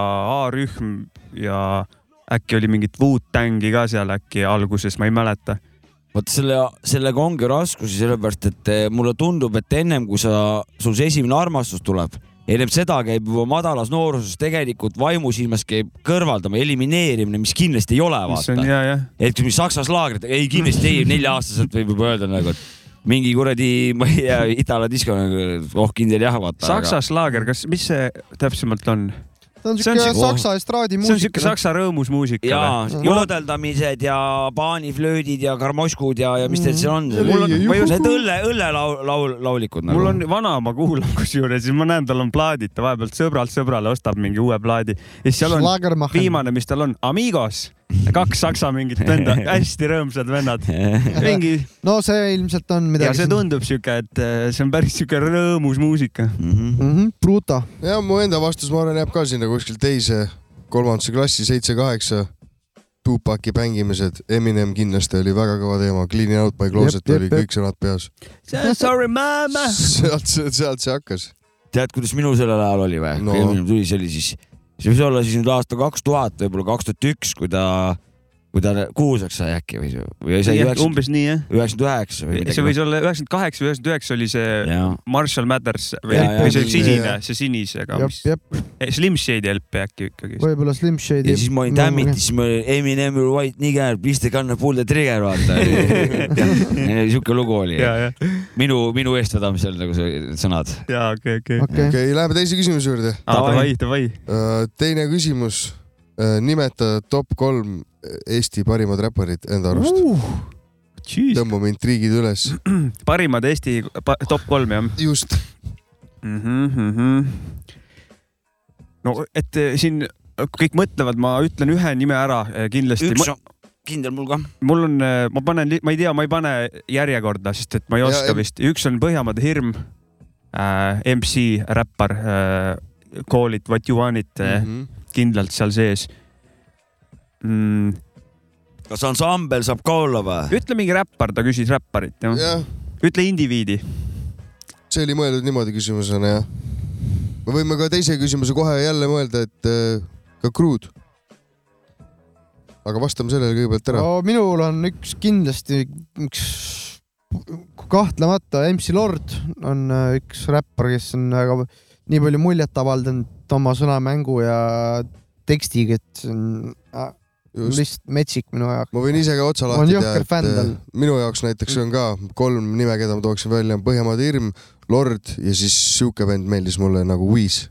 [SPEAKER 2] A-rühm ja äkki oli mingit Wu-Tangi ka seal äkki alguses , ma ei mäleta .
[SPEAKER 3] vot selle , sellega ongi raskusi , sellepärast et eh, mulle tundub , et ennem kui sa , sul see esimene armastus tuleb , ennem seda käib juba madalas nooruses tegelikult vaimusilmas käib kõrvaldama , elimineerimine , mis kindlasti ei ole ,
[SPEAKER 2] mis on
[SPEAKER 3] vaata .
[SPEAKER 2] ja , jah .
[SPEAKER 3] et kui Saksas laagrid , ei kindlasti ei , nelja-aastaselt võib juba öelda nagu , et mingi kuradi , ma ei tea , Itaalia disko , oh kindel jah , vaata .
[SPEAKER 2] Saksas laager , kas , mis see täpsemalt on ?
[SPEAKER 1] ta on
[SPEAKER 2] See on
[SPEAKER 1] siuke
[SPEAKER 2] siuke-
[SPEAKER 1] saksa
[SPEAKER 2] see on siuke
[SPEAKER 1] estraadimuusika .
[SPEAKER 2] saksa rõõmus muusika või ?
[SPEAKER 3] ja joodeldamised ja paaniflöödid ja karmoskud ja , ja mis
[SPEAKER 2] Mm.
[SPEAKER 3] teil seal on ? mul on , ma just need õlle , õllelaul , laul , laulikud nagu .
[SPEAKER 2] mul on vanaema kuulan kusjuures ja ma näen , tal on plaadid , ta vahepeal sõbralt sõbrale ostab mingi uue plaadi ja siis seal on
[SPEAKER 1] Schlagermacher.
[SPEAKER 2] viimane , mis tal on , Amigos , kaks saksa mingit venda , hästi rõõmsad vennad , mingi
[SPEAKER 1] no see ilmselt on
[SPEAKER 2] ja
[SPEAKER 1] midagi
[SPEAKER 2] see . tundub siuke , et eh, see on päris siuke rõõmus muusika .
[SPEAKER 3] Mhm.
[SPEAKER 1] Mhm, Bruta .
[SPEAKER 4] ja mu enda vastus , ma arvan , jääb ka sinna kuskil teise , kolmandasse klassi , seitse-kaheksa . Tupaki mängimised , Eminem kindlasti oli väga kõva teema , Clean It out my closet
[SPEAKER 1] Jep, jep,
[SPEAKER 4] jep, oli
[SPEAKER 1] jep.
[SPEAKER 4] kõik sõnad peas .
[SPEAKER 2] Sorry mama .
[SPEAKER 4] sealt , sealt see hakkas .
[SPEAKER 3] tead , kuidas minul sellel ajal oli või no. ?
[SPEAKER 4] No.
[SPEAKER 3] kui Eminem tuli , see oli siis , see võis olla siis nüüd aasta kaks tuhat , võib-olla kaks tuhat üks , kui ta , kui ta kuulsaks sai äkki või , või sai üheksakümmend
[SPEAKER 2] umbes nii jah .
[SPEAKER 3] üheksa või
[SPEAKER 2] see
[SPEAKER 3] midagi .
[SPEAKER 2] võis olla üheksakümmend kaheksa , üheksakümmend üheksa oli see
[SPEAKER 3] jah ,
[SPEAKER 2] Marshall Mathers või
[SPEAKER 3] Jaa,
[SPEAKER 2] või
[SPEAKER 3] jaa,
[SPEAKER 2] see
[SPEAKER 4] mingi-
[SPEAKER 2] sinine , see sinisega ,
[SPEAKER 1] jep
[SPEAKER 2] mis ,
[SPEAKER 1] jep ,
[SPEAKER 2] eh, Slim Shady LP äkki ikkagi .
[SPEAKER 1] võib-olla Slim Shady .
[SPEAKER 3] ja siis ma olin tämmitis , siis ma olin Eminem , you white nigger , please take on the pull the trigger , vaata . sihuke lugu oli .
[SPEAKER 2] ja , ja ,
[SPEAKER 3] minu , minu eestvedamisel nagu see sõnad .
[SPEAKER 2] ja okei , okei .
[SPEAKER 1] okei okay. ,
[SPEAKER 4] okei , läheme teise küsimuse juurde .
[SPEAKER 2] Davai , davai .
[SPEAKER 4] teine küsimus . nimeta top kolm Eesti parimad räpparid enda arust . tõmbame intriigid üles .
[SPEAKER 2] parimad Eesti pa top kolm jah
[SPEAKER 4] just ,
[SPEAKER 2] mm . -hmm, mm -hmm. no et eh, siin kõik mõtlevad , ma ütlen ühe nime ära eh, kindlasti .
[SPEAKER 3] üks on kindel mul ka .
[SPEAKER 2] mul on , ma panen , ma ei tea , ma ei pane järjekorda , sest et ma ei
[SPEAKER 4] Ja,
[SPEAKER 2] oska
[SPEAKER 4] em-
[SPEAKER 2] ja, vist , üks on Põhjamaade hirm äh, , MC , räppar äh, , Call it what you want it
[SPEAKER 4] Mhm.
[SPEAKER 2] mm , -hmm. kindlalt seal sees mm, .
[SPEAKER 3] kas ansambel saab ka olla või ?
[SPEAKER 2] ütle mingi räppar , ta küsis räpparit , jah .
[SPEAKER 4] jah ,
[SPEAKER 2] ütle indiviidi .
[SPEAKER 4] see oli mõeldud niimoodi küsimusena jah . me võime ka teise küsimuse kohe jälle mõelda , et äh, ka Kruud . aga vastame sellele kõigepealt ära .
[SPEAKER 1] no minul on üks kindlasti , üks kahtlemata MC Lord on äh, üks räppar , kes on väga nii palju muljet avaldanud oma sõnamängu ja tekstiga , et see on äh,
[SPEAKER 4] just ,
[SPEAKER 1] lihtsalt metsik minu jaoks .
[SPEAKER 4] ma võin ise ka otsa
[SPEAKER 1] Ma
[SPEAKER 4] lahti
[SPEAKER 1] olen
[SPEAKER 4] teha ,
[SPEAKER 1] jõhker
[SPEAKER 4] et
[SPEAKER 1] fänn
[SPEAKER 4] äh,
[SPEAKER 1] tal.
[SPEAKER 4] minu jaoks näiteks on ka kolm nime , keda ma tooksin välja , on Põhjamaade Irm , Lord ja siis sihuke vend meeldis mulle nagu Wheeze ,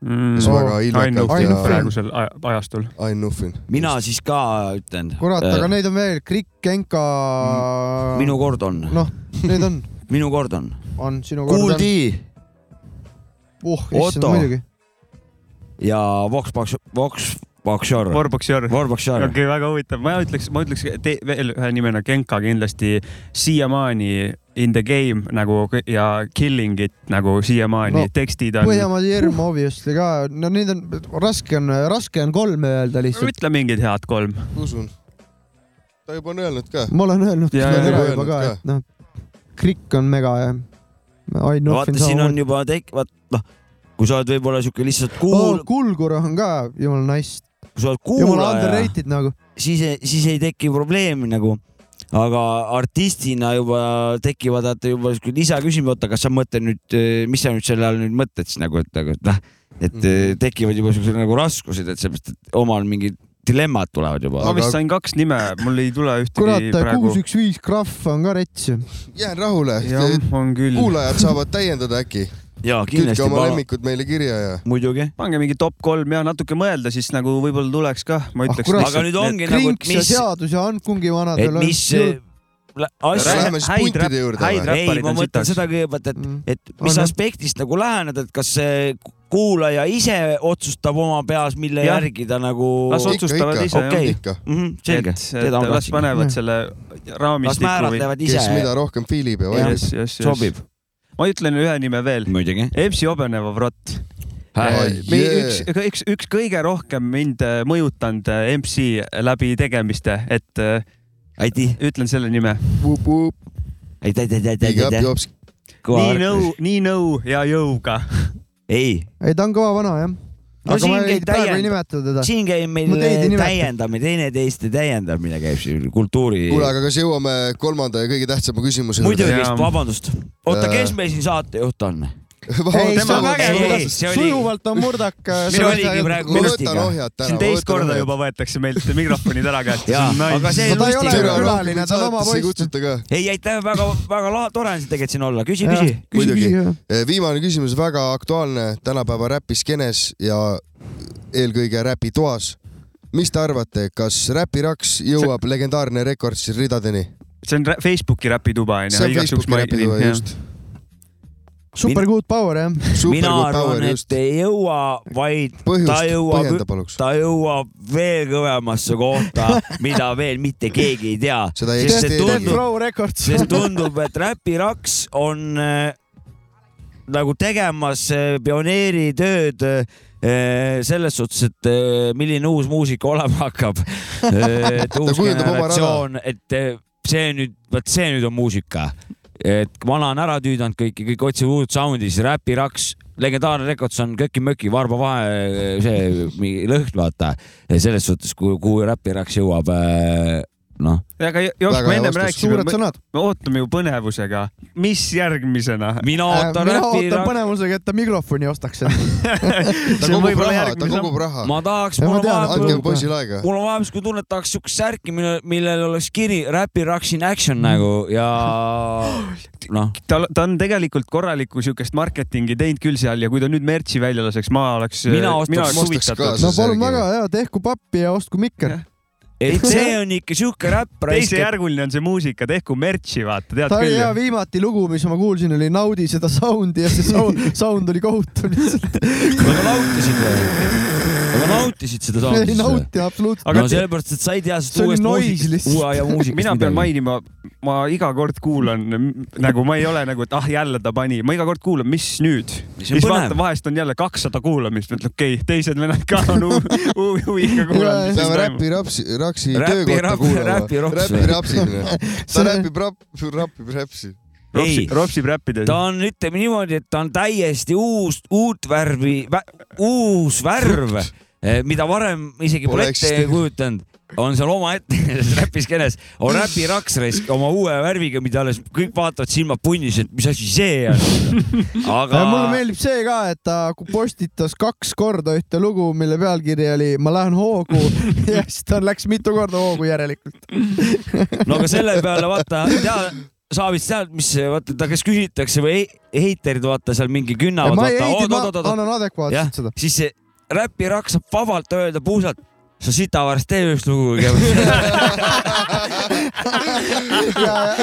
[SPEAKER 4] kes
[SPEAKER 1] Oo,
[SPEAKER 4] väga ilmekalt
[SPEAKER 1] Ain Nuffin.
[SPEAKER 4] ja
[SPEAKER 2] Mm, praegusel aj- ajastul .
[SPEAKER 4] Ain Nuffin .
[SPEAKER 3] mina siis ka ütlen .
[SPEAKER 1] kurat , aga neid on veel , Krikk , Genka .
[SPEAKER 3] Äh. Mm. minu kord on ,
[SPEAKER 1] noh , neid on ,
[SPEAKER 3] minu kord on .
[SPEAKER 1] on sinu
[SPEAKER 3] Kool
[SPEAKER 1] on .
[SPEAKER 3] D
[SPEAKER 1] oh , issand
[SPEAKER 3] Otto.
[SPEAKER 1] muidugi .
[SPEAKER 3] ja Vox , Vox , Vox , Voxer ,
[SPEAKER 2] Warboxer .
[SPEAKER 3] Vorboxer
[SPEAKER 2] okei . okay, , väga huvitav , ma ütleks , ma ütleks te, veel ühe nimena Genka kindlasti siiamaani in the game nagu k- ja killing it nagu siiamaani
[SPEAKER 1] No,
[SPEAKER 2] no, , tekstid on .
[SPEAKER 1] Põhjamaade Jerm obviously ka , no neid on , raske on , raske on kolme öelda lihtsalt .
[SPEAKER 2] ütle mingid head kolm .
[SPEAKER 4] usun . ta juba on öelnud ka .
[SPEAKER 1] ma olen öelnud
[SPEAKER 2] Jaa,
[SPEAKER 1] seda ära
[SPEAKER 2] jaa,
[SPEAKER 4] jaa,
[SPEAKER 1] juba ka
[SPEAKER 4] öelnud ka. ,
[SPEAKER 1] et noh , Krikk on mega ja Ain
[SPEAKER 3] no
[SPEAKER 1] Nuffin
[SPEAKER 3] vaata , siin on
[SPEAKER 1] samamoodi .
[SPEAKER 3] juba tek- , vaat noh , kui sa oled võib-olla siuke lihtsalt kuul-
[SPEAKER 1] Oh, , Kulgur on ka jumala nice ,
[SPEAKER 3] kui sa oled
[SPEAKER 1] jumala
[SPEAKER 3] kuulaja ,
[SPEAKER 1] underrated nagu .
[SPEAKER 3] siis , siis ei teki probleemi nagu . aga artistina juba tekivad vaata juba siuke lisaküsimus , oota , kas sa mõtled nüüd , mis sa nüüd selle all nüüd mõtled siis nagu , et nagu , et noh , et eh, tekivad juba siuksed nagu raskused , et seepärast , et omal mingid dilemmad tulevad juba
[SPEAKER 2] ma
[SPEAKER 4] Aga- .
[SPEAKER 2] vist sain kaks nime , mul ei tule
[SPEAKER 1] kurat
[SPEAKER 2] ühtegi , praegu
[SPEAKER 1] kuus . üks viis Krahv on ka rets ju .
[SPEAKER 4] jään rahule .
[SPEAKER 2] jah , on küll .
[SPEAKER 4] kuulajad saavad täiendada äkki .
[SPEAKER 3] jaa ,
[SPEAKER 4] kütke
[SPEAKER 3] kindlasti
[SPEAKER 4] oma , lemmikud meile kirja ja
[SPEAKER 3] muidugi .
[SPEAKER 2] pange mingi top kolm ja natuke mõelda , siis nagu võib-olla tuleks kah , ma
[SPEAKER 1] Ah,
[SPEAKER 2] ütleks
[SPEAKER 1] kurat,
[SPEAKER 2] lihtsalt
[SPEAKER 3] aga nüüd
[SPEAKER 2] need-
[SPEAKER 3] ongi nagu , et
[SPEAKER 1] Krinks ja
[SPEAKER 3] mis ,
[SPEAKER 1] Seadus ja Ankungi vanad
[SPEAKER 3] et mis eh, lä- asja
[SPEAKER 4] Lähme siis
[SPEAKER 2] häid
[SPEAKER 4] puntide
[SPEAKER 2] räpp-
[SPEAKER 4] juurde
[SPEAKER 2] häid
[SPEAKER 4] või?
[SPEAKER 3] ei ,
[SPEAKER 2] räpparid
[SPEAKER 3] ma
[SPEAKER 2] on
[SPEAKER 3] mõtlen
[SPEAKER 2] sitas .
[SPEAKER 3] seda kõigepealt , et
[SPEAKER 1] Mm. ,
[SPEAKER 3] et mis
[SPEAKER 1] Anna.
[SPEAKER 3] aspektist nagu läheneda , et kas see kuulaja ise otsustab oma peas , mille
[SPEAKER 2] Jah.
[SPEAKER 3] ja. järgi ta nagu .
[SPEAKER 2] las
[SPEAKER 4] Ikka,
[SPEAKER 2] otsustavad
[SPEAKER 4] ikka.
[SPEAKER 2] ise jah.
[SPEAKER 3] Okei.
[SPEAKER 4] ikka ,
[SPEAKER 3] Mm, selge ,
[SPEAKER 2] et et
[SPEAKER 3] teda on
[SPEAKER 2] las
[SPEAKER 3] tahtnud .
[SPEAKER 2] panevad
[SPEAKER 1] Jah.
[SPEAKER 2] selle
[SPEAKER 3] las
[SPEAKER 2] raamistiku või .
[SPEAKER 3] määratlevad
[SPEAKER 4] kes mida
[SPEAKER 3] ise ,
[SPEAKER 4] rohkem fiilib ja
[SPEAKER 3] Jah.
[SPEAKER 4] valmis .
[SPEAKER 2] jess , jess , jess .
[SPEAKER 3] sobib .
[SPEAKER 2] ma ütlen ühe nime veel .
[SPEAKER 3] muidugi .
[SPEAKER 2] Epsi Obeneva vrott .
[SPEAKER 4] Ai, jee.
[SPEAKER 2] Äh, üks , üks , üks kõige rohkem mind äh, mõjutanud äh, MC läbi tegemiste , et äh,
[SPEAKER 3] aitäh ,
[SPEAKER 2] ütlen selle nime .
[SPEAKER 3] aitäh , aitäh , aitäh ,
[SPEAKER 4] Big
[SPEAKER 3] aitäh ,
[SPEAKER 4] up ,
[SPEAKER 3] aitäh .
[SPEAKER 4] jops .
[SPEAKER 2] nii nõu , nii nõu ja jõuga .
[SPEAKER 3] ei ,
[SPEAKER 1] ei , ta on kõva vana jah . aga
[SPEAKER 3] no
[SPEAKER 1] ma
[SPEAKER 3] siin
[SPEAKER 1] ei,
[SPEAKER 3] käib
[SPEAKER 1] praegu ei
[SPEAKER 3] täiend- ,
[SPEAKER 1] nimeta teda .
[SPEAKER 3] siin käib meil
[SPEAKER 1] Ma teid ei nimeta.
[SPEAKER 3] täiendamine , teineteiste täiendamine käib siin kultuuri .
[SPEAKER 4] kuule , aga kas jõuame kolmanda ja kõige tähtsama küsimuse
[SPEAKER 3] muidugi
[SPEAKER 2] Jaa. ,
[SPEAKER 3] vabandust . oota ,
[SPEAKER 4] Äh.
[SPEAKER 3] kes meil siin saatejuht on ?
[SPEAKER 1] ei , see on
[SPEAKER 3] tema-
[SPEAKER 1] äge
[SPEAKER 3] ei, , ei, see
[SPEAKER 1] kuidas
[SPEAKER 3] oli-
[SPEAKER 1] sujuvalt on murdak . äh,
[SPEAKER 3] Minul oligi praegu
[SPEAKER 4] ma
[SPEAKER 3] kunstiga.
[SPEAKER 4] võtan ohjad
[SPEAKER 2] siin
[SPEAKER 4] ära .
[SPEAKER 2] teist korda juba võetakse meilt mikrofonid ära käest .
[SPEAKER 3] Jaa, aga see-
[SPEAKER 1] no ta ei ole ju
[SPEAKER 3] Tere,
[SPEAKER 1] külaline , ta on oma
[SPEAKER 4] ei
[SPEAKER 1] poiss .
[SPEAKER 4] kutsuta ka .
[SPEAKER 3] ei , aitäh , väga , väga lahe , tore on siin tegelikult siin olla , küsi , küsi .
[SPEAKER 4] muidugi. Eh, viimane küsimus , väga aktuaalne tänapäeva räpiskeenes ja eelkõige räpitoas . mis te arvate , kas räpiraks jõuab legendaarne rekord siis ridadeni ?
[SPEAKER 2] see on rä- Facebooki räpituba onju .
[SPEAKER 4] see on Facebooki räpitoa just .
[SPEAKER 1] super good power jah .
[SPEAKER 4] super
[SPEAKER 3] mina
[SPEAKER 4] good
[SPEAKER 3] arvan ,
[SPEAKER 4] power
[SPEAKER 3] et
[SPEAKER 4] just .
[SPEAKER 3] ei jõua , vaid ta
[SPEAKER 4] põhjust , põhjenda
[SPEAKER 3] jõuab ,
[SPEAKER 4] paluks .
[SPEAKER 3] ta jõuab veel kõvemasse kohta , mida veel mitte keegi ei tea .
[SPEAKER 4] Seda ei
[SPEAKER 3] sest see
[SPEAKER 4] eksisteeri.
[SPEAKER 1] Death
[SPEAKER 4] Tundub-
[SPEAKER 3] tundub ,
[SPEAKER 1] Row Records .
[SPEAKER 3] sest tundub , et räpiraks on äh, nagu tegemas äh, pioneeritööd äh, selles suhtes , et äh, milline uus muusika olema hakkab . et uus
[SPEAKER 4] kujundab oma rada.
[SPEAKER 3] generatsioon , et äh, see nüüd , vot see nüüd on muusika . et vana on ära tüüdanud kõiki , kõik otsivad uut sound'i , siis räpiraks , legendaarne rekords on Köki-möki , Varba Vahe , see mi- lõhn , vaata . selles suhtes , kuhu , kuhu räpiraks jõuab , noh .
[SPEAKER 2] aga Jops ,
[SPEAKER 4] Väga
[SPEAKER 2] me
[SPEAKER 4] hea
[SPEAKER 2] ennem
[SPEAKER 4] vastus.
[SPEAKER 2] rääkisime ,
[SPEAKER 1] suured
[SPEAKER 2] me
[SPEAKER 1] sõnad .
[SPEAKER 2] me ootame ju põnevusega , mis järgmisena ?
[SPEAKER 3] mina ootan
[SPEAKER 1] Äh, mina ootan
[SPEAKER 3] räpiraks ,
[SPEAKER 1] põnevusega , et ta mikrofoni ostaks .
[SPEAKER 4] ta kogub raha , ta kogub raha .
[SPEAKER 3] ma tahaks ,
[SPEAKER 1] Ja ma
[SPEAKER 3] mul on
[SPEAKER 1] tean,
[SPEAKER 3] vahepeal
[SPEAKER 4] andke poisile aega .
[SPEAKER 3] mul on vahepeal siuke tunne , et tahaks siukest särki , mille , millel oleks kiri Räpiraks in
[SPEAKER 1] Mm.
[SPEAKER 3] action nagu ja noh ,
[SPEAKER 2] ta , ta on tegelikult korralikku siukest marketingi teinud küll seal ja kui ta nüüd mertsi välja laseks , ma oleks ,
[SPEAKER 3] Mina ostaks-
[SPEAKER 4] ma ostaks
[SPEAKER 2] huvitatud .
[SPEAKER 4] ka.
[SPEAKER 1] no palun väga ja tehku pappi ja ostku mikker .
[SPEAKER 3] et see on ikka siuke räpp raisk , et
[SPEAKER 2] teisejärguline on see muusika , tehku mertsi , vaata , tead
[SPEAKER 1] ta oli hea
[SPEAKER 2] küll .
[SPEAKER 1] viimati lugu , mis ma kuulsin , oli Naudi seda sound'i ja see sound, sound oli kohutav lihtsalt .
[SPEAKER 3] aga nautisid või ? aga nautisid seda
[SPEAKER 1] ei
[SPEAKER 3] saamist ?
[SPEAKER 1] nauti absoluutselt .
[SPEAKER 2] aga
[SPEAKER 3] no sellepärast , et sa ei tea
[SPEAKER 1] See
[SPEAKER 3] seda
[SPEAKER 1] oli
[SPEAKER 3] uuest
[SPEAKER 1] noise
[SPEAKER 3] muusikast ,
[SPEAKER 1] lihtsalt.
[SPEAKER 3] uue aja muusikast
[SPEAKER 2] mina pean . mainima , ma iga kord kuulan m- nagu ma ei ole nagu , et ah jälle ta pani , ma iga kord kuulan , mis nüüd .
[SPEAKER 3] See on
[SPEAKER 2] siis
[SPEAKER 3] põnev.
[SPEAKER 2] vaata vahest on jälle kakssada kuulamist , mõtled okei okay, , teised vennad ka on hu- hu- huviga kuulanud .
[SPEAKER 4] peame räpi rapsi , raksi
[SPEAKER 3] Räpi
[SPEAKER 4] töökohta
[SPEAKER 3] rap-
[SPEAKER 4] kuulama .
[SPEAKER 3] räpi rops või?
[SPEAKER 4] räpi rapsi .
[SPEAKER 1] See-
[SPEAKER 4] ta räpib rap- , rapib räpsi .
[SPEAKER 3] ei ,
[SPEAKER 2] ropsib räppides .
[SPEAKER 3] ta on , ütleme niimoodi , et ta on täiesti uus , uut värvi , uus värv , mida varem isegi
[SPEAKER 4] Pole
[SPEAKER 3] pole ette
[SPEAKER 4] eksisteerinud.
[SPEAKER 3] kujutanud , on seal omaette selles räpiskenes , on räpiraks raisk oma uue värviga , mida alles kõik vaatavad silmad punnis , et mis asi see on . aga
[SPEAKER 1] Äh, mulle meeldib see ka , et ta postitas kaks korda ühte lugu , mille pealkiri oli Ma lähen hoogu ja siis ta läks mitu korda hoogu järelikult .
[SPEAKER 3] no aga selle peale vaata , tea , Saavits tead , mis vaata , ta kas küsitakse või hei- heiterid vaata seal mingi künnavad ,
[SPEAKER 1] ma ei
[SPEAKER 3] vaata ,
[SPEAKER 1] heiti , ma
[SPEAKER 3] oot-oot-oot ,
[SPEAKER 1] annan
[SPEAKER 3] jah
[SPEAKER 1] adekvaatselt seda .,
[SPEAKER 3] siis see räpiraks saab vabalt öelda puusalt , sa sita varsti tee üks lugu kõigepealt .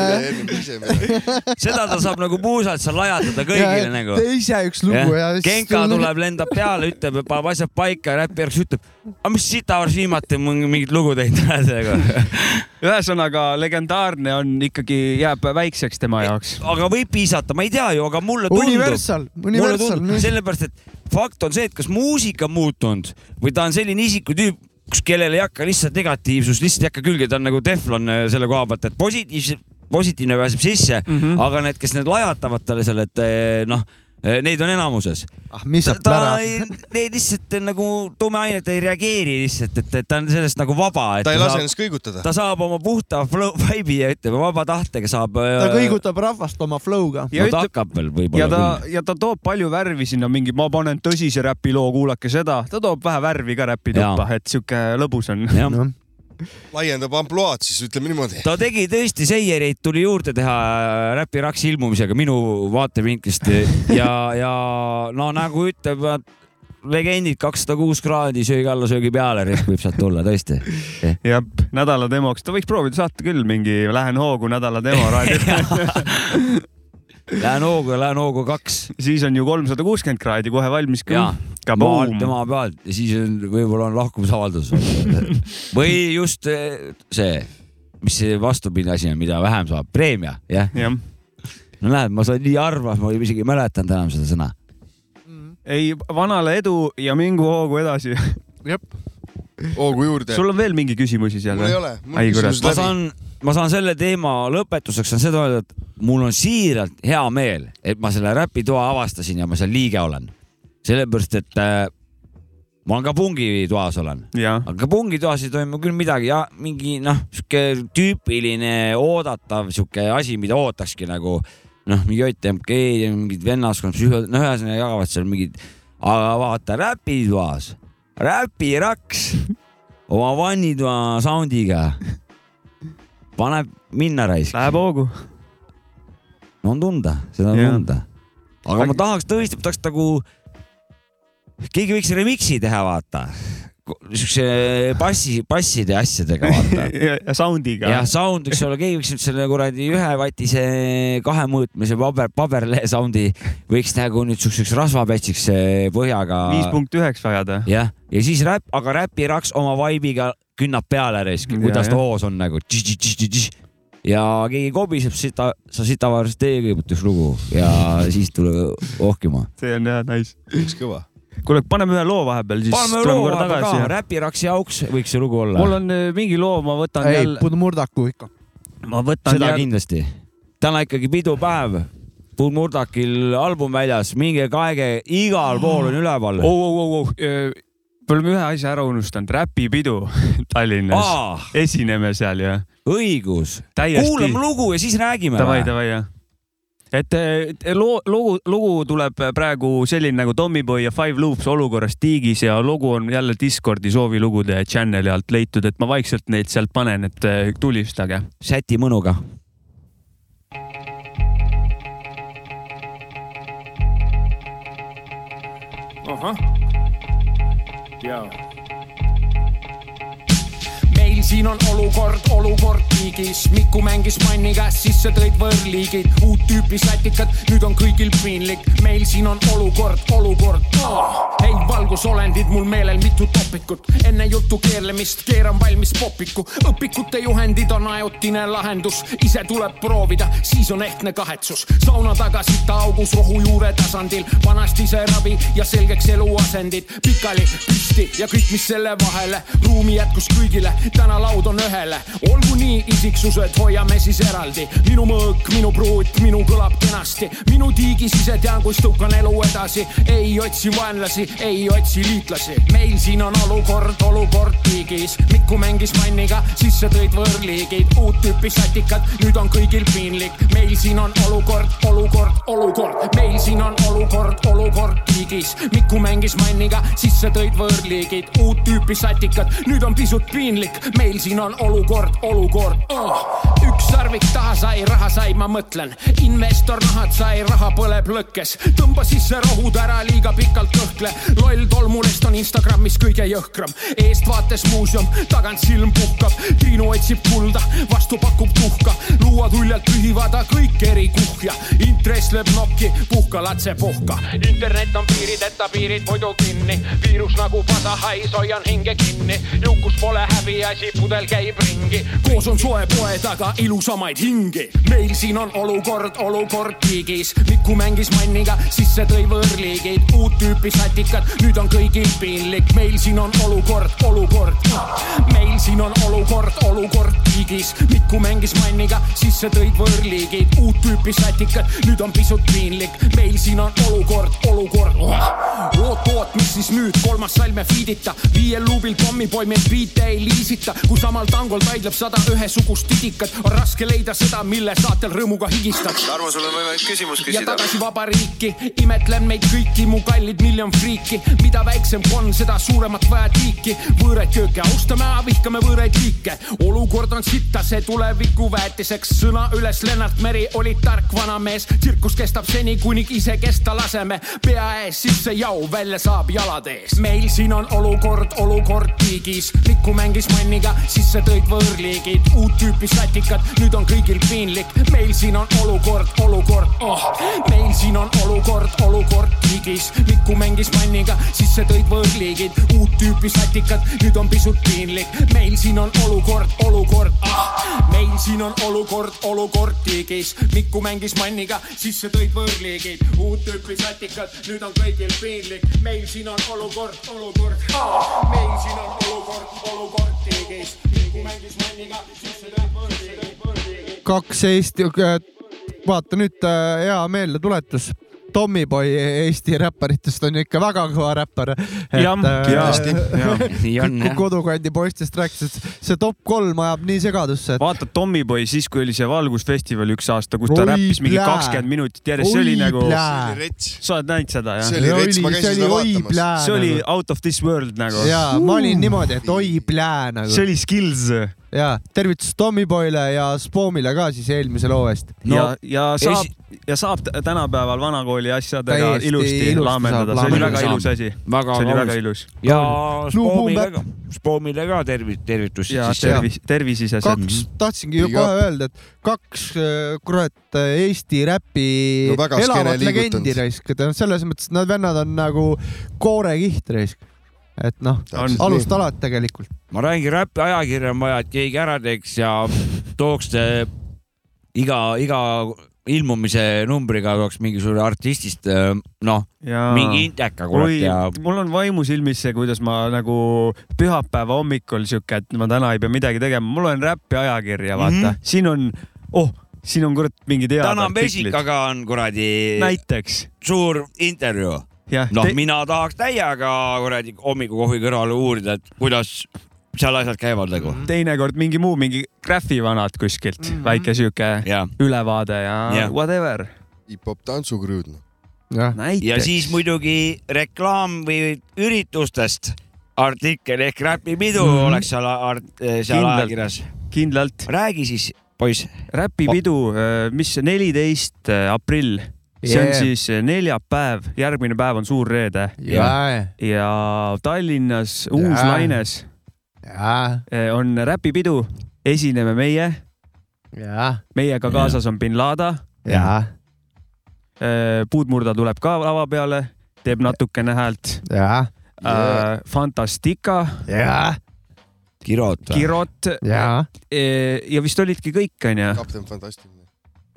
[SPEAKER 3] seda ta saab nagu puusalt seal lajatada kõigile nagu .
[SPEAKER 1] tee ise üks lugu ja .
[SPEAKER 3] Genka tuleb , lendab peale , ütleb , paneb asjad paika , räpiraks ütleb , aga mis sita varsti viimati mingi- mingit lugu teinud oled nagu .
[SPEAKER 2] ühesõnaga legendaarne on ikkagi , jääb väikseks tema jaoks .
[SPEAKER 3] aga võib piisata , ma ei tea ju , aga mulle tundub ,
[SPEAKER 1] Universal ,
[SPEAKER 3] mulle
[SPEAKER 1] Universal .
[SPEAKER 3] tundub , sellepärast et fakt on see , et kas muusika on muutunud või ta on selline isikutüüp , kus , kellel ei hakka lihtsalt negatiivsus , lihtsalt ei hakka külge , ta on nagu teflon äh, selle koha pealt , et positiivse , positiivne pääseb sisse mm , -hmm. aga need , kes need lajatavad talle seal , et eh, noh , neid on enamuses .
[SPEAKER 1] ah , mis
[SPEAKER 3] ta
[SPEAKER 1] sealt
[SPEAKER 3] ta
[SPEAKER 1] ära .
[SPEAKER 3] ei , neid lihtsalt nagu tumeainet ei reageeri lihtsalt , et , et ta on sellest nagu vaba .
[SPEAKER 4] ta ei lase ennast kõigutada .
[SPEAKER 3] ta saab oma puhta flow vibe'i ja ütleme vaba tahtega saab .
[SPEAKER 1] ta . kõigutab rahvast oma flow'ga .
[SPEAKER 2] ja
[SPEAKER 3] no ta
[SPEAKER 2] ütleb ,
[SPEAKER 3] hakkab veel
[SPEAKER 2] ja
[SPEAKER 3] võib-olla
[SPEAKER 2] ta , ja ta toob palju värvi sinna , mingi ma panen tõsise räpiloo , kuulake seda , ta toob vähe värvi ka räpituppa , et sihuke lõbus on .
[SPEAKER 3] küll . jah
[SPEAKER 1] No.
[SPEAKER 4] laiendab ampluaad siis , ütleme niimoodi .
[SPEAKER 3] ta tegi tõesti seiereid , tuli juurde teha äh, Räpi Raks ilmumisega minu vaatevinklist ja , ja no nagu ütlevad legendid kakssada kuus kraadi söögi alla , söögi peale , risk võib sealt tulla tõesti .
[SPEAKER 2] jah , nädala demoks , ta võiks proovida saata küll mingi Lähen hoogu nädala demo raadio ,
[SPEAKER 3] Lähen hoogu ja lähen hoogu kaks
[SPEAKER 2] siis on ju kolmsada kuuskümmend kraadi kohe valmis
[SPEAKER 3] ja
[SPEAKER 2] ka .
[SPEAKER 3] maalt ja maa pealt ja siis on võib-olla on lahkumisavaldus või just eh, see , mis see vastupidi asi on , mida vähem saab , preemia , jah .
[SPEAKER 2] jah ,
[SPEAKER 3] no näed , ma sain nii harva , ma isegi ei mäletanud enam seda sõna .
[SPEAKER 2] ei vanale edu ja mingu hoogu edasi .
[SPEAKER 4] hoogu juurde .
[SPEAKER 2] sul on veel mingi küsimusi seal
[SPEAKER 4] mul ei ? ole , mul
[SPEAKER 2] Ai, kurat.
[SPEAKER 4] küsimused
[SPEAKER 3] ma
[SPEAKER 4] läbi .
[SPEAKER 3] saan , ma saan selle teema lõpetuseks on seda öelda , et mul on siiralt hea meel , et ma selle räpitoa avastasin ja ma seal liige olen . sellepärast et äh, ma ka pungitoas olen ,
[SPEAKER 2] jah ,
[SPEAKER 3] aga pungitoas ei toimu küll midagi ja mingi noh , sihuke tüüpiline oodatav sihuke asi , mida ootakski nagu noh , mingi JTMK ja mingid vennaskond , noh , ühesõnaga jagavad seal mingid , aga vaata räpitoas , räpiraks oma vannitoa soundiga paneb minna raisk ,
[SPEAKER 2] läheb hoogu .
[SPEAKER 3] no on tunda , seda on
[SPEAKER 2] Jah.
[SPEAKER 3] tunda . aga ma
[SPEAKER 2] Aga-
[SPEAKER 3] tahaks tõesti , tahaks nagu , keegi võiks remix'i teha , vaata . Siukse bassi , basside asjadega , vaata .
[SPEAKER 2] ja ja sound'iga .
[SPEAKER 3] jah , sound võiks olla , keegi võiks nüüd selle kuradi ühevatise kahemõõtmise paber , paberlehe sound'i võiks nagu nüüd siukseks rasvapätsiks eh, põhjaga .
[SPEAKER 2] viis punkt üheks ajada .
[SPEAKER 3] jah , ja siis räpp , aga räpiraks oma vaibiga künnab peale risk , kuidas
[SPEAKER 2] Ja,
[SPEAKER 3] ta
[SPEAKER 2] jah.
[SPEAKER 3] hoos on nagu . ja keegi kobiseb sita , sa sitavarust tee kõigepealt üks lugu ja siis tule ohkima .
[SPEAKER 2] see on jah nice .
[SPEAKER 4] üks kõva .
[SPEAKER 2] kuule , paneme ühe loo vahepeal , siis
[SPEAKER 3] paneme
[SPEAKER 2] tuleme
[SPEAKER 3] loo
[SPEAKER 2] korra
[SPEAKER 3] vahepeal ka ,
[SPEAKER 2] tagasi .
[SPEAKER 3] räpiraks ja auks võiks see lugu olla .
[SPEAKER 2] mul on äh, mingi loo , ma võtan
[SPEAKER 1] ei ,
[SPEAKER 2] jälle ,
[SPEAKER 1] murdaku ikka .
[SPEAKER 2] ma võtan
[SPEAKER 3] seda
[SPEAKER 2] jälle ,
[SPEAKER 3] kindlasti . täna ikkagi pidupäev . Puul Murdakil album väljas , minge kaege , igal pool on üleval
[SPEAKER 2] oh , oh , oh , oh , me oleme ühe asja ära unustanud , räpipidu Tallinnas .
[SPEAKER 3] oh. .
[SPEAKER 2] esineme seal ja
[SPEAKER 3] õigus ,
[SPEAKER 2] täiesti
[SPEAKER 3] kuulame . lugu ja siis räägime .
[SPEAKER 2] Davai , davai jah . et eh, et loo , lugu , lugu tuleb praegu selline nagu Tommyboy ja Five Loops olukorras tiigis ja lugu on jälle Discordi soovilugude channel'i alt leitud , et ma vaikselt neid sealt panen , et eh, tulistage .
[SPEAKER 3] säti mõnuga .
[SPEAKER 8] ahah , jaa
[SPEAKER 9] meil siin on olukord , olukord tiigis . Miku mängis manni käest , sisse tõid võõrliigid , uut tüüpi sätikad , nüüd on kõigil piinlik . meil siin on olukord , olukord ah! . ei , valgusolendid mul meelel mitu topikut , enne jutu keerlemist keeran valmis popiku . õpikute juhendid on ajutine lahendus , ise tuleb proovida , siis on ehtne kahetsus . sauna taga sitaaugus rohujuure tasandil , vanasti sai ravi ja selgeks eluasendid , pikali , püsti ja kõik , mis selle vahele , ruumi jätkus kõigile , täna laud on ühele . olgu nii , isiksused , hoiame siis eraldi . minu mõõk , minu pruut , minu kõlab kenasti , minu tiigis ise tean , kus tõukan elu edasi . ei otsi vaenlasi , ei otsi liitlasi . meil siin on olukord , olukord tiigis . Miku mängis manniga , sisse tõid võõrliigid , uut tüüpi satikad , nüüd on kõigil piinlik . meil siin on olukord , olukord , olukord , meil siin on olukord , olukord tiigis . Miku mängis manniga , sisse tõid võõrliigid , uut tüüpi satikad , nüüd on pisut piinlik . meil siin on olukord , olukord oh. . üks sarvik taha sai , raha sai , ma mõtlen . investor nahad sai , raha põleb lõkkes . tõmba sisse rohud ära , liiga pikalt kõhkle . loll tolmulest on Instagramis kõige jõhkram . eestvaates muuseum , tagant silm puhkab . Triinu otsib kulda , vastu pakub tuhka . luuad uljalt pühivada kõik eri kuhja . intress lööb nokki , puhka latse puhka . internet on piirideta , piirid muidu kinni . viirus nagu pasahais , hoian hinge kinni . jõukus pole häbiasi , pudel käib ringi . koos on soe poe taga ilusamaid hingi . meil siin on olukord , olukord tiigis . Miku mängis manniga , sisse tõi võõrliigid , uut tüüpi satikad , nüüd on kõigil piinlik . meil siin on olukord , olukord , meil siin on olukord , olukord tiigis . Miku mängis manniga , sisse tõid võõrliigid , uut tüüpi satikad , nüüd on pisut piinlik . meil siin on olukord , olukord , oot-oot , mis siis nüüd , kolmas salm ja feedita , viiel luubil pommipoi meil biite ei liisita , kui samal tangol taidleb sada ühesugust tidikat , on raske leida seda , mille saatel rõõmuga higistad .
[SPEAKER 8] Tarmo , sul on võimalik küsimus
[SPEAKER 9] ja tagasi vabariiki , imetlen meid kõiki , mu kallid miljon friiki , mida väiksem konn , seda suuremat vaja tiiki . võõraid kööke austame , vihkame võõraid liike , olukord on sitta , see tuleviku väetiseks . sõna üles , Lennart Meri oli tark vanamees , tsirkus kestab seni , kuni ise kesta laseme . pea ees sisse jau , välja saab jalad ees . meil siin on olukord , olukord tiigis , Miku mängis manniga , sisse tõid võõrliigid , uut tüüpi satikad , nüüd on kõigil piinlik , meil siin on olukord , olukord , oh . meil siin on olukord , olukord tiigis , Miku mängis manniga , sisse tõid võõrliigid , uut tüüpi satikad , nüüd on pisut piinlik , meil siin on olukord , olukord , ah . meil siin on olukord , olukord tiigis , Miku mängis manniga , sisse tõid võõrliigid , uut tüüpi satikad , nüüd on kõigil piinlik , meil siin on olukord , olukord , ah . meil siin on olukord , olukord tiigis , Miku mängis manniga , sisse tõid võõrliigid , võõrliigid .
[SPEAKER 1] kaks Eesti , vaata nüüd äh, hea meeldetuletus . Tommyboy Eesti räpparitest on ju ikka väga kõva räppar .
[SPEAKER 2] Jah, kindlasti. Jah. Nii on, jah.
[SPEAKER 1] kodukandi poistest rääkides , see top kolm ajab nii segadusse , et
[SPEAKER 2] vaata Tommyboy siis , kui oli see Valgusfestival üks aasta , kus ta
[SPEAKER 1] Oi,
[SPEAKER 2] räppis mingi
[SPEAKER 1] plää.
[SPEAKER 2] kakskümmend minutit järjest , see oli
[SPEAKER 1] Oi,
[SPEAKER 2] nagu ,
[SPEAKER 1] plää.
[SPEAKER 2] sa oled näinud seda jah ?
[SPEAKER 1] See oli rets, ma käisin seda vaatamas.
[SPEAKER 2] see oli
[SPEAKER 1] nagu.
[SPEAKER 2] out of this world nagu .
[SPEAKER 1] ja ma olin niimoodi , et oi plää nagu .
[SPEAKER 2] see oli skills .
[SPEAKER 1] ja tervitus Tommyboyle ja Spomile ka siis eelmise loo eest
[SPEAKER 2] no, . ja , ja saab esi... ja saab t- tänapäeval vanakooli asjadega
[SPEAKER 1] Täiesti
[SPEAKER 2] ilusti,
[SPEAKER 1] ilusti
[SPEAKER 2] ilusti laamendada ,
[SPEAKER 1] saab
[SPEAKER 2] see oli
[SPEAKER 1] laamendada.
[SPEAKER 2] väga ilus asi .
[SPEAKER 3] Väga
[SPEAKER 2] see oli
[SPEAKER 3] valus.
[SPEAKER 2] väga ilus .
[SPEAKER 3] ja
[SPEAKER 1] Blue
[SPEAKER 3] Spoomile
[SPEAKER 1] Boom
[SPEAKER 3] ka , Spoomile ka tervi- , tervitust
[SPEAKER 2] ja
[SPEAKER 3] siis .
[SPEAKER 2] tervis , tervisisesed .
[SPEAKER 1] kaks , tahtsingi ju
[SPEAKER 4] Mhm. Big
[SPEAKER 1] kohe öelda , et kaks äh, kurat Eesti räpi
[SPEAKER 4] No väga skeene
[SPEAKER 1] elavat
[SPEAKER 4] liigutanud.
[SPEAKER 1] legendi raisk , et noh, selles mõttes , et nad vennad on nagu koorekiht raisk . et noh ,
[SPEAKER 4] Täpselt
[SPEAKER 1] alust
[SPEAKER 4] nii.
[SPEAKER 1] alati tegelikult .
[SPEAKER 3] ma räägin räppi ajakirja on vaja , et keegi ära teeks ja tooks te- iga , iga ilmumise numbriga tooks mingisugune artistist äh, noh , mingi indeka kurat ja
[SPEAKER 2] mul on vaimu silmis see , kuidas ma nagu pühapäeva hommikul sihuke , et ma täna ei pea midagi tegema , mul on räppi ajakirja , vaata mm ,
[SPEAKER 3] Mhm.
[SPEAKER 2] -hmm. siin on , oh , siin on kurat mingid head
[SPEAKER 3] täna
[SPEAKER 2] artiklid .
[SPEAKER 3] Vesikaga on kuradi
[SPEAKER 2] näiteks ,
[SPEAKER 3] suur intervjuu .
[SPEAKER 2] jah
[SPEAKER 3] noh
[SPEAKER 2] Te- ,
[SPEAKER 3] mina tahaks täiega kuradi hommikukohvi kõrvale uurida , et kuidas seal asjad käivad nagu
[SPEAKER 2] teinekord mingi muu , mingi Graffi vanad kuskilt mm , -hmm. väike sihuke
[SPEAKER 3] ja ,
[SPEAKER 2] ülevaade ja yeah.
[SPEAKER 3] Mhm. Jah.
[SPEAKER 2] whatever .
[SPEAKER 4] hip-hop tantsukrüüd .
[SPEAKER 1] jah ,
[SPEAKER 3] ja siis muidugi reklaam või üritustest artikkel ehk räpipidu mm -hmm. oleks seal , seal
[SPEAKER 2] Mhm. Kindlalt.
[SPEAKER 3] ajakirjas .
[SPEAKER 2] kindlalt
[SPEAKER 3] räägi siis , poiss .
[SPEAKER 2] räpipidu , mis neliteist äh, aprill , see on
[SPEAKER 1] Yeah.
[SPEAKER 2] siis äh, neljapäev , järgmine päev on suur reede
[SPEAKER 1] ja ,
[SPEAKER 2] ja Tallinnas Uuslaines
[SPEAKER 1] ja ,
[SPEAKER 2] eh, on räpipidu , esineme meie ,
[SPEAKER 1] ja ,
[SPEAKER 2] meiega kaasas on bin Lada ,
[SPEAKER 1] ja ,
[SPEAKER 2] puudmurda tuleb ka lava peale , teeb natukene häält .
[SPEAKER 1] ja ,
[SPEAKER 2] Fantastica ,
[SPEAKER 1] ja ,
[SPEAKER 3] Kirot .
[SPEAKER 2] Kirot
[SPEAKER 1] ja ,
[SPEAKER 2] eh, ja vist olidki kõik , onju .
[SPEAKER 4] kapten fantastiline .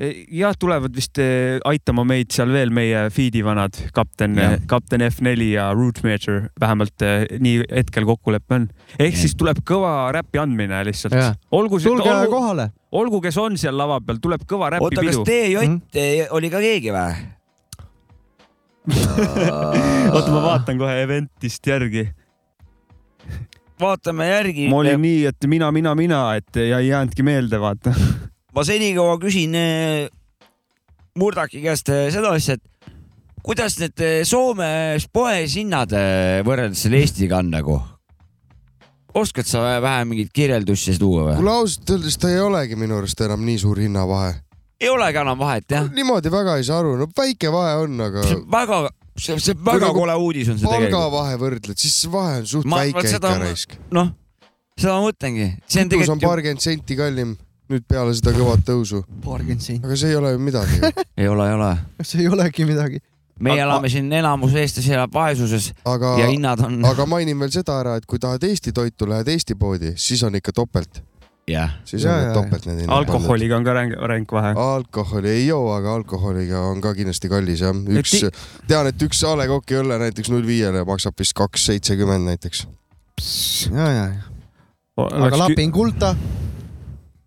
[SPEAKER 2] Eh, jah , tulevad vist eh, aitama meid seal veel meie feed'i vanad , kapten eh,
[SPEAKER 3] Jah. ,
[SPEAKER 2] kapten F4 ja Rootmeter , vähemalt eh, nii hetkel kokkulepe on . ehk
[SPEAKER 3] Jah.
[SPEAKER 2] siis tuleb kõva räpi andmine
[SPEAKER 1] Jah.
[SPEAKER 2] lihtsalt . olgu ,
[SPEAKER 1] tulge
[SPEAKER 2] olgu,
[SPEAKER 1] kohale .
[SPEAKER 2] olgu , kes on seal lava peal , tuleb kõva
[SPEAKER 3] oota , kas
[SPEAKER 2] räpipidu .
[SPEAKER 3] TJ
[SPEAKER 1] Mhm.
[SPEAKER 3] mm? oli ka keegi või ?
[SPEAKER 2] oota , ma vaatan kohe event'ist järgi .
[SPEAKER 3] vaatame järgi .
[SPEAKER 2] ma olin nii , et mina , mina , mina , et ja ei jäänudki meelde , vaata .
[SPEAKER 3] ma senikaua küsin eh, Murdaki käest eh, seda asja , et kuidas need eh, Soomes poes hinnad eh, võrreldes selle Eestiga on nagu ? oskad sa vä- vähe mingeid kirjeldusi tuua või ?
[SPEAKER 4] kuule ausalt öeldes ta ei olegi minu arust enam nii suur hinnavahe .
[SPEAKER 3] ei olegi enam vahet jah ,
[SPEAKER 4] niimoodi väga ei saa aru , no väike vahe on , aga
[SPEAKER 3] see on väga , see , see on
[SPEAKER 4] Kui
[SPEAKER 3] väga
[SPEAKER 4] nagu
[SPEAKER 3] kole uudis on see tegelikult .
[SPEAKER 4] palgavahe võrdled , siis see vahe on suht
[SPEAKER 3] Ma-
[SPEAKER 4] ma,
[SPEAKER 3] vaat
[SPEAKER 4] väike
[SPEAKER 3] seda
[SPEAKER 4] ikka
[SPEAKER 3] ma-
[SPEAKER 4] raisk .
[SPEAKER 3] noh , seda ma mõtlengi , see on
[SPEAKER 4] kus on
[SPEAKER 3] tegelikult ju...
[SPEAKER 4] paarkümmend senti kallim nüüd peale seda kõvat tõusu ,
[SPEAKER 1] paarkümmend senti ,
[SPEAKER 4] aga see ei ole ju midagi .
[SPEAKER 3] ei ole , ei ole ,
[SPEAKER 1] kas ei olegi midagi ?
[SPEAKER 3] meie
[SPEAKER 2] Aga-
[SPEAKER 3] elame siin , enamus eestlasi elab vaesuses
[SPEAKER 4] aga
[SPEAKER 3] ja , hinnad on
[SPEAKER 4] aga mainin veel seda ära , et kui tahad Eesti toitu , lähed Eesti poodi , siis on ikka topelt ,
[SPEAKER 3] jah ,
[SPEAKER 4] siis
[SPEAKER 1] Jaa,
[SPEAKER 4] on
[SPEAKER 1] jaa,
[SPEAKER 4] need topelt need hinnad .
[SPEAKER 2] alkoholiga on ka ränk , ränk vahe .
[SPEAKER 4] alkoholi ei joo , aga alkoholiga on ka kindlasti kallis jah , üks
[SPEAKER 2] ti- ,
[SPEAKER 4] tean , et üks A Le Coq'i õlle näiteks null viiele maksab vist kaks seitsekümmend näiteks .
[SPEAKER 1] ja , ja , aga lapin kulda .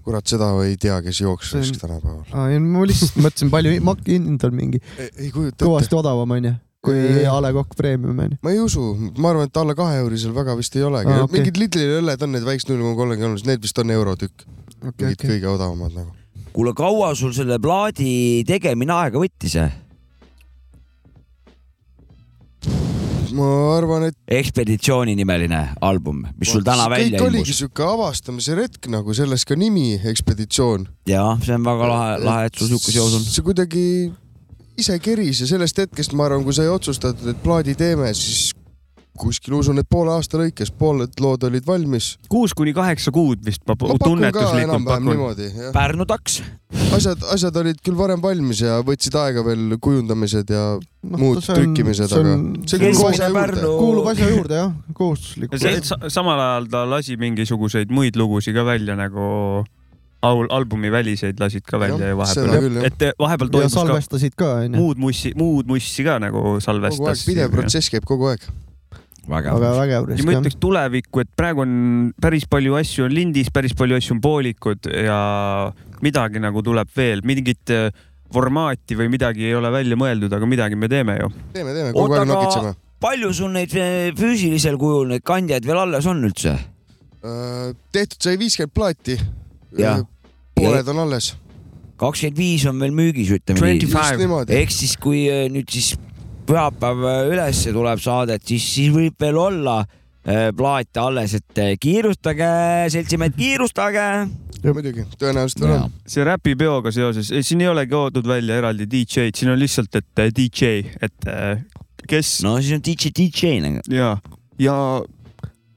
[SPEAKER 4] kurat , seda ei tea , kes jookseks
[SPEAKER 1] See on-
[SPEAKER 4] tänapäeval .
[SPEAKER 1] ma lihtsalt mõtlesin , palju mak- , hind on mingi
[SPEAKER 4] ei kujuta ette ,
[SPEAKER 1] kõvasti odavam onju , kui A Le Coq Premium onju .
[SPEAKER 4] ma ei usu , ma arvan , et alla kahe eurisel väga vist ei olegi
[SPEAKER 1] Aa,
[SPEAKER 4] ah, ,
[SPEAKER 1] okei.
[SPEAKER 4] okay. mingid Lidli õlled on need väiksed null koma kolmekümnes , need vist on eurotükk , mingid okay. kõige odavamad nagu .
[SPEAKER 3] kuule , kaua sul selle plaadi tegemine aega võttis ?
[SPEAKER 4] ma arvan , et
[SPEAKER 3] ekspeditsiooni nimeline album , mis sul täna välja
[SPEAKER 4] kõik oligi
[SPEAKER 3] ilmus .
[SPEAKER 4] sihuke avastamise retk nagu , selles ka nimi , ekspeditsioon .
[SPEAKER 3] ja see on väga lahe , lahe , et sul sihuke seos on .
[SPEAKER 4] see kuidagi ise keris ja sellest hetkest ma arvan , kui sai otsustatud , et plaadi teeme , siis kuskil usun , et poole aasta lõikes pooled lood olid valmis .
[SPEAKER 2] kuus kuni kaheksa kuud vist ma,
[SPEAKER 4] ma
[SPEAKER 2] ma
[SPEAKER 4] pakun ka
[SPEAKER 2] tunnetuslikult
[SPEAKER 4] enam-vähem
[SPEAKER 2] pakun .
[SPEAKER 4] niimoodi , jah .
[SPEAKER 3] Pärnu taks ,
[SPEAKER 4] asjad , asjad olid küll varem valmis ja võtsid aega veel kujundamised ja
[SPEAKER 1] Noh,
[SPEAKER 4] muud trükkimised , aga see
[SPEAKER 1] kuulub
[SPEAKER 4] kuulub
[SPEAKER 3] keskmine
[SPEAKER 4] asja juurde
[SPEAKER 3] Pärnu- .
[SPEAKER 1] kuulub asja juurde jah ,
[SPEAKER 2] ja
[SPEAKER 1] kohustuslikult .
[SPEAKER 2] see , et sa, samal ajal ta lasi mingisuguseid muid lugusid ka välja nagu aul, albumi väliseid lasid ka välja
[SPEAKER 4] Jah,
[SPEAKER 2] ju
[SPEAKER 4] seda
[SPEAKER 2] vahepeal
[SPEAKER 4] küll, , jah.
[SPEAKER 2] et vahepeal
[SPEAKER 1] ja
[SPEAKER 2] toimus ka
[SPEAKER 1] salvestasid ka onju ,
[SPEAKER 2] muud mussi , muud mussi ka nagu
[SPEAKER 4] kogu aeg
[SPEAKER 2] salvestas .
[SPEAKER 4] pidev protsess käib kogu aeg .
[SPEAKER 1] aga
[SPEAKER 3] vägev .
[SPEAKER 1] vägev
[SPEAKER 2] ja ma
[SPEAKER 1] risk
[SPEAKER 2] ütleks tulevikku , et praegu on päris palju asju on lindis , päris palju asju on poolikud ja midagi nagu tuleb veel , mingit äh, formaati või midagi ei ole välja mõeldud , aga midagi me teeme ju .
[SPEAKER 4] teeme , teeme , kogu aeg nokitseme .,
[SPEAKER 3] palju sul neid eh, füüsilisel kujul neid kandjaid veel alles on üldse ?
[SPEAKER 4] Äh, tehtud sai viiskümmend plaati .
[SPEAKER 3] Jah.
[SPEAKER 4] pooled on alles .
[SPEAKER 3] kakskümmend viis on veel müügis , ütleme nii .
[SPEAKER 4] just niimoodi .
[SPEAKER 3] ehk siis , kui eh, nüüd siis pühapäev eh, ülesse tuleb saadet , siis , siis võib veel olla eh, plaate alles , et eh, kiirustage , seltsimehed , kiirustage .
[SPEAKER 4] muidugi , tõenäoliselt veel on .
[SPEAKER 2] see räpipeoga seoses , siin ei ole toodud välja eraldi DJ-d , siin on lihtsalt , et eh, DJ , et eh, kes
[SPEAKER 3] no siis on DJ , DJ-na .
[SPEAKER 2] ja , ja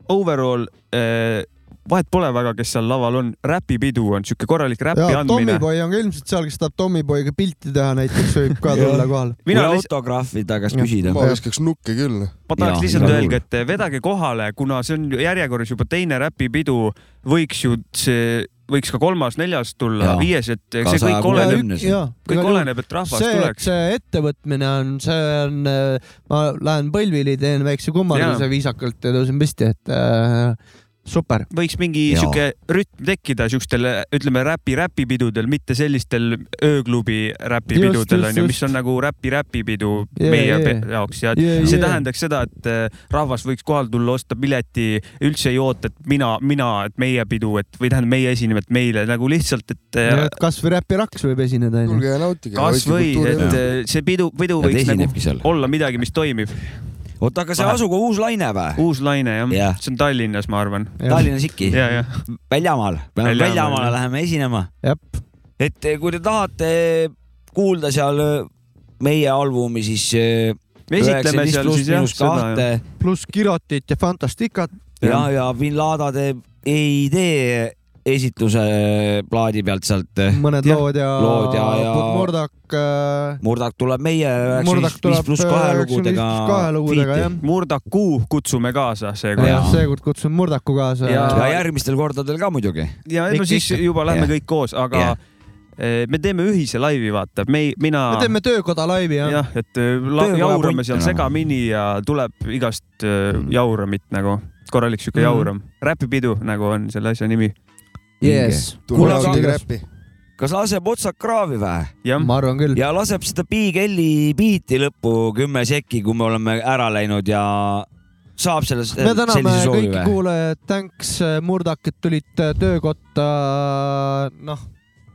[SPEAKER 2] overall eh, vahet pole väga , kes seal laval on , räpipidu on sihuke korralik räpi
[SPEAKER 1] ja
[SPEAKER 2] andmine .
[SPEAKER 1] Tommyboy on ka ilmselt seal , kes tahab Tommyboyga pilti teha näiteks , võib ka tulla kohale .
[SPEAKER 3] või
[SPEAKER 2] mina lihtsalt ,
[SPEAKER 3] autograafi tagasi
[SPEAKER 1] Jah.
[SPEAKER 3] küsida .
[SPEAKER 4] ma viskaks nukke küll .
[SPEAKER 2] ma tahaks
[SPEAKER 3] Jaa,
[SPEAKER 2] lihtsalt
[SPEAKER 3] igal
[SPEAKER 2] öelda , et eh, vedage kohale , kuna see on ju järjekorras juba teine räpipidu , võiks ju see , võiks ka kolmas-neljas
[SPEAKER 3] Jaa. ,
[SPEAKER 2] tulla viies , et eh, see
[SPEAKER 3] saja
[SPEAKER 2] kõik
[SPEAKER 3] kuue-
[SPEAKER 2] oleneb ,
[SPEAKER 3] kümnes.
[SPEAKER 2] kõik . oleneb , et rahvas
[SPEAKER 1] see , et
[SPEAKER 2] tuleks .
[SPEAKER 1] see ettevõtmine on , see on , ma lähen põlvili , teen väikse kummarduse
[SPEAKER 2] Jaa.
[SPEAKER 1] viisakalt ja tõusen püsti , et äh, super .
[SPEAKER 2] võiks mingi
[SPEAKER 3] Jaa.
[SPEAKER 2] sihuke rütm tekkida siukestel , ütleme räpi , räpipidudel , mitte sellistel ööklubi räpipidudel
[SPEAKER 1] Just,
[SPEAKER 2] onju ,
[SPEAKER 1] just,
[SPEAKER 2] mis on nagu räpi , räpipidu
[SPEAKER 1] Jaa,
[SPEAKER 2] meie
[SPEAKER 1] jaa.
[SPEAKER 2] pe- jaoks ja
[SPEAKER 1] Jaa,
[SPEAKER 2] see
[SPEAKER 1] jaa.
[SPEAKER 2] tähendaks seda , et äh, rahvas võiks kohale tulla , osta pileti , üldse ei oota , et mina , mina , et meie pidu , et või tähendab meie esineme , et meile nagu lihtsalt , et äh,
[SPEAKER 1] kasvõi Räpi Raks võib esineda , onju .
[SPEAKER 4] tulge ja nautige .
[SPEAKER 2] kasvõi , et äh, see pidu , pidu
[SPEAKER 3] Nad
[SPEAKER 2] võiks nagu
[SPEAKER 3] esinebki seal .
[SPEAKER 2] olla midagi , mis toimib .
[SPEAKER 3] oota , aga see
[SPEAKER 2] Vahe-
[SPEAKER 3] asugu uus laine või ?
[SPEAKER 2] uus laine jah
[SPEAKER 3] Jah.
[SPEAKER 2] yeah. , see on Tallinnas , ma arvan .
[SPEAKER 3] Tallinnas ikka .
[SPEAKER 2] ja , ja
[SPEAKER 3] väljamaal , peame
[SPEAKER 2] Väljamaal,
[SPEAKER 3] väljamaale
[SPEAKER 2] jah.
[SPEAKER 3] läheme esinema .
[SPEAKER 1] jah ,
[SPEAKER 3] et eh, kui te tahate eh, kuulda seal eh, meie albumi , siis eh,
[SPEAKER 2] me esitleme
[SPEAKER 3] 19
[SPEAKER 2] seal
[SPEAKER 3] pluss
[SPEAKER 2] siis jah ,
[SPEAKER 3] miinus
[SPEAKER 2] seda jah.
[SPEAKER 3] kahte
[SPEAKER 1] pluss Girotit ja Fantasticat .
[SPEAKER 3] ja , ja Bin Laden teeb ei tee esitluse eh, plaadi pealt sealt . eh,
[SPEAKER 1] mõned
[SPEAKER 2] Jah.
[SPEAKER 1] lood ja,
[SPEAKER 3] Lood ja- ja-
[SPEAKER 1] Murdak äh, .
[SPEAKER 3] Murdak tuleb meie
[SPEAKER 1] Murdak
[SPEAKER 3] üheksakümmend
[SPEAKER 1] tuleb
[SPEAKER 3] viis pluss kahe
[SPEAKER 1] üheksakümmend viis
[SPEAKER 3] lugudega .
[SPEAKER 1] pluss kahe lugudega , jah .
[SPEAKER 2] Murdaku kutsume kaasa seekord .
[SPEAKER 1] ja
[SPEAKER 3] Jaa.
[SPEAKER 1] seekord kutsun Murdaku kaasa
[SPEAKER 2] Ja-
[SPEAKER 3] ja järgmistel kordadel ka muidugi .
[SPEAKER 2] ja no
[SPEAKER 1] Ikka,
[SPEAKER 2] siis
[SPEAKER 1] ikka.
[SPEAKER 2] juba lähme
[SPEAKER 3] Jah.
[SPEAKER 2] kõik koos , aga
[SPEAKER 3] Jah.
[SPEAKER 2] eh, me teeme ühise laivi , vaata , me , mina .
[SPEAKER 1] me teeme töökoda laivi , jah .
[SPEAKER 2] jah , et eh, la-
[SPEAKER 3] Töökoja
[SPEAKER 2] jaurame
[SPEAKER 3] punt,
[SPEAKER 2] seal
[SPEAKER 3] noh.
[SPEAKER 2] segamini ja tuleb igast eh, jauramit nagu , korralik sihuke
[SPEAKER 1] Mhm.
[SPEAKER 2] jauram , räpipidu nagu on selle asja nimi .
[SPEAKER 1] Yes .
[SPEAKER 4] tulge ja nautige
[SPEAKER 1] ma
[SPEAKER 4] räppi .
[SPEAKER 3] kas laseb otsad kraavi või ?
[SPEAKER 2] jah ,
[SPEAKER 1] arvan küll .
[SPEAKER 3] ja laseb seda Big L-i biiti lõppu kümme sekki , kui me oleme ära läinud ja saab selles ,
[SPEAKER 1] me täname
[SPEAKER 3] sellise soovi
[SPEAKER 1] kõiki
[SPEAKER 3] või ?
[SPEAKER 1] kuulajad , thanks , Murdak , et tulid äh, töökotta , noh ,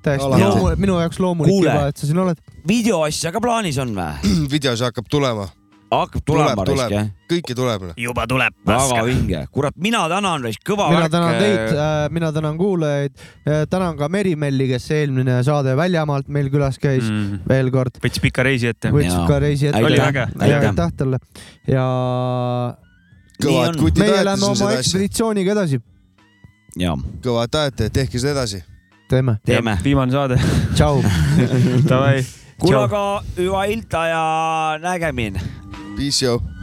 [SPEAKER 1] täiesti
[SPEAKER 4] Alati.
[SPEAKER 1] loomu- , minu jaoks loomulik
[SPEAKER 3] Kuule.
[SPEAKER 1] juba , et sa siin oled .
[SPEAKER 3] videoasja ka plaanis on või ?
[SPEAKER 4] videos hakkab tulema ,
[SPEAKER 3] hakkab
[SPEAKER 4] Tuleb,
[SPEAKER 3] tulema
[SPEAKER 4] tuleb.
[SPEAKER 3] raisk jah ?
[SPEAKER 4] kõike tuleb . noh.
[SPEAKER 6] juba tuleb
[SPEAKER 3] väga vinge , kurat , mina tänan raisk , kõva
[SPEAKER 1] mina
[SPEAKER 3] värk . äh.
[SPEAKER 1] tänan teid , mina tänan kuulajaid , tänan ka Merimelli , kes eelmine saade väljamaalt meil külas käis mm. ,
[SPEAKER 2] mm.
[SPEAKER 1] veel kord ,
[SPEAKER 2] võttis pika reisi ette .
[SPEAKER 1] võttis
[SPEAKER 3] Jaa.
[SPEAKER 1] ka reisi ette .
[SPEAKER 3] Oli
[SPEAKER 2] äge.
[SPEAKER 1] aitäh talle ja
[SPEAKER 4] kõvad
[SPEAKER 3] on.
[SPEAKER 4] kutid
[SPEAKER 1] meie
[SPEAKER 4] aetakse
[SPEAKER 1] läheme oma
[SPEAKER 4] seda asja ,
[SPEAKER 1] ekspeditsiooniga edasi ,
[SPEAKER 3] ja
[SPEAKER 4] kõvad ajate , tehke seda edasi .
[SPEAKER 1] teeme ,
[SPEAKER 3] teeme .
[SPEAKER 2] viimane saade ,
[SPEAKER 1] tšau .
[SPEAKER 2] davai .
[SPEAKER 3] kuule , aga hüva ilta ja nägemin .
[SPEAKER 4] Peace you .